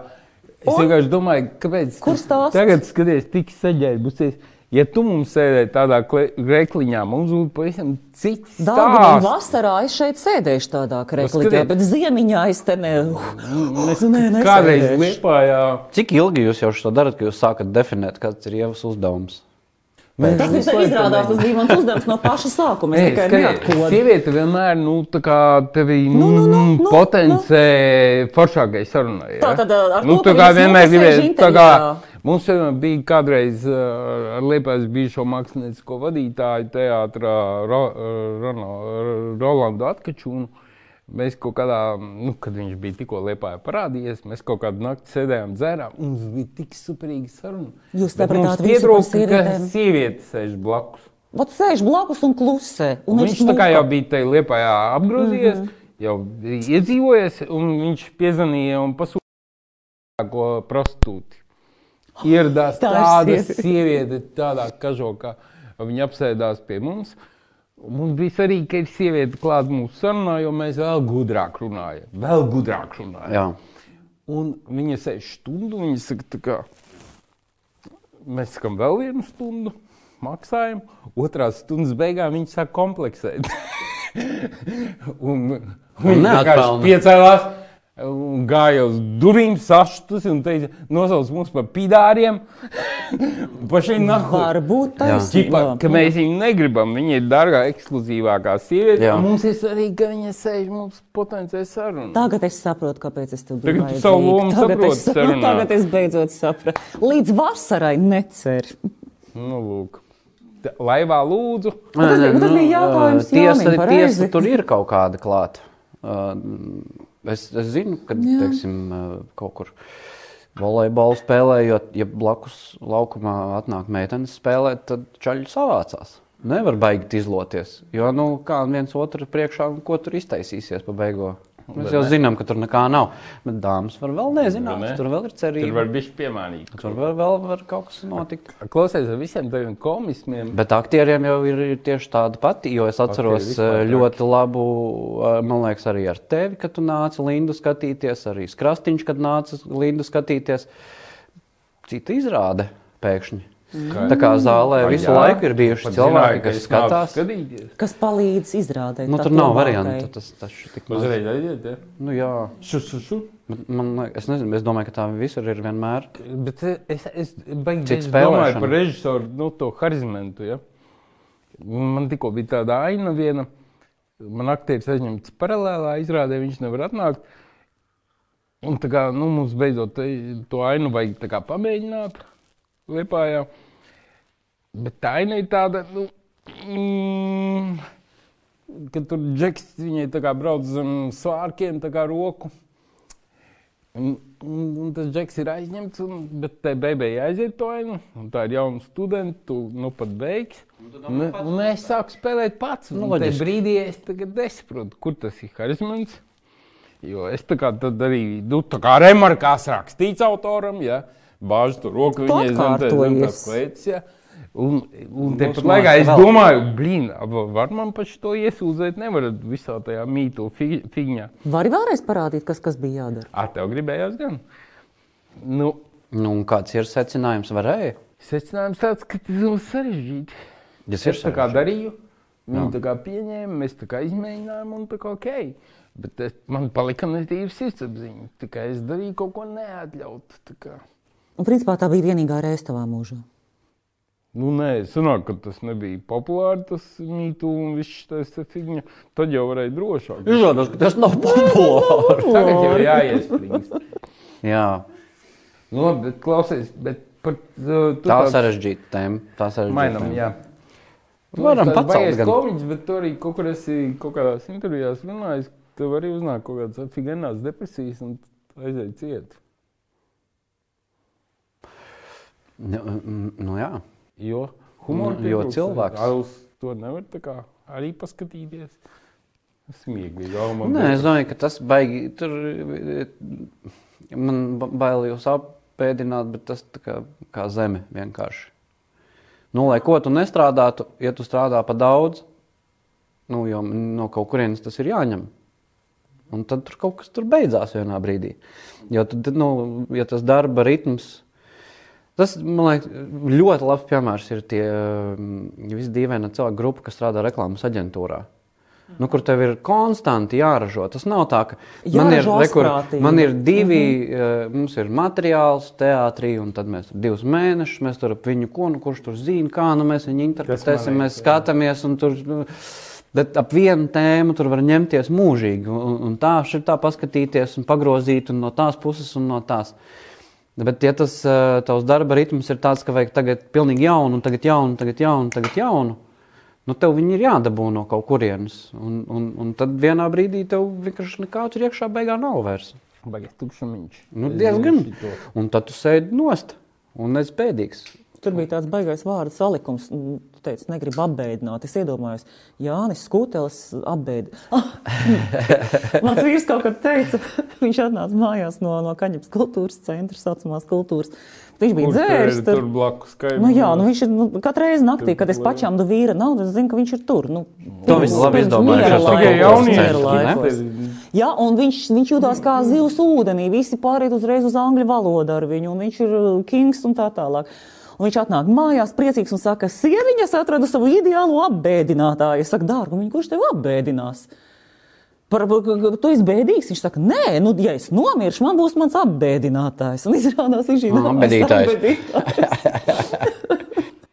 Speaker 3: Es
Speaker 1: Un?
Speaker 3: vienkārši domāju, kāpēc.
Speaker 1: Kur stāsts?
Speaker 3: Tagad skaties, tik saģērbusies. Ja tu mums sēdēji tādā kle- rekliņā, mums būtu pavisam cits
Speaker 1: Dārgi, un
Speaker 3: stāsts. Nu,
Speaker 1: vasarā es šeit sēdēšu tādā krekliņā,
Speaker 3: skatiet.
Speaker 1: bet ziemiņā es te ne.
Speaker 3: Es
Speaker 1: Nē, nesēdēšu.
Speaker 3: kādreiz liepājā.
Speaker 2: Cik ilgi jūs jau šo darat, ka jūs sākat definēt, kāds ir ievas uzdevums?
Speaker 1: Tas
Speaker 3: Mēs
Speaker 1: viņš
Speaker 3: laikam
Speaker 1: izrādās, tas bija mans uzdevums no paša sākuma.
Speaker 3: Nē,
Speaker 1: Es tikai
Speaker 3: skatiet,
Speaker 1: neatkodu.
Speaker 3: sieviete vienmēr, nu, tā kā tevi nu,
Speaker 1: nu, nu, nu,
Speaker 3: potencē foršākai sarunai. Ja?
Speaker 1: Tātad, uh, ar
Speaker 3: nu,
Speaker 1: to,
Speaker 3: tā
Speaker 1: ka
Speaker 3: kā
Speaker 1: viņas
Speaker 3: vienmēr
Speaker 1: nokasēž
Speaker 3: gribēja, tā kā
Speaker 1: intervijā.
Speaker 3: mums vienmēr bija kādreiz uh, ar Liepājas bijušo māksliniecisko vadītāju teātrā Ro, Rono- Rolandu Atkačūnu. Mēs kaut kādā, nu, kad viņš bija tikko liepājā parādījies, mēs kaut kādu nakti sēdējām dzērām, un mums bija tik superīga saruna.
Speaker 1: Jūs
Speaker 3: Bet
Speaker 1: sapratāt
Speaker 3: mums
Speaker 1: visu par
Speaker 3: pietrūka, ka
Speaker 1: sievietēm?
Speaker 3: sieviete sēž blakus.
Speaker 1: Vat sēž blakus un klusē. Un Mhm.
Speaker 3: Viņš tā kā jau bija tajā liepā apgrozījies, mm -hmm. jau bija iedzīvojies, un viņš piezvanīja un pasūtīja to prostitūti. Ieradās
Speaker 1: Tā ir
Speaker 3: tāda
Speaker 1: sieviete.
Speaker 3: sieviete, tādā kažokā, viņa apsēdās pie mums. Mums bija svarīgi, ka ir sieviete klāta mūsu sarunā, jo mēs vēl gudrāk runājam. Vēl gudrāk runājam.
Speaker 2: Jā.
Speaker 3: Un viņa sēž stundu, viņa saka, tā kā, mēs sakām vēl vienu stundu, maksājam. Otrā stundas beigās viņa sāk kompleksēt. [LAUGHS] un, un viņa
Speaker 2: neatpelna.
Speaker 3: vienkārši piecēlās. un Gāja uz durvīm, sašutusi un teica, nosauc mums par pīdāriem. [LAUGHS] Pašai nahu.
Speaker 1: Varbūt tā
Speaker 3: Ķipa, ka mēs viņu negribam. Viņa ir dārgā, ekskluzīvākā sieviete.
Speaker 2: Jā.
Speaker 3: Mums ir svarīgi, ka viņa sēž mums potenciāli sarunā.
Speaker 1: Tagad es saprotu, kāpēc es tev biju
Speaker 3: Tagad tu savu
Speaker 1: vajadzīga.
Speaker 3: lomu
Speaker 1: Tagad es,
Speaker 3: saproti sarunā.
Speaker 1: [LAUGHS] tagad es beidzot sapratu. Līdz vasarai neceru.
Speaker 3: Nu, lūk. Tā- Laivā lūdzu.
Speaker 1: Nu, tas bija- nu, tas bija jautājums Jānim,
Speaker 2: tiesa,
Speaker 1: pareizi.
Speaker 2: tiesa tur ir kaut kāda klāta. Uh, es, es zinu, ka teiksim, uh, kaut kur volejbolu spēlējot, ja blakus laukumā atnāk meitenes spēlēt, tad čaļi savācās. Nevar baigt izloties. Jo, nu, kā viens otru priekšā, un ko tur iztaisīsies pa beigām. Mēs jau zinām, ka tur nekā nav. Bet dāmas var vēl nezināt,
Speaker 3: Vai ne?
Speaker 2: tur vēl ir
Speaker 3: Tur
Speaker 2: cerība.
Speaker 3: var būt piemērīgi.
Speaker 2: Tur var, vēl var kaut kas notikt.
Speaker 3: Klausies ar visiem taviem komismiem.
Speaker 2: Bet aktieriem jau ir tieši tāda pati. Jo es atceros
Speaker 3: vispār
Speaker 2: eh,
Speaker 3: traki.
Speaker 2: ļoti labu, eh, man liekas, arī ar tevi, kad tu nāci Lindu skatīties, arī Skrastiņš, kad nāca Lindu skatīties. Cita izrāde pēkšņi.
Speaker 3: Skaidrs.
Speaker 2: Tā kā zālē
Speaker 3: Vai
Speaker 2: visu
Speaker 3: jā?
Speaker 2: laiku ir bijuši
Speaker 3: Pat
Speaker 2: cilvēki,
Speaker 3: zināju, ka
Speaker 2: kas
Speaker 3: es nāku
Speaker 2: skatās.
Speaker 3: Skatīties.
Speaker 1: Kas palīdz izrādēt.
Speaker 2: Nu,
Speaker 1: tā
Speaker 2: tur nav
Speaker 1: labākai.
Speaker 2: variantu. Tas, tas ir tik maz.
Speaker 3: Uzreiz aiziet. Ja?
Speaker 2: Nu, jā.
Speaker 3: Šu, šu, šu.
Speaker 2: Bet Man, liekas- es nezinu, es domāju, ka tā visur ir vienmēr.
Speaker 3: Bet eh, es, es baigi
Speaker 2: Cits
Speaker 3: es domāju
Speaker 2: spēlēšana.
Speaker 3: par režisoru nu, to harizmantu. Ja? Man tikko bija tāda aina viena. Man aktieris aizņemts paralēlā, izrādē viņš nevar atnākt. Un tā kā nu, mums beidzot eh, to ainu vajag tā kā pamēģināt Liepājā. Bet tā aina ir tāda, nu, mm, ka tur džeks viņai tā kā brauc zem svārkiem, tā kā roku. Un, un, un tas džeks ir aizņemts, un, bet tai beigās aiziet to ainu. un Tā ir jauna studenta, tu nu pat beigs. Un, un es sāku spēlēt pats.
Speaker 2: Nu,
Speaker 3: Nu, tajā
Speaker 2: loģiski.
Speaker 3: brīdī es tagad nesaprotu, kur tas ir harizmants. Jo es tā kā tad arī, nu, tā kā remarkās rakstīts autoram, ja bāžu to roku viņai zem tā- zem tā
Speaker 1: Atkārtojies.
Speaker 3: klēts, ja. Un, un
Speaker 2: Mums
Speaker 3: tāpat
Speaker 2: maz
Speaker 3: laikā es
Speaker 2: vēl.
Speaker 3: domāju, blīn, va- var man paši to iesūdzēt, nevarat visā tajā mītu fi- fiņā.
Speaker 1: Vari vēlreiz parādīt, kas, kas bija jādara.
Speaker 3: Ar tev gribējās gan. Nu,
Speaker 2: Nu, un kāds ir secinājums? Varēja.
Speaker 3: secinājums tāds, ka tas ir sarežģīti.
Speaker 2: Tas ir
Speaker 3: Es tā kā
Speaker 2: sarežģīti.
Speaker 3: darīju, viņi tā kā pieņēma, mēs tā kā izmēģinājām un tā kā ok. Bet es, man palika netīra sirdsapziņa. Tā kā es darīju kaut ko neatļautu. tā kā.
Speaker 1: Un principā tā bija vienīgā reize tavā mūžā.
Speaker 3: Nu, nē, sanāk, ka tas nebija populāri, tas mītū un viss tas figņa. Tad jau varēja drošāk.
Speaker 2: Izrādās, ka tas nav populārs.
Speaker 3: Tagad jau ir jāiespringst.
Speaker 2: Jā,
Speaker 3: Nu, labi, bet klausies, bet par uh, tu
Speaker 2: tā
Speaker 3: tāds-
Speaker 2: sarežģīta tēma. Tā sarežģīta
Speaker 3: Mainam,
Speaker 2: tēma.
Speaker 3: jā.
Speaker 2: Varam pacelt.
Speaker 3: pacelt.
Speaker 2: gan.
Speaker 3: Komiķis, bet tu arī kaut kur esi kaut kādās intervijās runājis, tev arī uznāk kaut kādas figanās depresijas un aiziet ciet.
Speaker 2: Nu, mm, nu jā.
Speaker 3: Jo humors
Speaker 2: Nu, jo cilvēks.
Speaker 3: Ar uz to nevar tā kā arī paskatīties. Smieklīgi, jau man
Speaker 2: Nē, es domāju, ka tas baigi. Tur, e, man ba- bail jūs apēdināt, bet tas tā kā, kā zeme vienkārši. Nu, lai ko tu nestrādātu, ja tu strādā pa daudz, nu, jo no kaut kurienes tas ir jāņem. Un tad tur kaut kas tur beidzās vienā brīdī. Jo tad, nu, ja tas darba ritms. Tas, man liekas, ļoti labs piemērs ir tie visdīvainā cilvēku grupa, kas strādā reklāmas aģentūrā. Nu, kur tev ir konstanti jāražo. Tas nav tā, ka man ir,
Speaker 1: Jāražo
Speaker 2: re, kur,
Speaker 1: aizprātīgi.
Speaker 2: man ir divi, mm -hmm. mums ir materiāls, teātrī, un tad mēs tur divus mēnešus, mēs tur ap viņu konu, kurš tur zina, kā nu mēs viņu interpretēsim, mēs skatāmies, un tur, nu, bet ap vienu tēmu tur var ņemties mūžīgi, un, un tā, šeit tā paskatīties, un pagrozīt, un no tās puses, un no tās. Bet, ja tas eh, tavs darba ritms ir tāds, ka vajag tagad pilnīgi jaunu, un tagad jaunu, tagad jaunu, tagad jaunu, nu tev viņi ir jādabū no kaut kurienes. Un, un, un tad vienā brīdī tev vienkārši nekā tur iekšā beigā nav vairs.
Speaker 3: Bagas tukšumiņš.
Speaker 2: Nu,
Speaker 3: Es
Speaker 2: diezgan.
Speaker 3: zinu šito.
Speaker 2: Un tad tu sēdi nost un esi pēdīgs.
Speaker 1: Tur bija tāds baisais vārdu salikums. un Tu teici, negribu apbēdināt. Es iedomājos, Jānis Skutelis apbēda. Ah, [LAUGHS] Mans vīrs kaut kad teica, viņš atnāca mājās no, no Kaņepes kultūras centra, saucamās kultūras. Viņš bija
Speaker 3: Kurš tev ir
Speaker 1: dzēris.
Speaker 3: tur blakus? kaimiņos?
Speaker 1: Nu, jā, nu viņš ir nu, katru reizi naktī, kad es
Speaker 3: Tur
Speaker 1: pašām dodu vīra naudu, es zinu, ka viņš ir tur. Nu,
Speaker 2: To viņi labi
Speaker 1: pirms
Speaker 2: izdomāja,
Speaker 1: miera
Speaker 2: ka tas
Speaker 1: laikos,
Speaker 2: tikai jaunieši,
Speaker 1: miera
Speaker 2: ne?
Speaker 1: laikos. Jā, un viņš, viņš jutās kā zivs ūdenī. Visi pāriet uzreiz uz angļu valodu ar viņu, un viņš ir uh, kings un tā tālāk. Un viņš atnāk mājās, priecīgs un saka, sieviņas atrada savu ideālo apbēdinātāju. Es saku, dārgumiņ, kurš tev apbēdinās? Par, par- ka- ka tu esi bēdīgs. Viņš saka, nē, nu, ja es nomiršu, man būs mans apbēdinātājs. Un izrādās, viņš ir
Speaker 2: Ah, apbēdītājs.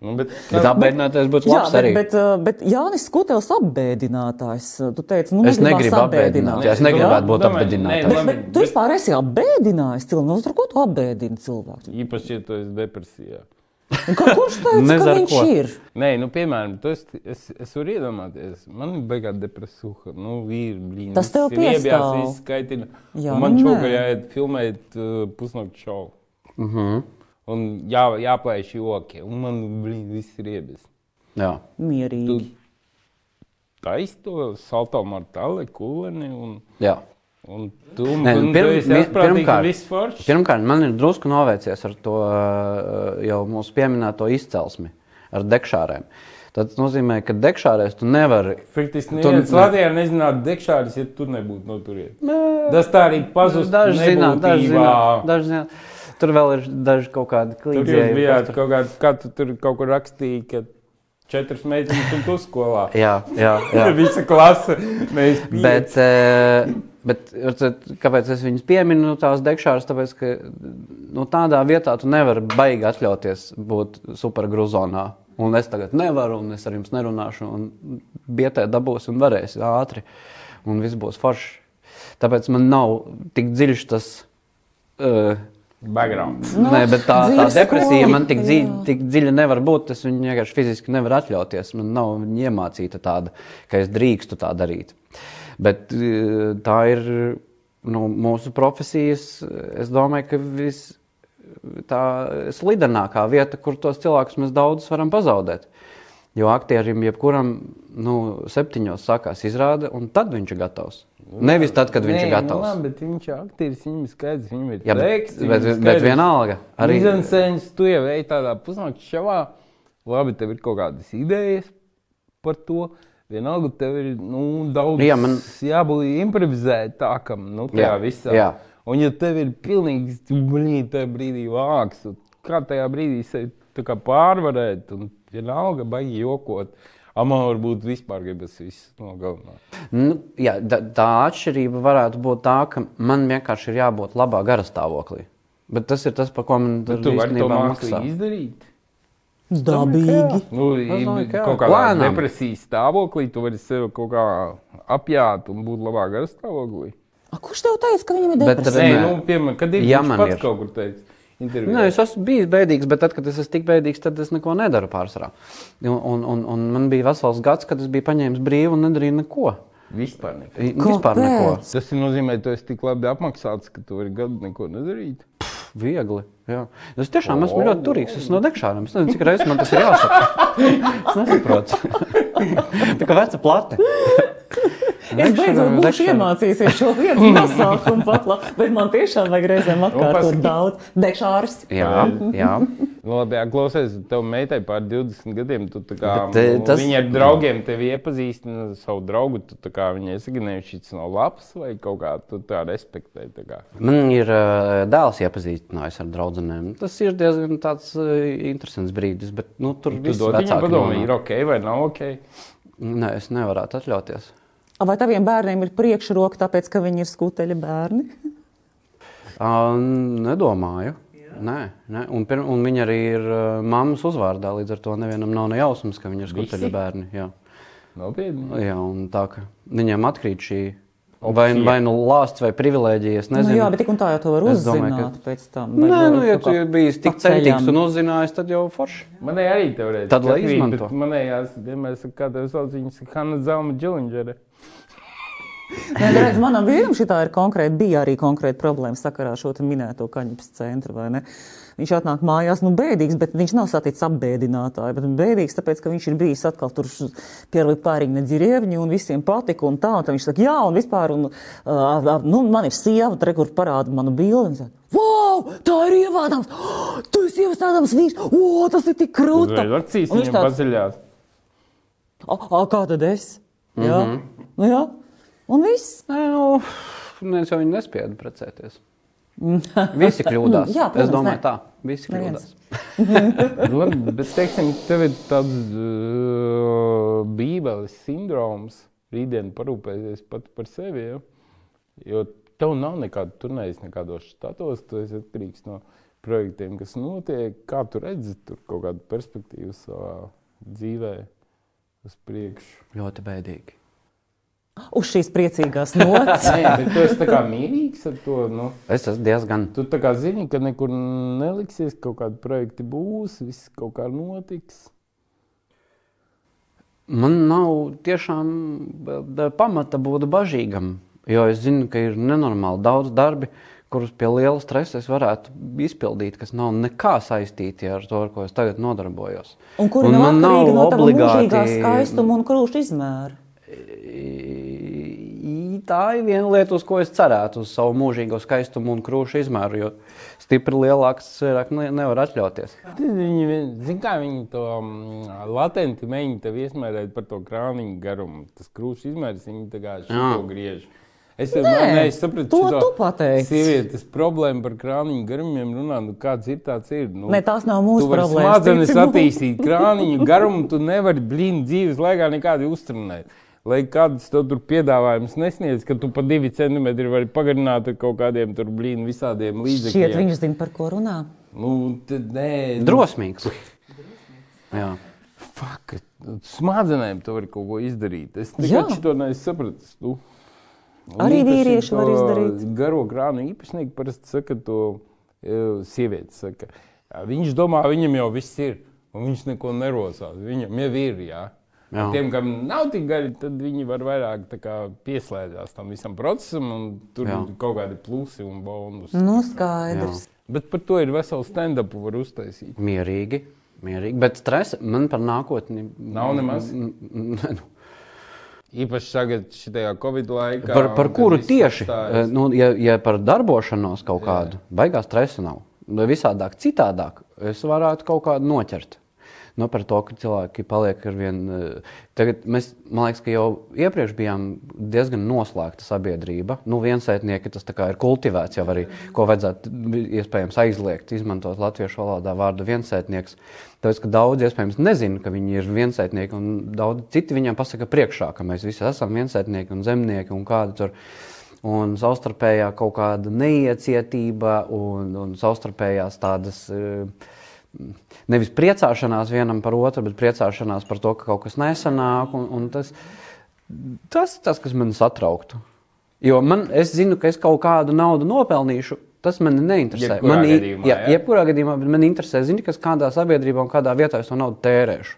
Speaker 3: Nu, bet,
Speaker 2: Bet apbēdināties būtu
Speaker 1: Jā,
Speaker 2: labs
Speaker 1: bet,
Speaker 2: arī.
Speaker 1: bet, uh, bet Jānis Skutelis apbēdinātājs. uh, Tu teici, nu,
Speaker 2: Es
Speaker 1: negribas
Speaker 2: negribu apbēdināt. Jā, es negribētu būt
Speaker 3: Domāju,
Speaker 2: apbēdinātājs.
Speaker 3: nē,
Speaker 1: Bet, bet tu vispār esi apbēdinājis cilvēku. Nu, Ar ko tu apbēdini cilvēku?
Speaker 3: Īpaši, ja tu esi depresijā.
Speaker 1: Un Ka,
Speaker 2: [LAUGHS]
Speaker 1: kurš teica,
Speaker 2: Nez
Speaker 1: ka
Speaker 2: ar
Speaker 1: viņš
Speaker 2: ko.
Speaker 1: ir?
Speaker 3: Nē, nu, piemēram, tu esi, es, es varu iedomāties, man ir baigā depresija. Nu, ir, blīn,
Speaker 1: Tas tev piestāv.
Speaker 3: izskaitina.
Speaker 1: Jā,
Speaker 3: Jā, man
Speaker 1: nu,
Speaker 3: čūka
Speaker 1: nē.
Speaker 3: jāiet filmēt uh, pusnakts šovu. Uh
Speaker 2: Mhm.
Speaker 3: -huh. Un jā, jāplēš joki. Un man, blīn, viss ir riebis.
Speaker 2: Jā.
Speaker 1: Mierīgi.
Speaker 3: Tu taisi to salto martāli, kuleni un,
Speaker 2: Jā.
Speaker 3: un tu, Nē, un pirm, tu esi
Speaker 2: nu, mi-
Speaker 3: atprātīgi pirmkār... viss forši.
Speaker 2: pirmkārt, man ir drusku novēcies ar to eh, jau mūsu pieminēto izcelsmi, ar dekšārēm. Tas nozīmē, ka dekšārēs tu nevari. Tu-
Speaker 3: Faktiski, neviens Latvijā nezinātu, dekšāris, ja tur nebūtu noturiet. Tas tā arī pazust
Speaker 2: Daži zina, daži
Speaker 3: nebūtībā.
Speaker 2: zina, daži zina. Tur vēl ir daži kaut kādi
Speaker 3: Tur jūs
Speaker 2: klienti.
Speaker 3: bijāt kaut kādā, kā tu tur kaut kur rakstīja, ka četras meitenes un tu skolā.
Speaker 2: Jā, jā,
Speaker 3: [LAUGHS]
Speaker 2: jā.
Speaker 3: Visa klase. Mēs bijām.
Speaker 2: Bet, eh, bet redzat, kāpēc es viņus pieminu, tās dekšāras? Tāpēc, ka nu, tādā vietā tu nevari baigi atļauties būt supergrūzonā. Un es tagad nevaru, un es ar jums nerunāšu, un bietē dabūs un varēs ātri, un viss būs forši. Tāpēc man nav tik dziļš tas. Uh,
Speaker 3: Background.
Speaker 2: Nē, bet tā, tā
Speaker 1: Nu, dzīves
Speaker 2: depresija
Speaker 1: skola,
Speaker 2: man tik, dziļ,
Speaker 1: jā.
Speaker 2: tik dziļa nevar būt. Es viņu vienkārši fiziski nevaru atļauties. Man nav viņa iemācīta tāda, ka es drīkstu tā darīt. Bet eh, tā ir nu, mūsu profesijas, es domāju, ka vis, tā slidenākā vieta, kur tos cilvēkus mēs daudz varam pazaudēt. Jo aktierim jebkuram nu, septiņos sākās izrāde, un tad viņš ir gatavs. Nevis tad, kad viņš ir
Speaker 3: Nu,
Speaker 2: gatavs.
Speaker 3: labi, bet viņš ir aktieris, viņam ir skaidrs, viņam ir
Speaker 2: Jā, bet,
Speaker 3: teksts, viņam
Speaker 2: bet,
Speaker 3: ir
Speaker 2: bet
Speaker 3: skaidrs.
Speaker 2: vienalga. Arī,
Speaker 3: Arī Zvaigznes, tu jau ej tādā pusnakts šovā, labi, tev ir kaut kādas idejas par to. Vienalga, tev ir nu, daudz
Speaker 2: Jā, man-
Speaker 3: jābūt improvizētākam, nu, tajā
Speaker 2: Jā,
Speaker 3: jā, visā.
Speaker 2: jā.
Speaker 3: Un, ja tev ir pilnīgi blīvi, tajā brīdī vāks, un kā tajā brīdī sevi tā kā pārvarēt, un vienalga, baigi jokot. Amā varbūt vispār gribas visu nogalināt.
Speaker 2: Nu, jā, tā, tā atšķirība varētu būt tā, ka man vienkārši ir jābūt labā garā stāvoklī. Bet tas ir tas, par ko man tur
Speaker 3: Tu vari to
Speaker 2: īstenībā maksā.
Speaker 3: mākslīgi izdarīt.
Speaker 1: Dabīgi.
Speaker 3: Nu,
Speaker 2: Es domāju, ka jā.
Speaker 3: kaut kādā
Speaker 2: Lēnām.
Speaker 3: depresijas stāvoklī tu vari sevi kaut kā apjāt un būt labā garā stāvoklī.
Speaker 1: A, kurš tev teica, ka viņam ir
Speaker 2: Bet
Speaker 1: depresija?
Speaker 3: Nē,
Speaker 2: Nē.
Speaker 3: nu, piemēram, kad ir
Speaker 2: Ja
Speaker 3: viņš
Speaker 2: man
Speaker 3: pats
Speaker 2: ir.
Speaker 3: kaut kur teicis.
Speaker 2: Nē,
Speaker 3: Intervijā.
Speaker 2: es esmu bijis bēdīgs, bet tad, kad es esmu tik bēdīgs, tad es neko nedaru pārsvarā. Un, un, un, un man bija vesels gads, kad es biju paņēmis brīvu un nedarīju neko.
Speaker 3: Vispār ne.
Speaker 2: I- Vispār neko.
Speaker 1: Kāpēc?
Speaker 3: Tas ir nozīmē, ka tu esi tik labi apmaksāts, ka tu vari gadu neko nedarīt.
Speaker 2: Viegli. Jā. Es tiešām esmu ļoti turīgs. Es no degšām es nezinu, cik reizes man tas ir jāsaka. Es nesaprotu. Tā kā veca plate.
Speaker 1: Es beidzot būšu iemācījies
Speaker 2: [LAUGHS]
Speaker 1: šo vietas nosaukumu pat labi, bet man tiešām vajag reizēm atkārtot
Speaker 3: paskat-
Speaker 1: daudz. Dekšārs.
Speaker 2: Jā, jā.
Speaker 3: Nu, labi, jā, klausies, tev meitai pār 20 gadiem. Tu, tā kā,
Speaker 2: Bet, eh,
Speaker 3: nu,
Speaker 2: tas-
Speaker 3: Viņa ar draugiem tevi iepazīstina savu draugu. Tu, tā kā, viņa iesakinēja, šis nav labs vai kaut kā tu tā respektē. Tā kā.
Speaker 2: Man ir ā, dēls iepazīstinājis ar draugiem. Tas ir diezgan tāds, ā, interesants brīdis, bet nu, tur
Speaker 3: Tu
Speaker 2: viss
Speaker 3: dod viņam
Speaker 2: vecāki
Speaker 3: padomu,
Speaker 2: runā.
Speaker 3: ir ok vai nav ok.
Speaker 2: Nē, es nevaru atļauties.
Speaker 1: Vai taviem bērniem ir priekšroka, tāpēc ka viņi ir skuteļi bērni?
Speaker 2: Ā, Nedomāju. Nē, nē. Un, pirm, un viņa arī ir ā, mammas uzvārdā. Līdz ar to nevienam nav ne jausmas, ka viņi ir skuteļu bērni. Jā.
Speaker 3: Nopietni.
Speaker 2: jā, un tā ka viņiem atkrīt šī vai, vai nu lāsts vai privilēģija. Es
Speaker 1: Nu,
Speaker 2: nezinu.
Speaker 1: jā, bet tik un tā jau to var
Speaker 2: Es domāju,
Speaker 1: uzzināt
Speaker 2: ka-
Speaker 1: domāju, ka... pēc tam.
Speaker 2: Nē,
Speaker 1: Varbūt
Speaker 2: nu, ja
Speaker 1: kaut
Speaker 2: tu
Speaker 1: kā
Speaker 2: biji tik
Speaker 1: pa ceļam.
Speaker 2: centīgs un nu- uzzinājis, tad jau forši.
Speaker 3: Manē arī tev reizē.
Speaker 2: Tad lai izmanto.
Speaker 3: Manējās, vienmēr saka, kā tev sauc, viņas saka, Hanna Zelma Džilindžere.
Speaker 1: Nē, redz, manam vīram šī ir konkrēta, bija arī konkrēta problēma sakarā ar šo te minēto kaņepes centru. vai ne? Viņš atnāk mājās, nu, bēdīgs, bet viņš nav saticis apbēdinātāju. Bet bēdīgs, tāpēc, ka viņš ir bijis atkal tur pierādījis pārīgi dzirdēviņu, un visiem patika, un tā. Un tad viņš saka, jā, un vispār, un, uh, nu, man ir sieva, tur, kur parāda manu bildi. Viņš saka, Wow, tā ir ievādāms! [GASPS] Oh, tu esi ievādāms vīrs! O, tas ir tik krūti!
Speaker 3: Uzreiz akcijas viņam paceļās.
Speaker 1: "A, a, kā tad es? Jā, mm
Speaker 2: Mhm.
Speaker 1: -hmm. nu, jā. un viss.
Speaker 2: Nē, nu, neviens jau viņu nespēja precēties. [LAUGHS] Visi kļūdās.
Speaker 1: Mm. Jā, protams,
Speaker 2: es domāju,
Speaker 1: nē.
Speaker 2: tā. Visi
Speaker 1: Neviens.
Speaker 2: kļūdās.
Speaker 3: Labi, Nu, bet teiksim, tev ir tāds uh, bībeles sindroms. Rītdien parūpēsies pat par sevi. Ja? Jo tev nav nekāda turnējas, nekādos štatos. Tu esi atkarīgs no projektiem, kas notiek. Kā tu redzi, tur kaut kādu perspektīvu savā dzīvē uz priekšu.
Speaker 2: Ļoti bēdīgi.
Speaker 1: Uz šīs
Speaker 2: [LAUGHS]
Speaker 1: priecīgās nots.
Speaker 3: Nē, bet tu esi tā kā mierīgs ar to. Nu.
Speaker 2: Es esmu diezgan.
Speaker 3: Tu tā kā zini, ka nekur neliksies, kaut kādi projekti būs, viss kaut kā notiks.
Speaker 2: Man nav tiešām b- b- pamata būt bažīgam, jo es zinu, ka ir nenormāli daudz darbi, kurus pie liela stresa es varētu izpildīt, kas nav nekā saistīti ar to, ar ko es tagad nodarbojos.
Speaker 1: Un kur nav
Speaker 2: man
Speaker 1: atkarīga no tava mūžīgā
Speaker 2: obligāti-
Speaker 1: skaistuma un krūšu izmēra?
Speaker 2: I- Tā ir viena lieta, uz ko es cerētu, uz savu mūžīgo skaistumu un krūšu izmēru, jo stipri lielāks cilvēks ne- nevar atļauties.
Speaker 3: Tad Viņi, vien- zin kā, viņi to mm, latenti mēģina tev iesmērēt par to krāniņu garumu. Tas krūšs izmērs viņi tā kā šo
Speaker 2: Jā.
Speaker 3: griež. Es jau
Speaker 1: Nē,
Speaker 3: nē, es sapratu,
Speaker 1: to
Speaker 3: šito
Speaker 1: tu pateici.
Speaker 3: Sievietes problēma par krāniņu garumiem runā, nu kāds ir tāds ir. Nu,
Speaker 1: Nē, tās nav mūsu
Speaker 3: tu vari
Speaker 1: problēmas,
Speaker 3: Smadzenes
Speaker 1: tici man.
Speaker 3: attīstīt krāniņu garumu, tu nevari blīni dzīves laikā nekādi uzturnēt. Lai kādas tev tur piedāvājums nesniedz, ka tu pa divi centimetri vari pagarināt ar kaut kādiem tur blīni visādiem
Speaker 1: Šķiet,
Speaker 3: līdzekļiem.
Speaker 1: viņš zina, par ko runā.
Speaker 3: Nu, tad, nē, nu,
Speaker 2: Drosmīgs. Jā.
Speaker 3: Fuck, smadzenēm tu vari kaut ko izdarīt. Es
Speaker 1: Jā.
Speaker 3: tikai to nesapratu. Nu,
Speaker 1: Arī
Speaker 3: un īpaši
Speaker 1: vīrieši var
Speaker 3: to
Speaker 1: izdarīt.
Speaker 3: Garo grānu īpašnieki parasti saka to e, sieviete. Saka. "Jā, Viņš domā, viņam jau viss ir, un viņš neko nerosās. Viņam jau ir. Jā.
Speaker 2: Jā.
Speaker 3: Un Tiem, kam nav tik gari, tad viņi var vairāk tā kā, pieslēgties tam visam procesam, un tur
Speaker 2: Jā.
Speaker 3: ir kaut kādi plusi un bonusi.
Speaker 1: Nu, skaidrs.
Speaker 3: Bet par to ir vesels stand-up, var uztaisīt.
Speaker 2: Mierīgi, mierīgi. Bet stresa man par nākotni [LAUGHS]
Speaker 3: Nav nemaz.
Speaker 2: Nē, nu,
Speaker 3: Īpaši tagad, šajā Covid laikā.
Speaker 2: Par, par
Speaker 3: un kad
Speaker 2: kuru
Speaker 3: viss
Speaker 2: tieši?
Speaker 3: apstājas.
Speaker 2: Nu, ja, ja par darbošanos kaut kādu, baigās stresa nav. Nu, Visādāk, citādāk, es varētu kaut kādu noķert. Nu, par to, ka cilvēki paliek ar vien. eh, Tagad mēs, man liekas, ka jau iepriekš bijām diezgan noslēgta sabiedrība. Nu, viensētnieki tas tā kā ir kultivēts jau arī, ko vajadzētu vi- iespējams aizliegt, izmantot latviešu valodā vārdu viensētnieks. Tāpēc, ka daudz iespējams nezina, ka viņi ir viensētnieki, un daudz citi viņiem pasaka priekšā, ka mēs visi esam viensētnieki un zemnieki un kādi tur un savstarpējā kaut kāda neiecietība un, un savstarpējās tādas. e, Nevis priecāšanās vienam par otru, bet priecāšanās par to, ka kaut kas nesanāk. Un, un tas, tas, tas, kas man satrauktu. Jo man, es zinu, ka es kaut kādu naudu nopelnīšu, tas man neinteresē.
Speaker 3: Jebkurā
Speaker 2: man, i-
Speaker 3: gadījumā,
Speaker 2: jā,
Speaker 3: jā?
Speaker 2: jebkurā gadījumā, bet man interesē, zini, kas kādā sabiedrībā un kādā vietā es to naudu tērēšu.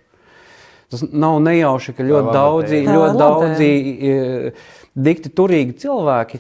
Speaker 2: Tas nav nejauši, ka ļoti
Speaker 3: laba
Speaker 2: daudzi, e,
Speaker 1: tēma. Tā laba
Speaker 2: ļoti daudzi i- dikti turīgi cilvēki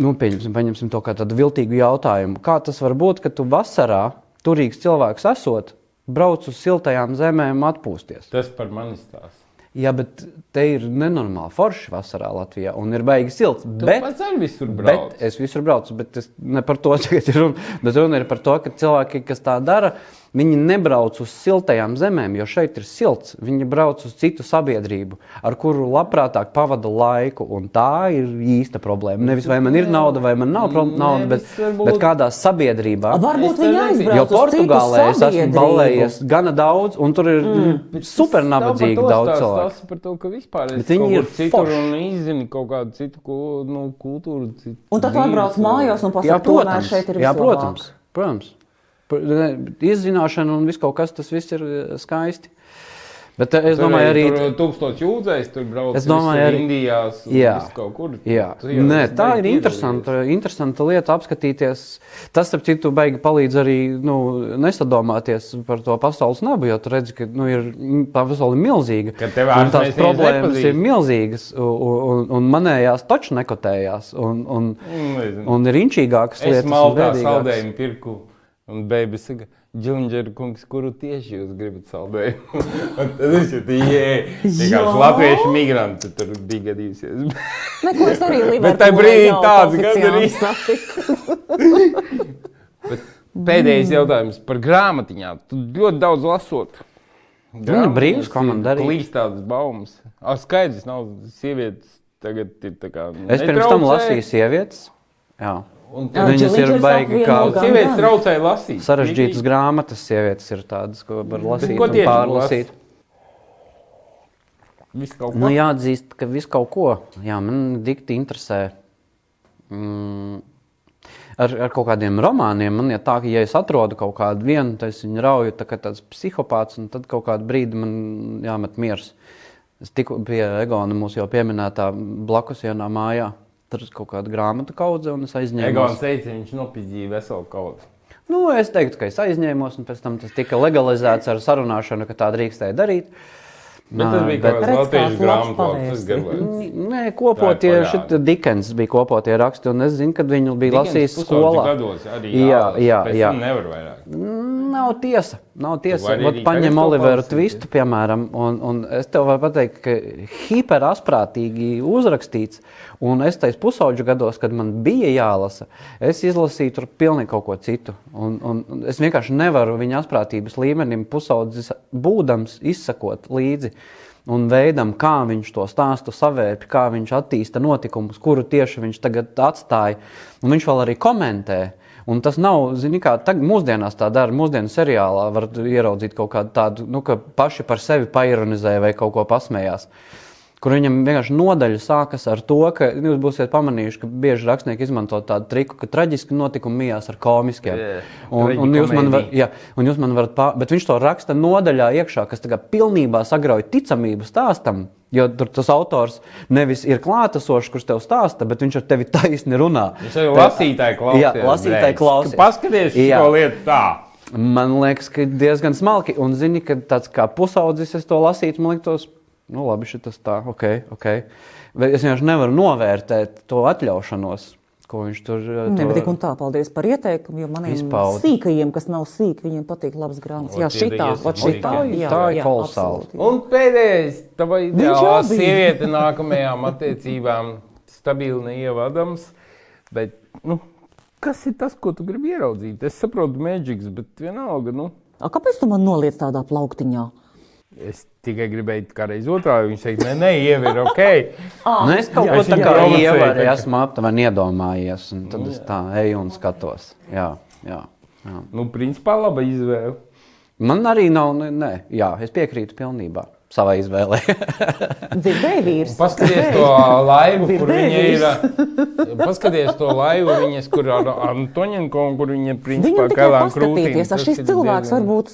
Speaker 2: nu, pieņemsim, paņemsim to kā tādu viltīgu jautājumu. Kā tas var būt, ka tu vasarā, turīgs cilvēks esot, brauc uz siltajām zemēm atpūsties?
Speaker 3: Tas par mani stāsta.
Speaker 2: Jā, bet te ir nenormāli forši vasarā Latvijā un ir baigi silts.
Speaker 3: Tu
Speaker 2: Bet
Speaker 3: pats arī visur brauc.
Speaker 2: Bet es visur braucu, bet es ne par to [LAUGHS] tagad ir runa. Bet runa ir par to, ka cilvēki, kas tā dara, viņi nebrauc uz siltajām zemēm, jo šeit ir silts. Viņi brauc uz citu sabiedrību, ar kuru labprātāk pavada laiku. Un tā ir īsta problēma. Nevis vai man ir nauda, vai man nav pro- nauda, bet,
Speaker 3: Nevis varbūt-
Speaker 2: bet kādā sabiedrībā.
Speaker 1: Varbūt
Speaker 3: Es
Speaker 1: viņi
Speaker 3: tev nezinu.
Speaker 1: aizbrauc
Speaker 2: Jo
Speaker 1: uz citu
Speaker 2: Portugālē es esmu
Speaker 1: sabiedrību.
Speaker 2: balējies gana daudz, un tur ir mm. supernabadzīgi daudz cilvēku.
Speaker 3: Tas par to, ka vispār
Speaker 2: Bet
Speaker 3: es
Speaker 2: viņi
Speaker 3: kaut
Speaker 2: ir
Speaker 3: kur citur
Speaker 2: forši.
Speaker 3: un izzinu kaut kādu citu kul- nu, kultūru. Citu
Speaker 1: Un tad tu
Speaker 3: dzīves,
Speaker 1: atbrauc
Speaker 3: un-
Speaker 1: mājās un pasaki, tomēr šeit ir
Speaker 2: jā,
Speaker 1: vislabāk.
Speaker 2: protams, protams. Par- ne, Izzināšana un viss kaut kas, tas viss ir eh, skaisti. Bet eh, es
Speaker 3: Tur
Speaker 2: domāju, arī.
Speaker 3: Tur tūkstoš jūdzēs, tur brauc
Speaker 2: Es domāju,
Speaker 3: visur
Speaker 2: arī-
Speaker 3: Indijās, un
Speaker 2: Jā.
Speaker 3: viss kaut kur.
Speaker 2: Jā,
Speaker 3: Tu jau
Speaker 2: Nē,
Speaker 3: esi
Speaker 2: tā
Speaker 3: baigi
Speaker 2: ir interesanta, interesanta lieta apskatīties. Tas, starp citu, baigi palīdz arī nu, nesadomāties par to pasaules nabu, jo tu redzi, ka nu, ir, mm, tā pasaule ir milzīga.
Speaker 3: Ka tev
Speaker 2: un
Speaker 3: ārzemēs
Speaker 2: tās
Speaker 3: neviens
Speaker 2: problēmas
Speaker 3: nepazīst.
Speaker 2: ir milzīgas, un, un, un manējās taču nekotējās. Un, un,
Speaker 3: Nu, Nezinu.
Speaker 2: un ir inčīgākas
Speaker 3: Mm. Es
Speaker 2: lietas. un
Speaker 3: maltā
Speaker 2: bēdīgākas.
Speaker 3: saldējumu pirku. Un bērns saka, Džunģeri, kungs, kuru tieši jūs gribat saldējumu? [LAUGHS] Un Tad viņš ir tāds - vienkārši latviešu migrants, tur bija gadījusies. [LAUGHS]
Speaker 1: Neko es arī Liverpoolē
Speaker 3: Bet tajā brīdī
Speaker 1: jau
Speaker 3: tāds
Speaker 1: oficiāli
Speaker 3: gandarījums.
Speaker 1: satiku.
Speaker 3: Bet
Speaker 2: Mm.
Speaker 3: pēdējais jautājums par grāmatiņām. Tu ļoti daudz lasot.
Speaker 2: Nu, ne brīvs, ko man darīt?
Speaker 3: Klīst tādas baumas. Ar skaidrs nav sievietes. Tagad ir tā kā.
Speaker 2: Es pirms tam lasīju sievietes. Jā.
Speaker 3: Un tā-
Speaker 1: Jā,
Speaker 2: Viņas ir
Speaker 1: Džilidžers
Speaker 2: baigi
Speaker 1: apvieno
Speaker 2: kā
Speaker 1: gan-
Speaker 3: Sievietes traucēja lasīt.
Speaker 2: sarežģītas grāmatas. Sievietes ir tādas, ko var lasīt
Speaker 3: ko
Speaker 2: un
Speaker 3: tieši
Speaker 2: pārlasīt.
Speaker 3: Viss kaut
Speaker 2: Nu,
Speaker 3: kā.
Speaker 2: jāatzīst, ka viss kaut ko. Jā, man dikti interesē. Mm. Ar, ar kaut kādiem romāniem man ir tā, ka, ja es atrodu kaut kādu vienu, tad es viņu rauju tā kā tāds psihopāts, un tad kaut kādu brīdi man jāmet miers. Es tiku pie Egona, mūsu jau pieminētā blakus vienā mājā. Tur ir kaut kāda grāmatu kaudze, un es aizņēmu.
Speaker 3: Egons teica, viņš nopietni veselu kaut ko.
Speaker 2: Nu, es teiktu, ka es aizņēmos, un pēc tam tas tika legalizēts ar sarunāšanu, ka tā drīkstēja darīt.
Speaker 3: Bet tas bija
Speaker 2: bet-
Speaker 3: kaut kāds
Speaker 1: Redz,
Speaker 3: latviešu
Speaker 1: kāds labs
Speaker 3: grāmatvārds. Tas gan labi.
Speaker 2: Nē,
Speaker 3: Tā ir
Speaker 2: kopotie,
Speaker 3: pagātne.
Speaker 2: šit Dikens bija kopotie raksti, un es zinu, kad viņu bija
Speaker 3: Dikens
Speaker 2: lasījis
Speaker 3: pusauģu
Speaker 2: skolā.
Speaker 3: Gados arī.
Speaker 2: Jā, jā,
Speaker 3: Pēc
Speaker 2: jā.
Speaker 3: tam Nevar vairāk.
Speaker 2: Nav tiesa. Nav tiesa.
Speaker 3: vari
Speaker 2: Vat
Speaker 3: arī tagad
Speaker 2: paņem
Speaker 3: to
Speaker 2: Oliveru
Speaker 3: palasīt,
Speaker 2: Twistu, piemēram, un, un es tev varu pateikt, ka hiperasprātīgi uzrakstīts, un es taisa pusauģu gados, kad man bija jālasa, es izlasīju tur pilnīgi kaut ko citu. Un, un un es vienkārši nevaru viņa asprātības līmenim pusaudzis būdams izsakot līdzi. Un veidam, kā viņš to stāstu savērp, kā viņš attīsta notikumus, kuru tieši viņš tagad atstāja. Un viņš vēl arī komentē. Un tas nav, zini, kā tagad, mūsdienās tā dara. Mūsdienu seriālā var ieraudzīt kaut kādu tādu, nu, ka paši par sevi paironizēja vai kaut ko pasmējās. Kur viņam vienkārši nodaļa sākas ar to, ka nu, jūs būsiet pamanījuši, ka bieži rakstnieki izmanto tādu triku, ka traģiski notikumi mijās ar komiskiem.
Speaker 3: Jā,
Speaker 2: un, un, jūs man var,
Speaker 3: traģikomēdija.
Speaker 2: jā, un jūs man varat pār... Bet viņš to raksta nodaļā iekšā, kas tā kā pilnībā sagrauj ticamību stāstam. Jo tur tas autors nevis ir klātesošs, kurš tev stāsta, bet viņš ar tevi taisni runā.
Speaker 3: Viņš arī
Speaker 2: Tā-
Speaker 3: lasītāji klausās.
Speaker 2: Jā, lasītāji klausās.
Speaker 3: Paskaties
Speaker 2: Jā.
Speaker 3: šo lietu tā.
Speaker 2: Man liekas, ka diezgan smalki. Un, zini, ka tāds kā pusaudzis es to lasītu, man liekas, nu, labi, šis tā, ok, ok. Bet es vienkārši nevaru novērtēt to atļaušanos, ko viņš tur eh,
Speaker 1: Nē,
Speaker 2: to-
Speaker 1: Nu, bet tik un tā, paldies par ieteikumu, jo maniem
Speaker 2: Izpaudi.
Speaker 1: sīkajiem, kas nav sīki, viņiem patīk labs grāmatas.
Speaker 3: Ot,
Speaker 1: Jā,
Speaker 3: tie ir
Speaker 1: šitā,
Speaker 3: iesmīgi.
Speaker 1: vat šitā.
Speaker 3: Tā ir-
Speaker 1: jā,
Speaker 2: tā ir
Speaker 1: jā,
Speaker 2: kolosāli.
Speaker 1: absolūti.
Speaker 3: Un pēdējais, tā vai ideālā
Speaker 1: jau bija.
Speaker 3: sieviete nākamajām attiecībām stabili neievadams. Bet, nu, kas ir tas, ko tu gribi ieraudzīt? Es saprotu, mēģiks, bet vienalga, nu,
Speaker 1: A, kāpēc tu man noliec tādā plauktiņā?
Speaker 3: es tikai gribēju kā reiz otrā, viņš teica, nē, nē, ievēr, ok.
Speaker 2: Nu, es kaut
Speaker 3: Jā,
Speaker 2: ko
Speaker 3: es
Speaker 2: tādu
Speaker 3: viņu
Speaker 2: kā
Speaker 3: provocēju,
Speaker 2: ievēru,
Speaker 3: tā kā.
Speaker 2: esmu aptuveni iedomājies. un Tad es tā eju un skatos. Jā, jā, jā.
Speaker 3: Nu, principā laba izvēle.
Speaker 2: Man arī nav, ne, ne, jā, es piekrītu pilnībā savai izvēlei. [LAUGHS]
Speaker 1: Dzirdēji, vīrs.
Speaker 3: Paskaties to laivu, kur
Speaker 1: Dzirdēji
Speaker 3: viņa ir. eh, Paskaties to laivu, viņas, kur ar Antoniņu, kur viņa principā
Speaker 1: Viņam tikai
Speaker 3: kailām krūtīm.
Speaker 1: paskatīties, ar
Speaker 3: Tas
Speaker 1: šis
Speaker 3: ir
Speaker 1: cilvēks
Speaker 3: diezgan-
Speaker 1: varbūt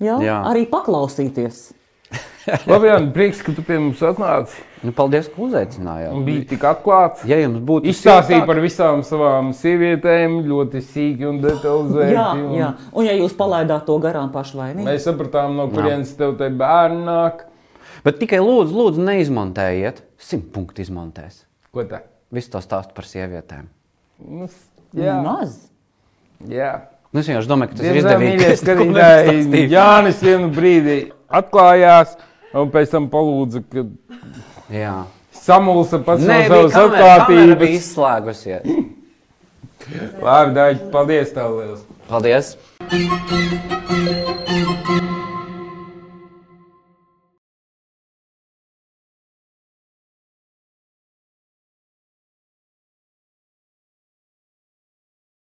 Speaker 1: jā, jā.
Speaker 2: Jā.
Speaker 1: arī paklausīties.
Speaker 3: Labi, Jānis, prieks, ka tu pie mums atnāci
Speaker 2: Nu, paldies, ka uzaicinājāt.
Speaker 3: un biji tik atklāts.
Speaker 2: Ja jums būtu
Speaker 3: Izstāstīja par visām savām sievietēm, ļoti sīki un detalizēti.
Speaker 1: Jā,
Speaker 3: un
Speaker 1: jā. Un ja jūs palaidāt to garām pašvainīgi,
Speaker 3: Mēs sapratām, no kurienes tev te bērni nāk.
Speaker 2: Bet tikai lūdzu, lūdzu neizmontējiet. Simt punktu izmontēs.
Speaker 3: Ko tā?
Speaker 2: Visu to stāstu par sievietēm.
Speaker 3: Nu, s-
Speaker 1: Jā.
Speaker 3: jā,
Speaker 1: Maz.
Speaker 3: jā.
Speaker 2: Nu, es vienkārši domāju, ka tas ir
Speaker 3: Diemžēl, mīļie
Speaker 2: izdevīgākais. [LAUGHS] ko mēs
Speaker 3: skatītāji,
Speaker 2: stāstījām.
Speaker 3: Jānis vienu brīdi atklājās un pēc tam palūdza, ka
Speaker 2: Jā.
Speaker 3: samulsa pats
Speaker 2: Nē,
Speaker 3: no savas atklātības.
Speaker 2: izslēgusies.
Speaker 3: Labi, Dārķi, paldies tev! Liels.
Speaker 2: Paldies!